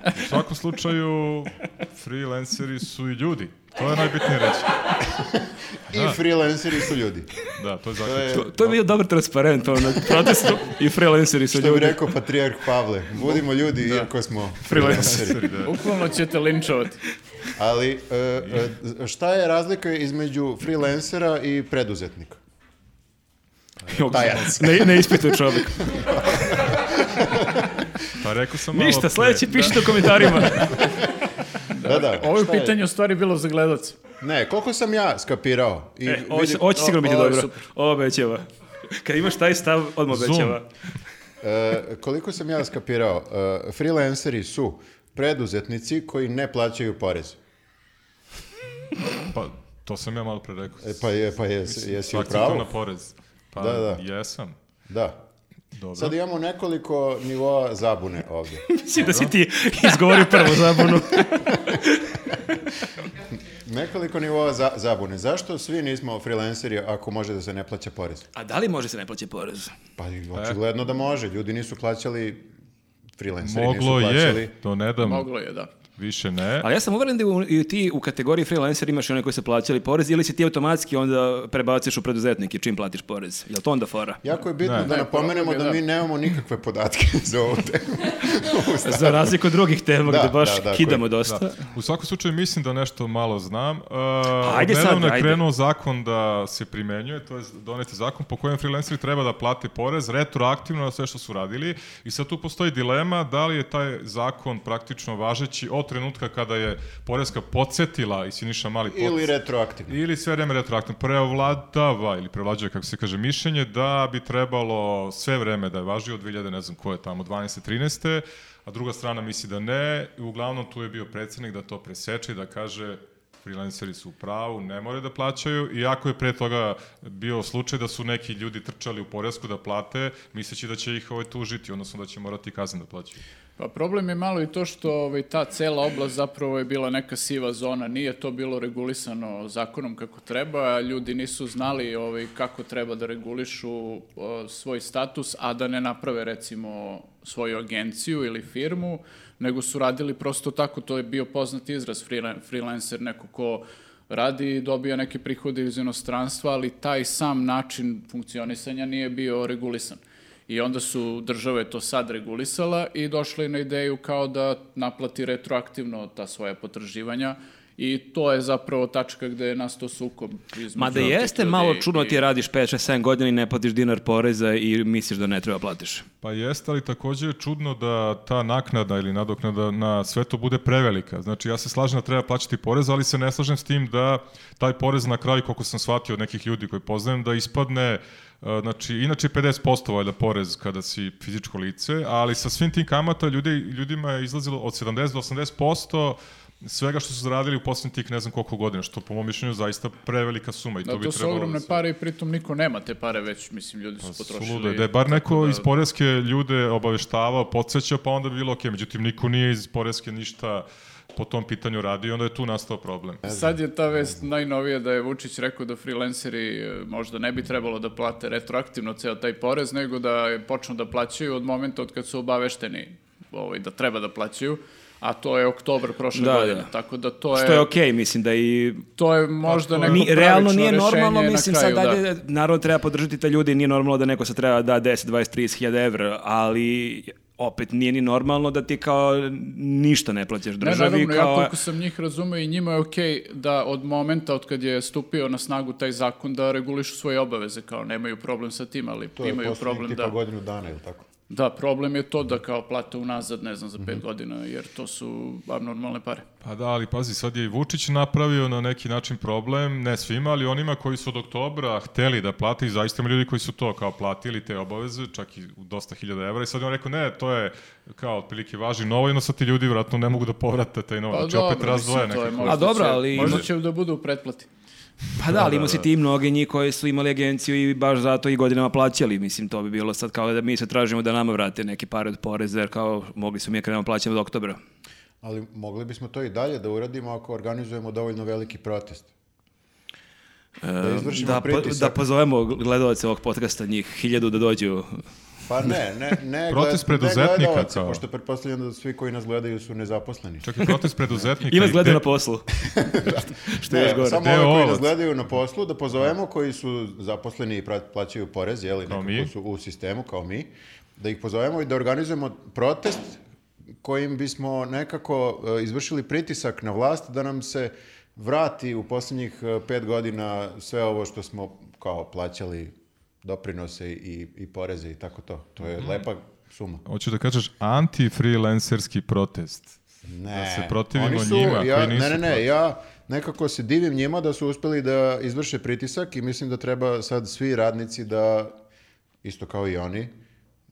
Speaker 4: U svakom slučaju, freelanceri su i ljudi. To je najbitnije reći.
Speaker 1: I freelanceri su ljudi.
Speaker 4: Da, to je zaključno.
Speaker 3: To, to je bio dobar transparent ono, na protestu i freelanceri su
Speaker 1: Što bi
Speaker 3: ljudi.
Speaker 1: rekao patrijarh Pavle, budimo ljudi iako smo freelanceri.
Speaker 4: Freelanceri, da.
Speaker 2: Bukvalno ćete linčovati.
Speaker 1: Ali e, e, šta je razlika između freelancera i preduzetnika? Tajac.
Speaker 3: Ne, ne ispituje čovjek.
Speaker 4: Pa rekao sam malo
Speaker 3: Ništa,
Speaker 4: pre.
Speaker 3: sledeći pišite u komentarima.
Speaker 1: Da, da.
Speaker 2: Ovo je
Speaker 1: šta je?
Speaker 2: pitanje u stvari bilo za gledalce.
Speaker 1: Ne, koliko sam ja skapirao? I
Speaker 3: E, ovo, će,
Speaker 1: vidim-
Speaker 3: ovo će sigurno biti
Speaker 2: ovo je
Speaker 3: dobro.
Speaker 2: super.
Speaker 3: Ovo obećava. Kad imaš taj stav, odmah
Speaker 4: Zoom.
Speaker 3: obećava.
Speaker 1: E, koliko sam ja skapirao, e, freelanceri su preduzetnici koji ne plaćaju porez.
Speaker 4: Pa, to sam ja malo pre rekao.
Speaker 1: E, pa je, pa je,
Speaker 4: Mislim,
Speaker 1: jesi u
Speaker 4: akcentom
Speaker 1: pravu.
Speaker 4: na porez. Pa,
Speaker 1: Da, da.
Speaker 4: jesam.
Speaker 1: Da.
Speaker 4: Dobro.
Speaker 1: Sad imamo nekoliko nivoa zabune ovdje.
Speaker 3: Mislim da si ti izgovorio prvo zabunu.
Speaker 1: Nekoliko nivoa za, zabune. Zašto svi nismo freelanceri ako može da se ne plaća porez?
Speaker 3: A da li može se ne plaća porez?
Speaker 1: Pa i očigledno da može. Ljudi nisu plaćali, freelanceri
Speaker 4: Moglo
Speaker 1: nisu plaćali.
Speaker 4: je, to ne dam,
Speaker 2: Moglo je, da.
Speaker 4: više ne.
Speaker 3: Ali ja sam uveren da u- i ti u kategoriji freelancer imaš i one koji su plaćali porez ili si ti automatski onda prebaciš u preduzetnike čim platiš porez. Jel to onda fora?
Speaker 1: Jako je bitno
Speaker 4: Ne.
Speaker 1: da
Speaker 2: Ne,
Speaker 1: napomenemo
Speaker 2: problem je
Speaker 1: da
Speaker 2: da-
Speaker 1: mi nemamo nikakve podatke za ovu temu. U startu.
Speaker 3: Za razliku od drugih tema
Speaker 1: Da,
Speaker 3: gde baš
Speaker 1: da, da,
Speaker 3: kidamo
Speaker 1: koji-
Speaker 3: dosta.
Speaker 4: Da. U svakom slučaju mislim da nešto malo znam. Uh,
Speaker 3: Pa, Ajde sad,
Speaker 4: odnedavno je
Speaker 3: ajde.
Speaker 4: krenuo zakon da se primenjuje, to je doneti zakon po kojem freelanceri treba da plate porez retroaktivno na sve što su radili i sad tu postoji dilema da li je taj zakon praktično važeći od trenutka kada je porezka podsjetila i Siniša Mali podsjetila
Speaker 1: Ili retroaktivno.
Speaker 4: ili sve vreme retroaktivno prevladava ili prevlađuje kako se kaže mišljenje da bi trebalo sve vreme da je važio od 2000 ne znam ko je tamo 12 13 a druga strana misli da ne i uglavnom tu je bio predsjednik da to preseče i da kaže freelanceri su u pravu, ne moraju da plaćaju, iako je pre toga bio slučaj da su neki ljudi trčali u poresku da plate, misleći da će ih ovaj tužiti, odnosno da će morati kazne da plaćaju.
Speaker 2: Pa problem je malo i to što ovaj, ta cela oblast zapravo je bila neka siva zona, nije to bilo regulisano zakonom kako treba, ljudi nisu znali ovaj, kako treba da regulišu o, svoj status, a da ne naprave recimo svoju agenciju ili firmu, nego su radili prosto tako, to je bio poznat izraz freela- freelancer, neko ko radi i dobija neke prihode iz inostranstva, ali taj sam način funkcionisanja nije bio regulisan. I onda su države to sad regulisala i došli na ideju kao da naplati retroaktivno ta svoja potraživanja i to je zapravo tačka gde je nastao sukob. između
Speaker 3: Ma da
Speaker 2: tih
Speaker 3: jeste
Speaker 2: ljudi
Speaker 3: malo
Speaker 2: i-
Speaker 3: čudno ti
Speaker 2: i-
Speaker 3: je radiš 5, 6, 7 godina i ne platiš dinar poreza i misliš da ne treba platiš.
Speaker 4: Pa jeste, ali takođe je čudno da ta naknada ili nadoknada na sve to bude prevelika. Znači, ja se slažem da treba plaćati porez, ali se ne slažem s tim da taj porez na kraju, koliko sam shvatio od nekih ljudi koji poznajem, da ispadne, e, znači, inače je 50% valjda porez kada si fizičko lice, ali sa svim tim kamata ljudi, ljudima je izlazilo od 70 do 80% svega što su zaradili u posljednjih tih ne znam koliko godina, što po mom mišljenju zaista prevelika suma i
Speaker 2: Da,
Speaker 4: to
Speaker 2: to,
Speaker 4: bi
Speaker 2: su
Speaker 4: trebalo... da
Speaker 2: ogromne
Speaker 4: se-
Speaker 2: pare i pritom niko nema te pare već, mislim, ljudi su potrošili.
Speaker 4: Suludo je, da je bar neko
Speaker 2: tako da-
Speaker 4: iz Poreske ljude obaveštavao, podsjećao, pa onda bi bilo okej. Međutim, niko nije iz Poreske ništa po tom pitanju radio i onda je tu nastao problem.
Speaker 2: Sad je ta vest najnovija da je Vučić rekao da freelanceri e, možda ne bi trebalo da plate retroaktivno ceo taj porez, nego da je počnu da plaćaju od momenta od kad su obavešteni ovaj, da treba da plaćaju, a to je oktobar prošle
Speaker 3: Da,
Speaker 2: godine.
Speaker 3: da.
Speaker 2: Tako da to je,
Speaker 3: Što je okej, mislim da i...
Speaker 2: to je možda neko
Speaker 3: Mi,
Speaker 2: pravično
Speaker 3: realno nije normalno,
Speaker 2: rešenje
Speaker 3: mislim
Speaker 2: na kraju,
Speaker 3: sad
Speaker 2: da.
Speaker 3: dalje, naravno treba podržati te ljude, i nije normalno da neko sad treba da 10, 20, 30 hiljada evra, ali opet nije ni normalno da ti kao ništa ne plaćaš
Speaker 2: Ne,
Speaker 3: državi.
Speaker 2: naravno, ja
Speaker 3: kao-
Speaker 2: koliko sam njih razumeo i njima je okej da od momenta od kad je stupio na snagu taj zakon da regulišu svoje obaveze, kao nemaju problem sa tim, ali
Speaker 1: To je
Speaker 2: imaju
Speaker 1: posljednjih
Speaker 2: problem
Speaker 1: tipa
Speaker 2: da...
Speaker 1: godinu dana, ili tako?
Speaker 2: Da, problem je to da kao plate unazad, ne znam, za
Speaker 4: Mhm.
Speaker 2: pet godina, jer to su abnormalne pare.
Speaker 4: Pa da, ali pazi, sad je i Vučić napravio na neki način problem, ne svima, ali onima koji su od oktobra hteli da plate i zaista ima ljudi koji su to kao platili te obaveze, čak i u dosta hiljada evra i sad je on rekao ne, to je kao otprilike važi novo, jedno sad ti ljudi vratno ne mogu da povrate taj novo.
Speaker 2: Pa
Speaker 4: znači opet
Speaker 2: dobro, mislim,
Speaker 4: razdvoje
Speaker 2: to je
Speaker 4: nekako.
Speaker 2: možda
Speaker 3: A dobro,
Speaker 2: će-
Speaker 3: ali-
Speaker 2: Možda će da budu u pretplati.
Speaker 3: Pa da, ali imao si ti i mnoge njih koji su imali agenciju i baš zato i godinama plaćali. Mislim, to bi bilo sad kao da mi se tražimo da nama vrate neke pare od poreza, jer kao mogli smo mi krenemo plaćamo od oktobra.
Speaker 1: Ali mogli bismo to i dalje da uradimo ako organizujemo dovoljno veliki protest. Da izvršimo
Speaker 3: da, po-
Speaker 1: pritisak.
Speaker 3: da pozovemo gledalce ovog podcasta, njih hiljadu da dođu.
Speaker 1: Pa ne, ne, ne,
Speaker 4: Protest
Speaker 1: gled- ne
Speaker 4: preduzetnika
Speaker 1: gledalaca,
Speaker 4: kao.
Speaker 1: pošto pretpostavljam da svi koji nas gledaju su nezaposleni.
Speaker 4: Čak i protest preduzetnika.
Speaker 3: Ima
Speaker 4: i
Speaker 3: gledaju
Speaker 4: te-
Speaker 3: na poslu. Što je
Speaker 1: Ne,
Speaker 3: još gore.
Speaker 1: Samo
Speaker 4: Gde je
Speaker 1: ove koji nas
Speaker 4: ovac?
Speaker 1: gledaju na poslu, da pozovemo koji su zaposleni i pra- plaćaju porez, jeli, nekako
Speaker 4: mi.
Speaker 1: su u sistemu kao mi, da ih pozovemo i da organizujemo protest kojim bismo nekako e, izvršili pritisak na vlast da nam se vrati u posljednjih e, pet godina sve ovo što smo kao plaćali doprinose i, i poreze i tako to. To je
Speaker 4: Mhm.
Speaker 1: lepa suma.
Speaker 4: Hoću da kažeš anti-freelancerski protest.
Speaker 1: Ne.
Speaker 4: Da se protivimo
Speaker 1: Oni su-
Speaker 4: njima
Speaker 1: ja,
Speaker 4: koji nisu
Speaker 1: Ne, ne, ne,
Speaker 4: protiv.
Speaker 1: ja nekako se divim njima da su uspeli da izvrše pritisak i mislim da treba sad svi radnici da, isto kao i oni,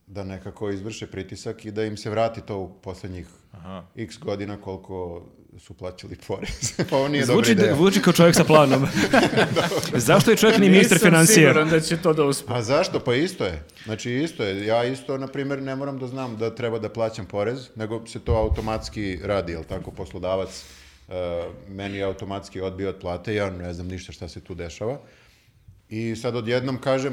Speaker 1: da nekako izvrše pritisak i da im se vrati to u posljednjih Aha. x godina koliko su plaćali porez. Ovo nije dobra
Speaker 3: Zvuči, da-
Speaker 1: ideja.
Speaker 3: zvuči kao čovjek sa planom. Zašto je čovjek ni ministar financija?
Speaker 2: da će to da uspe.
Speaker 1: A zašto? Pa isto je. Znači isto je. Ja isto, na primjer, ne moram da znam da treba da plaćam porez, nego se to automatski radi, jel tako, poslodavac uh, meni automatski odbio od plate, ja ne znam ništa šta se tu dešava. I sad odjednom kažem,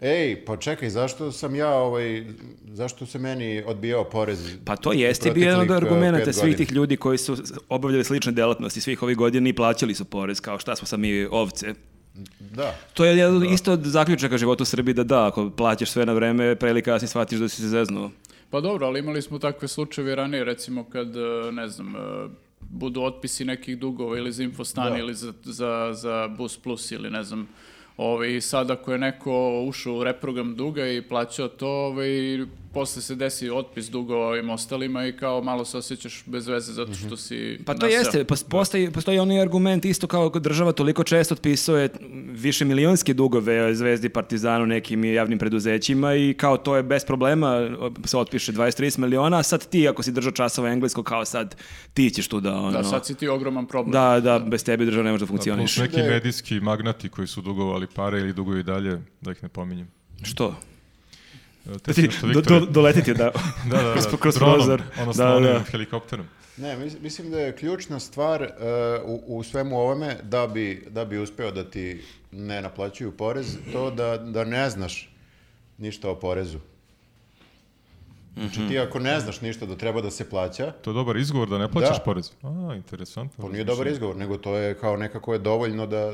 Speaker 1: ej, pa čekaj, zašto sam ja, ovaj, zašto se meni odbijao porez?
Speaker 3: Pa to jeste
Speaker 1: u
Speaker 3: bio jedan od
Speaker 1: proteklih, uh,
Speaker 3: argumenta
Speaker 1: pet
Speaker 3: svih
Speaker 1: godina?
Speaker 3: tih ljudi koji su s- obavljali slične delatnosti svih ovih godina i plaćali su porez, kao šta smo sad mi ovce.
Speaker 1: Da.
Speaker 3: To je jedan isto od zaključaka života u Srbiji da da, ako plaćaš sve na vreme, pre ili kasnije shvatiš da si se zeznuo.
Speaker 2: Pa dobro, ali imali smo takve slučajeve ranije, recimo kad, e, ne znam, e, budu otpisi nekih dugova ili za infostan ili za, za, za Bus Plus ili ne znam. Ovaj, i sad ako je neko ušao u reprogram duga i plaćao to, ovaj, posle se desi otpis dugova ovim ostalima i kao malo se osjećaš bez veze zato što si
Speaker 3: Pa to
Speaker 2: naseo.
Speaker 3: jeste, pos-
Speaker 2: Da.
Speaker 3: postoji, postoji onaj argument isto kao kad država toliko često otpisuje više milionske dugove Zvezdi Partizanu nekim javnim preduzećima i kao to je bez problema se otpiše 23 miliona, a sad ti ako si držao časova englesko kao sad ti ćeš tu da ono...
Speaker 2: Da, sad si ti ogroman problem.
Speaker 3: Da, da, bez tebe država ne može da
Speaker 4: Da, plus
Speaker 3: funkcioniš.
Speaker 4: neki medijski magnati koji su dugovali pare ili duguju i dalje, da ih ne pominjem.
Speaker 3: Što?
Speaker 4: Da, E,
Speaker 3: Da
Speaker 4: Te si
Speaker 3: ti
Speaker 4: nešto,
Speaker 3: do,
Speaker 4: Viktore-
Speaker 3: do, doletiti, da.
Speaker 4: da, da, da,
Speaker 3: kroz, kroz
Speaker 4: dronom,
Speaker 3: prozor.
Speaker 4: odnosno
Speaker 3: Da,
Speaker 4: onim
Speaker 3: da.
Speaker 4: helikopterom.
Speaker 1: Ne, mis- mislim da je ključna stvar e, u, u svemu ovome da bi, da bi uspeo da ti ne naplaćuju porez, to da, da ne znaš ništa o porezu. Znači
Speaker 3: Mhm.
Speaker 1: ti ako ne znaš ništa da treba da se plaća,
Speaker 4: To je dobar izgovor da ne plaćaš
Speaker 1: Da.
Speaker 4: porez. A, interesantno.
Speaker 1: to nije dobar izgovor, nego to je kao nekako je dovoljno da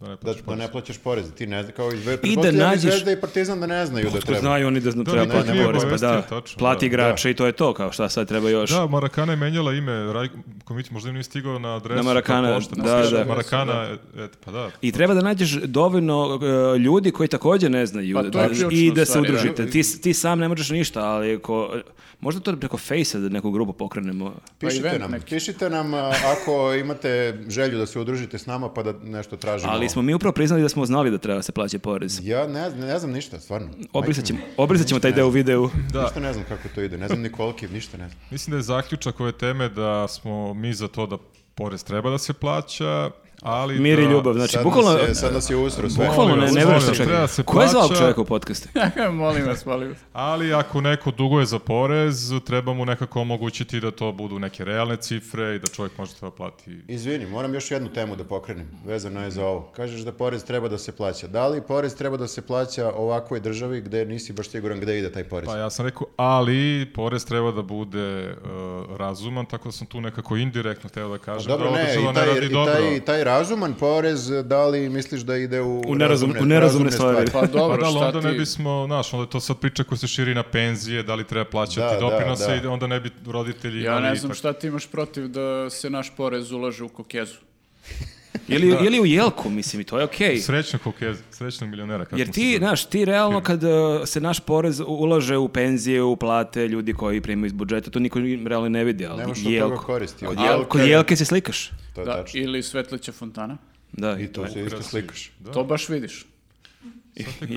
Speaker 4: Da ne
Speaker 1: da,
Speaker 4: plaćaš
Speaker 1: da
Speaker 4: porez.
Speaker 1: ne plaćaš porez. Ti ne zna, kao i Zvezda,
Speaker 3: I da
Speaker 1: pretpostavljam i
Speaker 3: nađeš-
Speaker 1: Zvezda i Partizan da ne znaju da
Speaker 3: Otkud
Speaker 1: treba.
Speaker 3: znaju oni da, zna-
Speaker 4: Da,
Speaker 3: treba
Speaker 4: da,
Speaker 3: platiti
Speaker 1: nije
Speaker 3: porez, pa
Speaker 4: obavestio,
Speaker 3: da.
Speaker 4: tačno,
Speaker 3: Plati
Speaker 4: da.
Speaker 3: igrače i to je to, kao šta sad treba još.
Speaker 4: Da, Marakana je menjala ime, Raj, Komić možda im nije stigao na adresu.
Speaker 3: Na Marakana,
Speaker 4: pa pošta,
Speaker 3: da,
Speaker 4: pa piše
Speaker 3: da.
Speaker 4: Marakana, et, pa da.
Speaker 3: I treba da nađeš dovoljno e, ljudi koji također ne znaju
Speaker 2: Pa
Speaker 3: da-
Speaker 2: to je
Speaker 3: da-
Speaker 2: ključno
Speaker 3: i da se
Speaker 2: stvar, da.
Speaker 3: udružite. Ti, ti sam ne možeš ništa, ali ako, možda to preko Face-a da neku grupu pokrenemo.
Speaker 1: Pišite
Speaker 2: event
Speaker 1: nam,
Speaker 2: neki.
Speaker 1: Pa pišite nam a, ako imate želju da se udružite s nama pa da nešto tražimo.
Speaker 3: Ali smo mi upravo priznali da smo znali da treba da se plaća porez.
Speaker 1: Ja ne, znam- ne znam ništa, stvarno.
Speaker 3: Obrisat ćemo, obrisat ćemo taj deo u videu.
Speaker 1: Da. Ništa ne znam kako to ide, ne znam ni koliki, ništa ne znam.
Speaker 4: Mislim da je zaključak ove teme da smo mi za to da porez treba da se plaća, ali
Speaker 3: Mir i
Speaker 4: da-
Speaker 3: ljubav, znači
Speaker 1: sad,
Speaker 3: bukvalno...
Speaker 1: nas je, sad nas je usro sve.
Speaker 3: Bukvalno ne,
Speaker 4: Molim
Speaker 3: ne vreš
Speaker 4: vas, molim vas,
Speaker 3: čovjeka.
Speaker 4: treba se
Speaker 3: Ko je zvao
Speaker 4: plaća-
Speaker 3: čovjeka u podcaste?
Speaker 2: molim vas, molim vas. Pa
Speaker 4: Ali ako neko duguje za porez, treba mu nekako omogućiti da to budu neke realne cifre i da čovjek može to da plati.
Speaker 1: Izvini, moram još jednu temu da pokrenem, vezano je za ovo. Kažeš da porez treba da se plaća. Da li porez treba da se plaća ovakvoj državi gde nisi baš siguran gde ide taj porez?
Speaker 4: Pa ja sam rekao, ali porez treba da bude e, razuman, tako da sam tu nekako indirektno hteo da kažem
Speaker 1: Pa Dobro,
Speaker 4: da ova
Speaker 1: ne,
Speaker 4: država
Speaker 1: i taj,
Speaker 4: radi
Speaker 1: i
Speaker 4: dobro.
Speaker 1: taj, taj razuman porez, da li misliš da ide u,
Speaker 3: U nerazum- u nerazumne stvari.
Speaker 2: Pa
Speaker 4: Pa
Speaker 2: dobro,
Speaker 4: da, ali
Speaker 2: šta
Speaker 4: onda
Speaker 2: ti...
Speaker 4: ne bismo, znaš, onda je to sad priča koja se širi na penzije, da li treba
Speaker 1: Da, da,
Speaker 4: plaćati doprinose
Speaker 1: da.
Speaker 4: i onda ne bi roditelji
Speaker 2: Ja
Speaker 4: imali
Speaker 2: ne znam
Speaker 4: tak-
Speaker 2: šta ti imaš protiv da se naš porez ulaže u kokezu.
Speaker 3: Ili,
Speaker 4: Da.
Speaker 3: ili u jelku, mislim, i to je okej.
Speaker 4: Srećno kokez, srećno milionera. kako
Speaker 3: Jer
Speaker 4: mu se
Speaker 3: ti,
Speaker 4: zove. Hm.
Speaker 3: znaš, ti realno kad uh, se naš porez u- ulaže u penzije, u plate, ljudi koji primaju iz budžeta, to niko im realno ne vidi, ali
Speaker 1: Nemaš od
Speaker 3: jelko.
Speaker 1: toga koristi. Od
Speaker 3: Kod, jel- kod
Speaker 1: jelke-
Speaker 3: jelke se slikaš.
Speaker 1: Pa, To je
Speaker 2: Da,
Speaker 1: tačno.
Speaker 2: ili svetleća fontana.
Speaker 3: Da, i,
Speaker 1: I to se isto slikaš.
Speaker 2: To baš vidiš.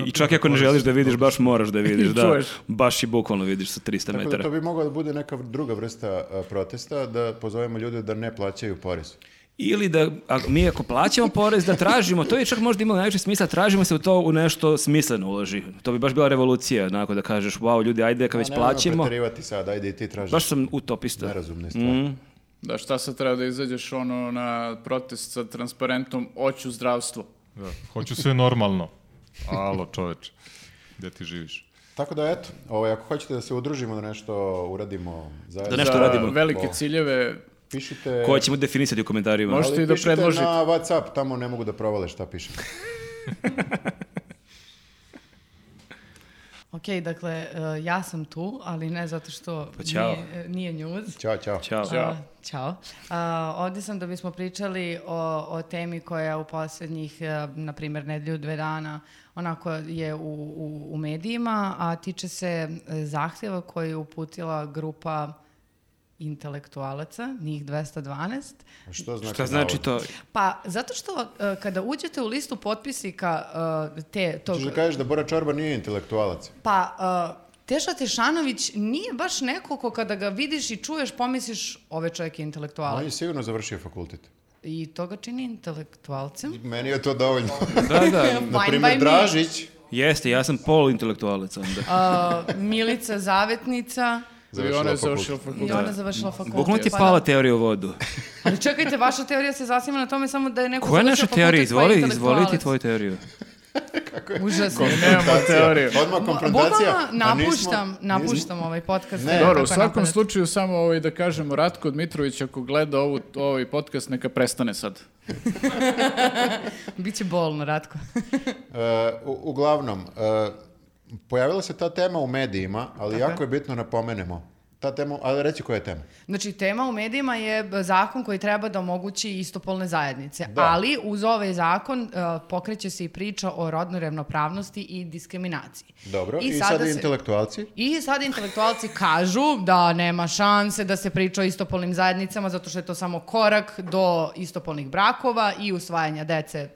Speaker 3: i čak i ako ne želiš da vidiš, baš moraš da vidiš,
Speaker 2: I
Speaker 3: da.
Speaker 2: čuješ.
Speaker 3: Baš i bukvalno vidiš sa 300
Speaker 1: Tako da to
Speaker 3: metara.
Speaker 1: bi mogla da bude neka druga vrsta a, protesta, da pozovemo ljude da ne plaćaju porez.
Speaker 3: Ili da ako, mi ako plaćamo porez, da tražimo, to je čak možda imalo najviše smisla, tražimo se u to u nešto smisleno uloži. To bi baš bila revolucija, onako da kažeš, wow, ljudi, ajde, kad već
Speaker 1: A nemojmo
Speaker 3: plaćamo,
Speaker 1: preterivati sad, ajde i ti tražiš
Speaker 3: baš sam utopista.
Speaker 1: nerazumne stvari.
Speaker 3: Mhm.
Speaker 2: Da šta sad treba da izađeš ono na protest sa transparentom oću zdravstvo.
Speaker 4: Da. Hoću sve normalno. Alo, čoveče. Gde ti živiš?
Speaker 1: Tako da eto, ovaj, ako hoćete da se udružimo, da nešto uradimo zajedno,
Speaker 3: Da nešto
Speaker 2: Za
Speaker 3: radimo.
Speaker 2: Velike
Speaker 1: O.
Speaker 2: ciljeve.
Speaker 1: pišite,
Speaker 3: Koje ćemo definisati u komentarima.
Speaker 2: Možda-
Speaker 1: ali
Speaker 2: Možete i da
Speaker 1: pišite
Speaker 2: predložite.
Speaker 1: na Whatsapp, tamo ne mogu da provale šta piše.
Speaker 10: Ok, dakle, e, ja sam tu, ali ne zato što
Speaker 3: Pa ćao.
Speaker 10: nije, e, nije news.
Speaker 1: Ćao, ćao.
Speaker 3: Ćao.
Speaker 2: Ćao.
Speaker 10: A, Ćao. A, ovdje sam da bismo pričali o, o temi koja u posljednjih, e, na primjer, nedelju, dve dana, onako je u, u, u medijima, a tiče se e, zahtjeva koje je uputila grupa intelektualaca, njih 212,
Speaker 1: Što znači,
Speaker 3: Šta znači
Speaker 1: navod?
Speaker 3: to?
Speaker 10: Pa, zato što e, kada uđete u listu potpisnika e, te, tog...
Speaker 1: Hoćeš da kažeš da Bora Čorba nije intelektualac.
Speaker 10: Pa, e, Teša Tešanović nije baš neko ko kada ga vidiš i čuješ pomisliš ove čovjek je
Speaker 1: On
Speaker 10: intelektualac.
Speaker 1: je sigurno završio fakultet.
Speaker 10: I to ga čini intelektualcem.
Speaker 1: Meni je to dovoljno.
Speaker 3: Da, da.
Speaker 10: Fine
Speaker 1: Na
Speaker 10: by
Speaker 1: primjer,
Speaker 10: me.
Speaker 1: Dražić.
Speaker 3: Jeste, ja sam poluintelektualac onda.
Speaker 10: A, Milica Zavetnica
Speaker 2: I
Speaker 1: Završila
Speaker 2: ona je
Speaker 1: fakultet.
Speaker 2: završila
Speaker 10: i
Speaker 2: fakultet.
Speaker 10: ona završila fakultet.
Speaker 3: Bukvalno Da. ti je
Speaker 10: Pa
Speaker 3: pala teorija u vodu.
Speaker 10: da. Ali čekajte, vaša teorija se zasniva na tome samo da je neko
Speaker 3: Koja je naša
Speaker 10: završio
Speaker 3: teorija?
Speaker 10: fakultet, pa je
Speaker 3: Izvoli, izvoli ti
Speaker 10: intelektualac.
Speaker 3: tvoju teoriju.
Speaker 10: Užasno.
Speaker 2: Nemamo teoriju.
Speaker 1: Odmah konfrontacija.
Speaker 10: Bukvalno
Speaker 1: A nismo-
Speaker 10: napuštam, napuštam ovaj podcast.
Speaker 1: Ne.
Speaker 10: Kako
Speaker 2: Dobro, u
Speaker 10: je
Speaker 2: svakom
Speaker 10: napadat.
Speaker 2: slučaju samo ovaj da kažemo Ratko Dmitrović ako gleda ovu, ovaj podcast neka prestane sad.
Speaker 10: Biće bolno, Ratko.
Speaker 1: E, u- uglavnom, e, pojavila se ta tema u medijima, ali jako je bitno da napomenemo. Ta tema, ali reći koja je tema.
Speaker 10: Znači, tema u medijima je b- zakon koji treba da omogući istopolne zajednice,
Speaker 1: Da.
Speaker 10: ali uz ovaj zakon e, pokreće se i priča o rodnoj ravnopravnosti i diskriminaciji.
Speaker 1: Dobro, i, sad,
Speaker 10: se-
Speaker 1: intelektualci.
Speaker 10: I sad intelektualci kažu da nema šanse da se priča o istopolnim zajednicama zato što je to samo korak do istopolnih brakova i usvajanja dece e,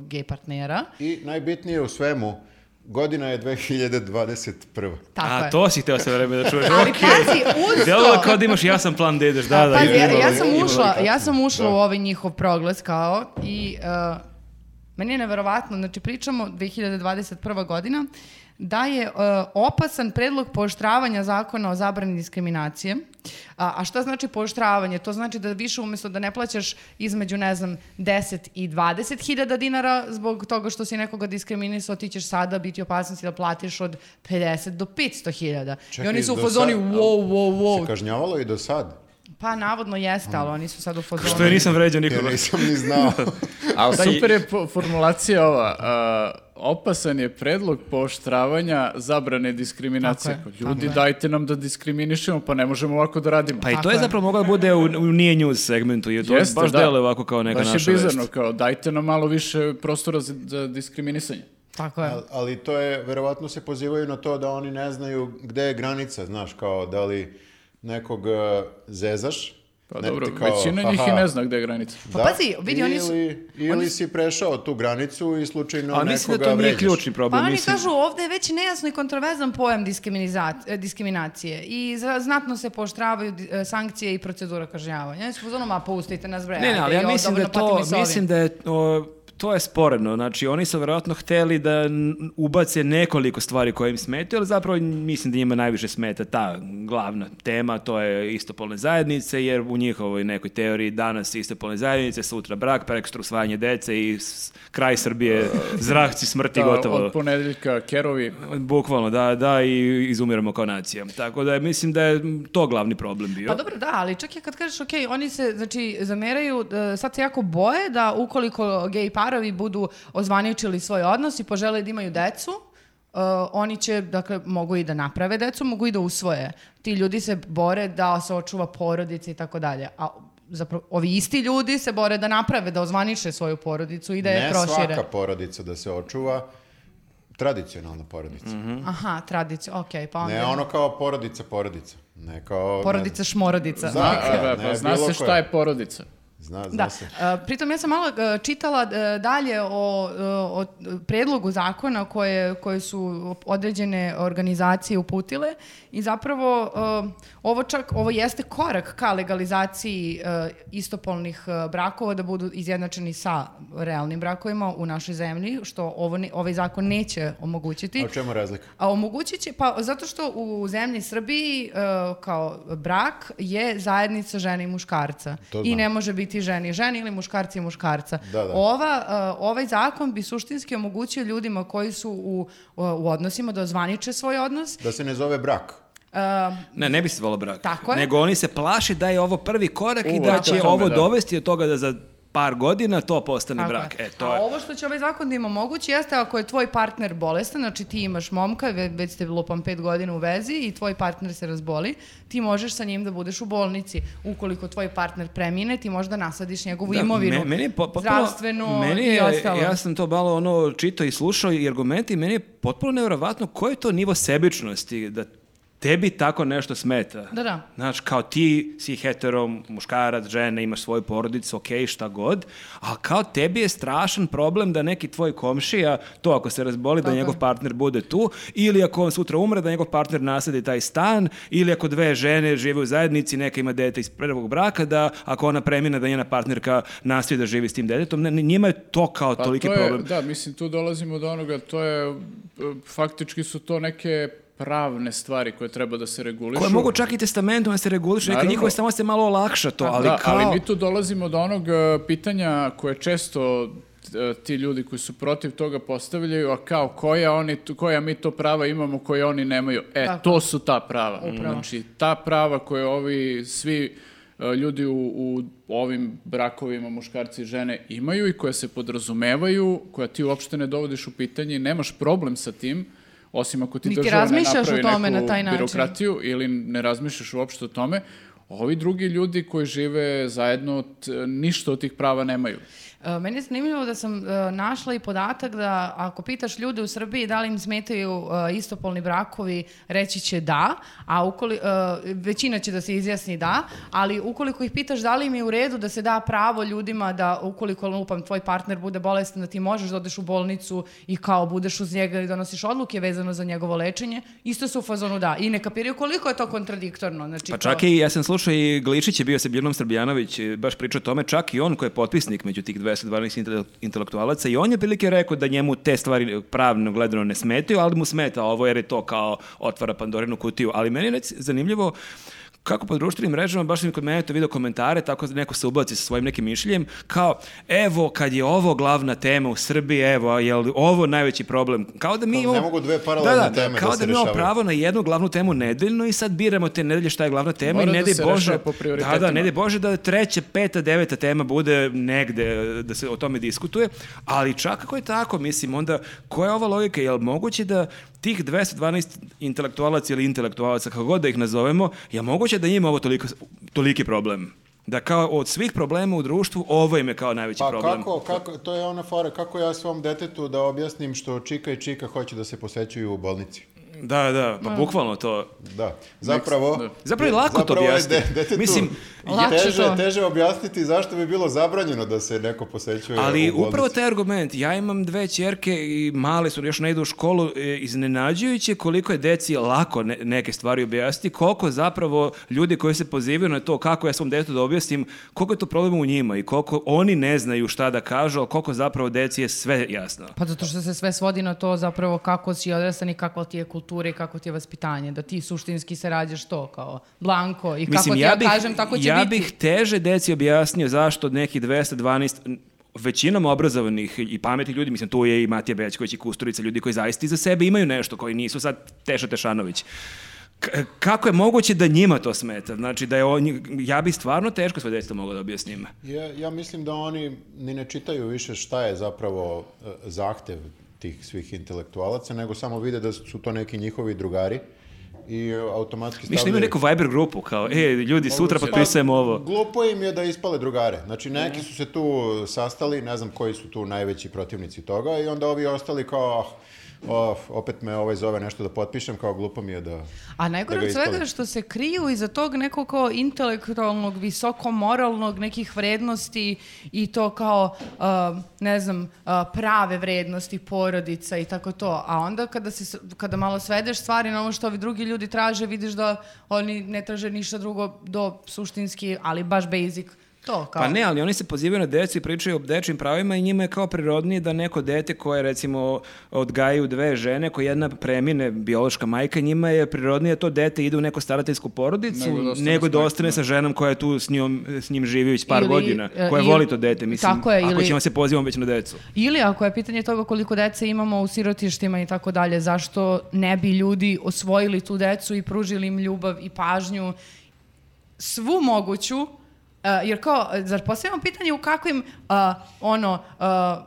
Speaker 10: gej partnera.
Speaker 1: I najbitnije u svemu, godina je 2021.
Speaker 10: Tako
Speaker 3: A,
Speaker 10: je.
Speaker 3: to si htio sve vreme da čuješ.
Speaker 10: Ali pazi, uz
Speaker 3: Delo
Speaker 10: to...
Speaker 3: kao da imaš jasan plan da ideš, da, da.
Speaker 10: Pazi, ja,
Speaker 3: ima-
Speaker 10: ja sam
Speaker 3: ima- Da.
Speaker 10: ušla, ja sam ušla u ovaj njihov proglas kao i uh, meni je neverovatno, znači pričamo 2021. godina, da je uh, opasan predlog pooštravanja zakona o zabrani diskriminacije. A, a šta znači pooštravanje? To znači da više umjesto da ne plaćaš između, ne znam, 10 i 20 hiljada dinara zbog toga što si nekoga diskriminisao, ti ćeš sada biti u opasnosti da platiš od 50 do 500 hiljada. I
Speaker 1: Čekaj,
Speaker 10: oni su u
Speaker 1: do
Speaker 10: fazoni,
Speaker 1: sad-
Speaker 10: wow, wow, wow,
Speaker 1: Se kažnjavalo i do sad.
Speaker 10: pa navodno jeste, ali oni su sad u fazonu.
Speaker 3: Što je nisam vređao
Speaker 1: Ja
Speaker 3: nikoga.
Speaker 1: nisam ni znao.
Speaker 2: Ali
Speaker 3: Da, i-
Speaker 2: super je po- formulacija ova. a, opasan je predlog pooštravanja zabrane diskriminacije.
Speaker 10: Tako je,
Speaker 2: Ljudi,
Speaker 10: tako je.
Speaker 2: dajte nam da diskriminišemo, pa ne možemo ovako da radimo.
Speaker 3: Pa i
Speaker 10: Tako
Speaker 3: to je
Speaker 10: je.
Speaker 3: zapravo moglo da bude u, u nije news segmentu. I to
Speaker 2: Jeste,
Speaker 3: baš
Speaker 2: da.
Speaker 3: deluje ovako kao neka
Speaker 2: Baš
Speaker 3: naša
Speaker 2: je
Speaker 3: vest.
Speaker 2: bizarno, kao dajte nam malo više prostora za, za diskriminisanje.
Speaker 10: Tako je.
Speaker 1: Al- Ali to je, verovatno se pozivaju na to da oni ne znaju gde je granica, znaš, kao da li nekog e, zezaš.
Speaker 2: Pa
Speaker 1: ne,
Speaker 2: dobro,
Speaker 1: ti kao,
Speaker 2: većina njih i
Speaker 1: haha,
Speaker 2: ne zna gde je granica.
Speaker 10: Pa
Speaker 1: da,
Speaker 10: pazi, vidi, oni su-
Speaker 1: Ili, ili si prešao tu granicu i slučajno
Speaker 3: Ali mislim da
Speaker 1: nekoga
Speaker 3: to nije
Speaker 1: vređaš.
Speaker 3: ključni
Speaker 10: Pa
Speaker 3: problem.
Speaker 10: oni
Speaker 3: mislim.
Speaker 10: kažu ovdje je već nejasno i kontroverzan pojam diskriminiza- e, diskriminacije i za- znatno se poštravaju sankcije i procedura kažnjavanja. Oni su u zonoma, pa ustajte nas bre.
Speaker 3: Ne, ne, ali
Speaker 10: ajde,
Speaker 3: ja
Speaker 10: jo,
Speaker 3: mislim da
Speaker 10: dovoljno
Speaker 3: to,
Speaker 10: patimo i sa ovim.
Speaker 3: mislim da je o, to je sporedno. Znači, oni su vjerojatno hteli da n- ubace nekoliko stvari koje im smetaju, ali zapravo mislim da njima najviše smeta ta glavna tema, to je istopolne zajednice, jer u njihovoj nekoj teoriji danas istopolne zajednice, sutra brak, prekstra usvajanje dece i s- kraj Srbije, zrahci smrti,
Speaker 2: Da,
Speaker 3: gotovo.
Speaker 2: Od ponedeljka kerovi.
Speaker 3: Bukvalno, da, da, i izumiramo kao nacija. Tako da mislim da je to glavni problem bio.
Speaker 10: Pa dobro, da, ali čak i kad kažeš, ok, oni se, znači, zameraju, e, sad se jako boje da ukoliko gej parovi budu ozvaničili svoj odnos i požele da imaju decu, e, oni će, dakle, mogu i da naprave decu, mogu i da usvoje. Ti ljudi se bore da se očuva porodica i tako dalje. A zapravo, ovi isti ljudi se bore da naprave, da ozvaniče svoju porodicu i da je
Speaker 1: ne
Speaker 10: prošire.
Speaker 1: svaka porodica da se očuva, tradicionalna porodica.
Speaker 2: Mhm.
Speaker 10: Aha, tradicija, ok, pa onda...
Speaker 1: Ne ono kao porodica, porodica. Ne kao... ne
Speaker 10: Porodica šmorodica.
Speaker 1: Za-
Speaker 2: A,
Speaker 1: Tako je,
Speaker 2: da,
Speaker 1: ne,
Speaker 2: pa zna
Speaker 1: bilo koje.
Speaker 2: se šta je porodica.
Speaker 1: Zna, zna
Speaker 10: Da,
Speaker 1: se.
Speaker 10: e, pritom ja sam malo e, čitala e, dalje o, e, o predlogu zakona koje, koje su određene organizacije uputile i zapravo e, ovo čak, ovo jeste korak ka legalizaciji e, istopolnih e, brakova da budu izjednačeni sa realnim brakovima u našoj zemlji, što ovo ne- ovaj zakon neće omogućiti.
Speaker 1: A u čemu je razlika?
Speaker 10: A omogućit će, pa zato što u zemlji Srbiji e, kao brak je zajednica žene i muškarca.
Speaker 1: To
Speaker 10: I
Speaker 1: znam.
Speaker 10: ne može biti ženi i ženi ili muškarci i muškarca.
Speaker 1: Da, da.
Speaker 10: Ova, e, ovaj zakon bi suštinski omogućio ljudima koji su u, u odnosima da ozvaniče svoj odnos.
Speaker 1: Da se ne zove brak.
Speaker 10: E,
Speaker 3: Ne, ne bi se zvalo brak.
Speaker 10: Tako je.
Speaker 3: Nego oni se plaše da je ovo prvi korak i
Speaker 2: U,
Speaker 3: da
Speaker 2: tako
Speaker 3: će
Speaker 2: je.
Speaker 3: ovo
Speaker 2: Da.
Speaker 3: dovesti do toga da za par godina to postane
Speaker 10: Tako
Speaker 3: brak.
Speaker 10: je.
Speaker 3: E, to
Speaker 10: A
Speaker 3: je.
Speaker 10: ovo što će ovaj zakon da im omogući jeste ako je tvoj partner bolestan, znači ti imaš momka, ve- već ste lupam pet godina u vezi i tvoj partner se razboli, ti možeš sa njim da budeš u bolnici. Ukoliko tvoj partner premine, ti možeš da nasadiš njegovu
Speaker 3: Da,
Speaker 10: imovinu,
Speaker 3: me- meni je po- potpuno-
Speaker 10: zdravstvenu
Speaker 3: meni
Speaker 10: i
Speaker 3: je-
Speaker 10: ostalo.
Speaker 3: Ja sam to malo ono čito i slušao i argumenti, meni je potpuno nevjerovatno koji je to nivo sebičnosti da tebi tako nešto smeta.
Speaker 10: Da, da.
Speaker 3: Znaš, kao ti si heterom, muškarac, žena, imaš svoju porodicu, okej, šta god, ali kao tebi je strašan problem da neki tvoj komšija, to ako se razboli, da
Speaker 10: Tako je.
Speaker 3: njegov partner bude tu, ili ako on sutra umre, da njegov partner nasadi taj stan, ili ako dve žene žive u zajednici, neka ima dete iz prvog braka, da ako ona premine, da njena partnerka nastavi da živi s tim detetom. Ne, ne, njima je to kao
Speaker 2: Pa
Speaker 3: toliki
Speaker 2: to je-
Speaker 3: problem.
Speaker 2: Da, mislim, tu dolazimo do onoga, to je, e, faktički su to neke pravne stvari koje treba da se regulišu.
Speaker 3: Koje mogu čak i testamentom da se regulišu, neka
Speaker 2: Naravno.
Speaker 3: njihove samo se malo olakša to, ali
Speaker 2: da,
Speaker 3: kao...
Speaker 2: ali mi tu dolazimo do onog e, pitanja koje često e, ti ljudi koji su protiv toga postavljaju, a kao koja, oni, tu- koja mi to prava imamo koje oni nemaju. E,
Speaker 10: Tako.
Speaker 2: to su ta prava.
Speaker 10: Upravo.
Speaker 2: Znači, ta prava koje ovi svi e, ljudi u, u ovim brakovima, muškarci i žene imaju i koja se podrazumevaju, koja ti uopšte ne dovodiš u pitanje i nemaš problem sa tim, osim ako ti
Speaker 10: Niti
Speaker 2: država ne
Speaker 10: razmišljaš o
Speaker 2: napravi
Speaker 10: tome
Speaker 2: neku
Speaker 10: na taj način.
Speaker 2: birokratiju demokratiju ili ne razmišljaš uopšte o tome, ovi drugi ljudi koji žive zajedno t- ništa od tih prava nemaju.
Speaker 10: E, Meni je zanimljivo da sam e, našla i podatak da ako pitaš ljude u Srbiji da li im smetaju e, istopolni brakovi, reći će da, a ukoli, e, većina će da se izjasni da, ali ukoliko ih pitaš da li im je u redu da se da pravo ljudima da ukoliko lupam tvoj partner bude bolestan da ti možeš da odeš u bolnicu i kao budeš uz njega i donosiš odluke vezano za njegovo lečenje, isto su u fazonu da. I ne kapiraju koliko je to kontradiktorno. Znači,
Speaker 3: Pa
Speaker 10: to-
Speaker 3: čak i, ja sam slušao i Gličić je bio sa Bjornom Srbljanović, e, baš pričao o tome, čak i on koji je potpisnik među tih 212 intele- intelektualaca i on je prilike rekao da njemu te stvari pravno gledano ne smetaju, ali mu smeta ovo jer je to kao otvara Pandorinu kutiju. Ali meni je rec- zanimljivo kako po društvenim mrežama, baš sam i kod mene to video komentare, tako da neko se ubaci sa svojim nekim mišljenjem, kao, evo, kad je ovo glavna tema u Srbiji, evo, je li ovo najveći problem? Kao da
Speaker 1: Kao
Speaker 3: mi
Speaker 1: Pa, ne
Speaker 3: imamo...
Speaker 1: mogu dve paralelne
Speaker 3: da, da,
Speaker 1: teme da
Speaker 3: Kao da,
Speaker 1: se
Speaker 3: mi imamo
Speaker 1: rešavaju.
Speaker 3: pravo na jednu glavnu temu nedeljno i sad biramo te nedelje šta je glavna tema tema
Speaker 2: Mora
Speaker 3: i ne
Speaker 2: da
Speaker 3: daj
Speaker 2: se
Speaker 3: Bože,
Speaker 2: rešava po
Speaker 3: da, da,
Speaker 2: prioritetima.
Speaker 3: ne daj Bože da treća, peta, deveta tema bude negde, da se o tome diskutuje, ali čak ako je tako, mislim, onda koja je ova logika, je li moguće da tih 212 intelektualaca ili intelektualaca, kako god da ih nazovemo, je moguće da njima ovo toliko, toliki problem? Da kao od svih problema u društvu, ovo im je kao najveći
Speaker 1: Pa
Speaker 3: problem.
Speaker 1: kako, kako, to je ona fora, kako ja svom detetu da objasnim što Čika i Čika hoće da se posećuju u bolnici.
Speaker 3: Da, da, pa bukvalno to.
Speaker 1: Da, zapravo...
Speaker 2: da.
Speaker 3: Zapravo je lako to
Speaker 1: zapravo je
Speaker 3: objasniti.
Speaker 1: de- detetu
Speaker 3: Mislim,
Speaker 10: Lakše
Speaker 1: teže,
Speaker 10: to.
Speaker 1: teže objasniti zašto bi bilo zabranjeno da se neko posećuje
Speaker 3: Ali
Speaker 1: u bolnici.
Speaker 3: upravo taj argument, ja imam dve ćerke i male su, još ne idu u školu, e, iznenađujuće koliko je deci lako ne- neke stvari objasniti, koliko zapravo ljudi koji se pozivaju na to kako ja svom detetu da objasnim, koliko je to problem u njima i koliko oni ne znaju šta da kažu, a koliko zapravo deci je sve jasno.
Speaker 10: Pa zato što se sve svodi na to zapravo kako si odrastan i kakva ti je kultura i kako ti je vaspitanje. Da ti suštinski se rađaš to kao blanko i kako ti ja, kažem tako će
Speaker 3: ja
Speaker 10: biti.
Speaker 3: bih teže deci objasnio zašto od nekih 212 n- većinom obrazovanih i pametnih ljudi, mislim tu je i Matija Bećković i Kusturica, ljudi koji zaista iza sebe imaju nešto, koji nisu sad Teša Tešanović. K- kako je moguće da njima to smeta? Znači da je on, ja bi stvarno teško svoje deci to mogao da objasnim.
Speaker 1: Ja, ja mislim da oni ni ne čitaju više šta je zapravo e, zahtev tih svih intelektualaca, nego samo vide da su to neki njihovi drugari i e, automatski
Speaker 3: Mislim da
Speaker 1: stavljaju... Pa,
Speaker 3: imaju neku Viber grupu, kao, e, ljudi, sutra potpisujemo ovo.
Speaker 1: Glupo im je da ispale drugare. Znači, neki su se tu sastali, ne znam koji su tu najveći protivnici toga i onda ovi ostali kao, "Ah, of, opet me ovaj zove nešto da potpišem, kao glupo mi je da...
Speaker 10: A
Speaker 1: da
Speaker 10: najgore
Speaker 1: ga
Speaker 10: od svega
Speaker 1: ispali.
Speaker 10: je što se kriju iza tog nekog kao intelektualnog, visokomoralnog nekih vrednosti i to kao, uh, ne znam, uh, prave vrednosti porodica i tako to. A onda kada, se, s- kada malo svedeš stvari na ono što ovi drugi ljudi traže, vidiš da oni ne traže ništa drugo do suštinski, ali baš basic. To kao.
Speaker 3: Pa ne, ali oni se pozivaju na decu i pričaju o dečjim pravima i njima je kao prirodnije da neko dete koje recimo odgajaju dve žene, koje jedna premine biološka majka, njima je prirodnije da to dete ide u neku starateljsku porodicu
Speaker 2: Nego da
Speaker 3: nego,
Speaker 2: ostane s
Speaker 3: da
Speaker 2: majkom,
Speaker 3: ostane
Speaker 2: da.
Speaker 3: sa ženom koja je tu s, njom, s njim živi već par
Speaker 10: Ili,
Speaker 3: godina,
Speaker 10: e,
Speaker 3: koja
Speaker 10: ili-
Speaker 3: voli to dete, mislim,
Speaker 10: Tako je,
Speaker 3: ako
Speaker 10: ili-
Speaker 3: ćemo se pozivamo već na decu.
Speaker 10: Ili ako je pitanje toga koliko dece imamo u sirotištima i tako dalje, zašto ne bi ljudi osvojili tu decu i pružili im ljubav i pažnju svu moguću, eh, e, jer kao, e, zar postavljamo pitanje u kakvim, a, ono, a,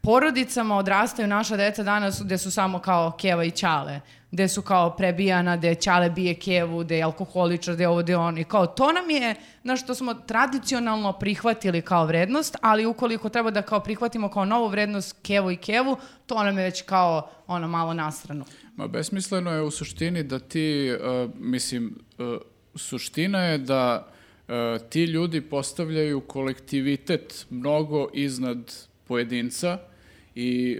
Speaker 10: porodicama odrastaju naša deca danas gde su samo kao keva i čale gde su kao prebijana, gde Ćale bije Kevu, gde je alkoholičar, gde je ovo, gde je ono. I kao to nam je na što smo tradicionalno prihvatili kao vrednost, ali ukoliko treba da kao prihvatimo kao novu vrednost Kevu i Kevu, to nam je već kao ono malo nastrano.
Speaker 2: Ma besmisleno je u suštini da ti, uh, mislim, uh, suština je da uh, ti ljudi postavljaju kolektivitet mnogo iznad pojedinca i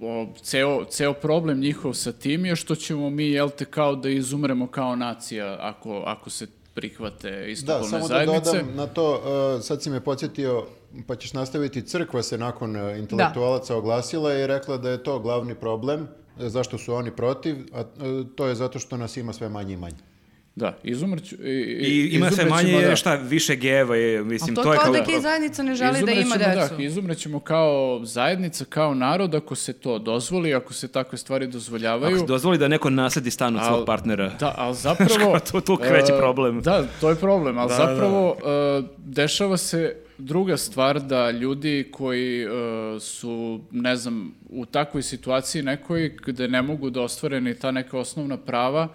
Speaker 2: e, o, ceo, ceo problem njihov sa tim je što ćemo mi, jel te, kao da izumremo kao nacija ako, ako se prihvate istopolne zajednice.
Speaker 1: Da, samo
Speaker 2: zajednice.
Speaker 1: da dodam na to, uh, sad si me podsjetio, pa ćeš nastaviti, crkva se nakon uh, intelektualaca oglasila i rekla da je to glavni problem, uh, zašto su oni protiv, a uh, to je zato što nas ima sve manje i manje.
Speaker 2: Da, izumrću... I,
Speaker 3: I ima sve
Speaker 2: izumrećemo,
Speaker 3: manje,
Speaker 2: da.
Speaker 3: šta, više geva je, mislim,
Speaker 10: A to,
Speaker 3: to je
Speaker 10: kao
Speaker 3: kao...
Speaker 10: da gej zajednica ne želi da ima
Speaker 2: Izumrećemo,
Speaker 10: decu.
Speaker 2: Da, izumrećemo kao zajednica, kao narod, ako se to dozvoli, ako se takve stvari dozvoljavaju.
Speaker 3: Ako se dozvoli da neko nasledi stan od svog
Speaker 2: Al-
Speaker 3: partnera.
Speaker 2: Da, ali zapravo...
Speaker 3: Tu- tu kreće
Speaker 2: e,
Speaker 3: problem.
Speaker 2: Da, to je problem, ali
Speaker 3: Da,
Speaker 2: zapravo e, dešava se druga stvar da ljudi koji e, su, ne znam, u takvoj situaciji nekoj gde ne mogu da ostvare ni ta neka osnovna prava,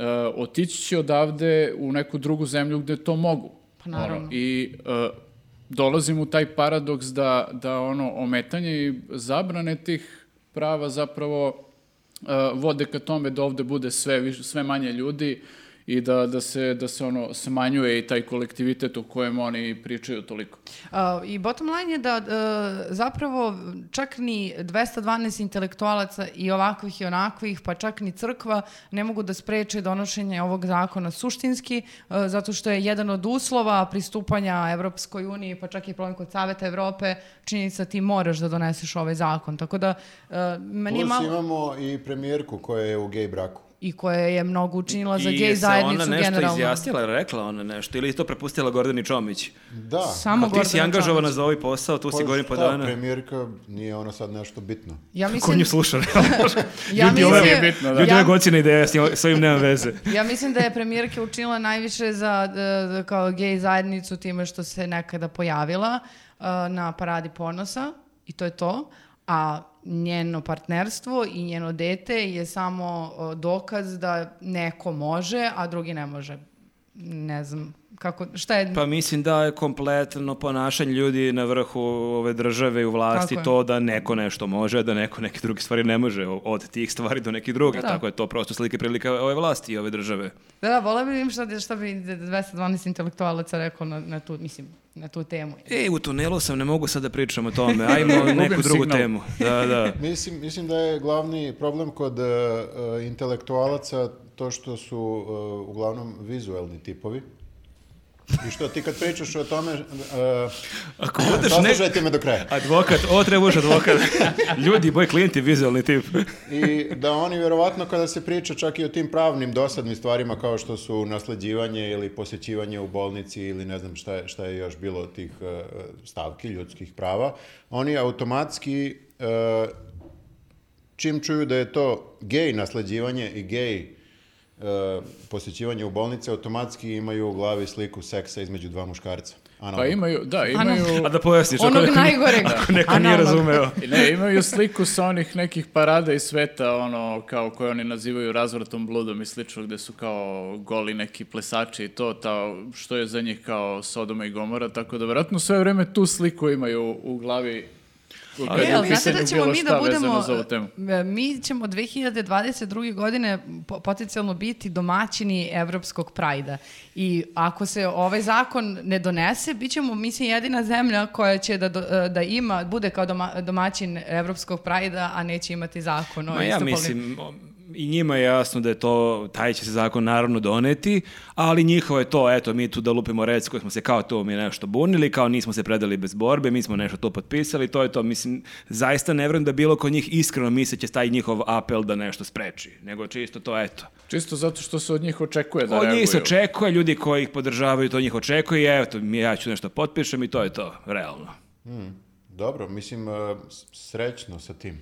Speaker 2: e, otići će odavde u neku drugu zemlju gde to mogu.
Speaker 10: Pa naravno.
Speaker 2: Ono, I e, dolazim u taj paradoks da, da ono ometanje i zabrane tih prava zapravo e, vode ka tome da ovde bude sve, više, sve manje ljudi i da, da, se, da se ono smanjuje i taj kolektivitet o kojem oni pričaju toliko.
Speaker 10: A, Uh, I bottom line je da e, zapravo čak ni 212 intelektualaca i ovakvih i onakvih, pa čak ni crkva ne mogu da spreče donošenje ovog zakona suštinski, e, zato što je jedan od uslova pristupanja Evropskoj uniji, pa čak i problem kod Saveta Evrope, činjenica ti moraš da doneseš ovaj zakon. Tako da, e, meni je
Speaker 1: Plus
Speaker 10: malo...
Speaker 1: imamo i premijerku koja je u gej braku.
Speaker 10: I koja je mnogo učinila za
Speaker 3: I
Speaker 10: gej
Speaker 3: se
Speaker 10: zajednicu
Speaker 3: ona
Speaker 10: generalno.
Speaker 3: nešto izjasnila, rekla ona nešto, ili je to prepustila Gordani Čomić.
Speaker 1: Da.
Speaker 10: Samo
Speaker 3: Kao ti si
Speaker 10: Gordana
Speaker 3: angažovana
Speaker 10: Čomić.
Speaker 3: za ovaj posao, tu si
Speaker 1: Pa
Speaker 3: godin po
Speaker 1: šta,
Speaker 3: dana.
Speaker 1: premijerka, nije ona sad nešto bitno.
Speaker 10: Ja
Speaker 3: Ko
Speaker 10: mislim,
Speaker 3: nju sluša?
Speaker 10: ja
Speaker 3: Ljudi, ovo
Speaker 10: mislim,
Speaker 3: je
Speaker 2: bitno, da.
Speaker 3: Ljudi,
Speaker 10: ja-
Speaker 3: ove godine ideja, s njim- s ovim nema veze.
Speaker 10: Ja mislim da je premijerka učinila najviše za e, za kao gej zajednicu time što se nekada pojavila e, na paradi ponosa i to je to. A njeno partnerstvo i njeno dete je samo e, dokaz da neko može, a drugi ne može. Ne znam kako, šta je...
Speaker 3: Pa mislim da je kompletno ponašanje ljudi na vrhu ove države i u vlasti
Speaker 10: Tako je.
Speaker 3: to da neko nešto može, da neko neke druge stvari ne može, o- od tih stvari do nekih drugih.
Speaker 10: Da.
Speaker 3: Tako je to prosto slike prilika ove vlasti i ove države.
Speaker 10: Da, da, vola bi vidim šta, šta bi 212 intelektualaca rekao na, na tu, mislim, na tu temu.
Speaker 3: E, u tunelu sam, ne mogu sad da pričam o tome, ajmo neku drugu
Speaker 2: signal.
Speaker 3: temu. Da, da.
Speaker 1: Mislim, mislim da je glavni problem kod e, e, intelektualaca to što su e, uglavnom vizuelni tipovi. I što ti kad pričaš o tome, e,
Speaker 3: Ako budeš ne...
Speaker 1: saslušajte me do kraja.
Speaker 3: Advokat, o, trebaš advokat. Ljudi, moj klijent je vizualni tip.
Speaker 1: I da oni vjerovatno kada se priča čak i o tim pravnim dosadnim stvarima kao što su nasleđivanje ili posjećivanje u bolnici ili ne znam šta je, šta je još bilo od tih e, stavki ljudskih prava, oni automatski e, čim čuju da je to gej nasleđivanje i gej e, posjećivanje u bolnice, automatski imaju u glavi sliku seksa između dva muškarca. Analno.
Speaker 2: Pa imaju, da, imaju...
Speaker 3: A da pojasniš, ako
Speaker 10: Onog
Speaker 3: neko,
Speaker 10: najgoreg.
Speaker 3: ako neko nije
Speaker 10: Analog.
Speaker 3: razumeo.
Speaker 2: Ne, imaju sliku sa onih nekih parada i sveta, ono, kao koje oni nazivaju razvratom bludom i slično, gde su kao goli neki plesači i to, ta, što je za njih kao Sodoma i Gomora, tako da vjerojatno sve vreme tu sliku imaju u glavi kad
Speaker 10: E,
Speaker 2: je u
Speaker 10: ali znate da
Speaker 2: pitanju
Speaker 10: ćemo
Speaker 2: bilo
Speaker 10: mi
Speaker 2: šta
Speaker 10: da
Speaker 2: vezano
Speaker 10: budemo,
Speaker 2: za ovu temu.
Speaker 10: e, mi ćemo 2022. godine po- potencijalno biti domaćini evropskog prajda. I ako se ovaj zakon ne donese, bit ćemo, mislim, jedina zemlja koja će da, do- e, da ima, bude kao doma, domaćin evropskog prajda, a neće imati zakon. o
Speaker 3: Ma ja
Speaker 10: istopolnim-
Speaker 3: mislim, o, i njima je jasno da je to, taj će se zakon naravno doneti, ali njihovo je to, eto, mi tu da lupimo rec koji smo se kao to mi nešto bunili, kao nismo se predali bez borbe, mi smo nešto to potpisali, to je to. Mislim, zaista ne vjerujem da bilo ko njih iskreno misleće taj njihov apel da nešto spreči, nego čisto to, eto.
Speaker 2: Čisto zato što se od njih očekuje da
Speaker 3: Od
Speaker 2: reaguju.
Speaker 3: njih se očekuje, ljudi koji ih podržavaju, to njih očekuje, i eto, mi- ja ću nešto potpišem i to je to, realno.
Speaker 1: Dobro, mislim, e, s- srećno sa tim.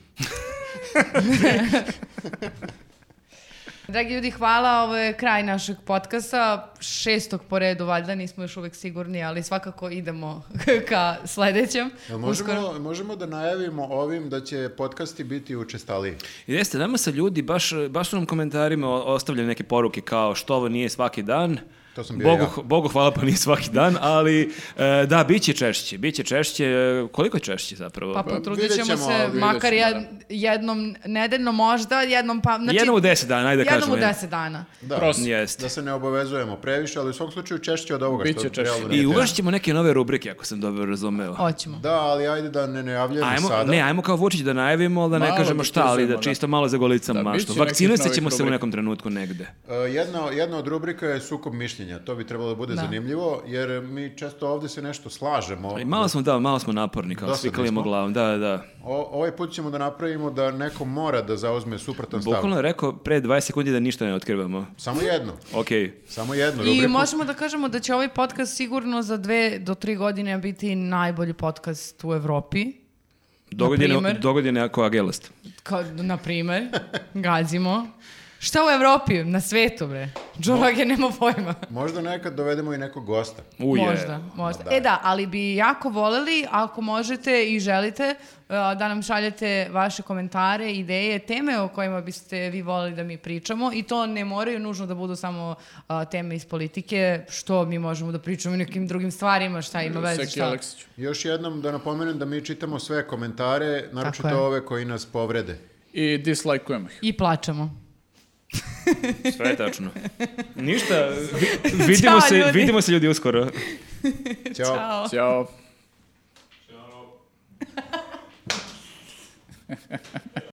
Speaker 10: Dragi ljudi, hvala. Ovo je kraj našeg podcasta. Šestog po redu, valjda nismo još uvek sigurni, ali svakako idemo ka sledećem.
Speaker 1: Jel možemo, možemo da najavimo ovim da će podcasti biti učestaliji?
Speaker 3: Jeste, nama se ljudi, baš, baš su nam komentarima ostavljaju neke poruke kao što ovo nije svaki dan.
Speaker 1: To sam bio
Speaker 3: Bogu,
Speaker 1: ja.
Speaker 3: Bogu hvala pa nije svaki dan, ali e, da, bit će češće, bit će češće, E, koliko je češće zapravo?
Speaker 10: Pa potrudit
Speaker 1: vidjet
Speaker 10: ćemo
Speaker 1: ćemo,
Speaker 10: se,
Speaker 1: vidjet
Speaker 10: makar
Speaker 1: ćemo,
Speaker 10: jed- jednom nedeljno možda, jednom pa... Znači,
Speaker 3: jednom u deset dana, ajde da
Speaker 10: jednom
Speaker 3: kažemo.
Speaker 10: u deset dana.
Speaker 1: Da,
Speaker 2: Prosim.
Speaker 3: Jeste.
Speaker 1: da se ne obavezujemo previše, ali u svom slučaju češće od ovoga.
Speaker 2: Biće
Speaker 1: što
Speaker 2: češće.
Speaker 1: realno nije
Speaker 3: I
Speaker 1: tema.
Speaker 3: uvršćemo neke nove rubrike, ako sam dobro razumeo.
Speaker 10: Hoćemo.
Speaker 1: Da, ali ajde da ne najavljujemo
Speaker 3: Ajmo,
Speaker 1: sada.
Speaker 3: ne, ajmo kao Vučić da najavimo, ali da ne
Speaker 2: Malo
Speaker 3: kažemo
Speaker 2: da
Speaker 3: šta, ali da
Speaker 2: krizujemo, da.
Speaker 3: čisto malo zagolicamo
Speaker 2: Da, bit
Speaker 3: maštu.
Speaker 2: će
Speaker 3: Vakcinisat
Speaker 2: nekih
Speaker 3: ćemo
Speaker 2: novih
Speaker 3: se u
Speaker 2: rubrika.
Speaker 3: nekom trenutku negde.
Speaker 1: E, Jedna, jedna od rubrika je sukob mišljenja. To bi trebalo da bude
Speaker 10: Da.
Speaker 1: zanimljivo, jer mi često ovdje se nešto slažemo.
Speaker 3: I malo smo, da, malo smo naporni, kao
Speaker 1: Dosadni
Speaker 3: svi klijemo
Speaker 1: Pa, smo.
Speaker 3: glavom, da, da.
Speaker 1: O, ovaj put ćemo da napravimo da neko mora da zauzme suprotan stav.
Speaker 3: Bukvalno je rekao pre 20 sekundi da ništa ne otkrivamo.
Speaker 1: Samo jedno.
Speaker 3: Okej.
Speaker 1: Samo jednu rubriku.
Speaker 10: I možemo da kažemo da će ovaj podcast sigurno za dve do tri godine biti najbolji podcast u Evropi.
Speaker 3: Dogodine,
Speaker 10: primer?
Speaker 3: dogodine ako agelast.
Speaker 10: Kao, na primer, gazimo. Šta u Evropi? Na svetu, bre. Joe Rogan nema pojma.
Speaker 1: Možda nekad dovedemo i nekog gosta.
Speaker 3: Uje.
Speaker 10: Možda, možda. E da, ali bi jako voleli, ako možete i želite, uh, da nam šaljete vaše komentare, ideje, teme o kojima biste vi voleli da mi pričamo i to ne moraju nužno da budu samo uh, teme iz politike, što mi možemo da pričamo o nekim drugim stvarima, šta ima veze,
Speaker 2: Seki
Speaker 10: šta.
Speaker 2: Aleksiću.
Speaker 1: Još jednom da napomenem da mi čitamo sve komentare,
Speaker 10: Tako je.
Speaker 1: naročito ove koji nas povrede.
Speaker 2: I dislajkujemo ih.
Speaker 10: I plačemo.
Speaker 3: Sve je tačno. Ništa, vi- vidimo, se,
Speaker 10: ljudi.
Speaker 3: vidimo se ljudi uskoro.
Speaker 1: Ćao.
Speaker 10: Ćao.
Speaker 2: Ćao.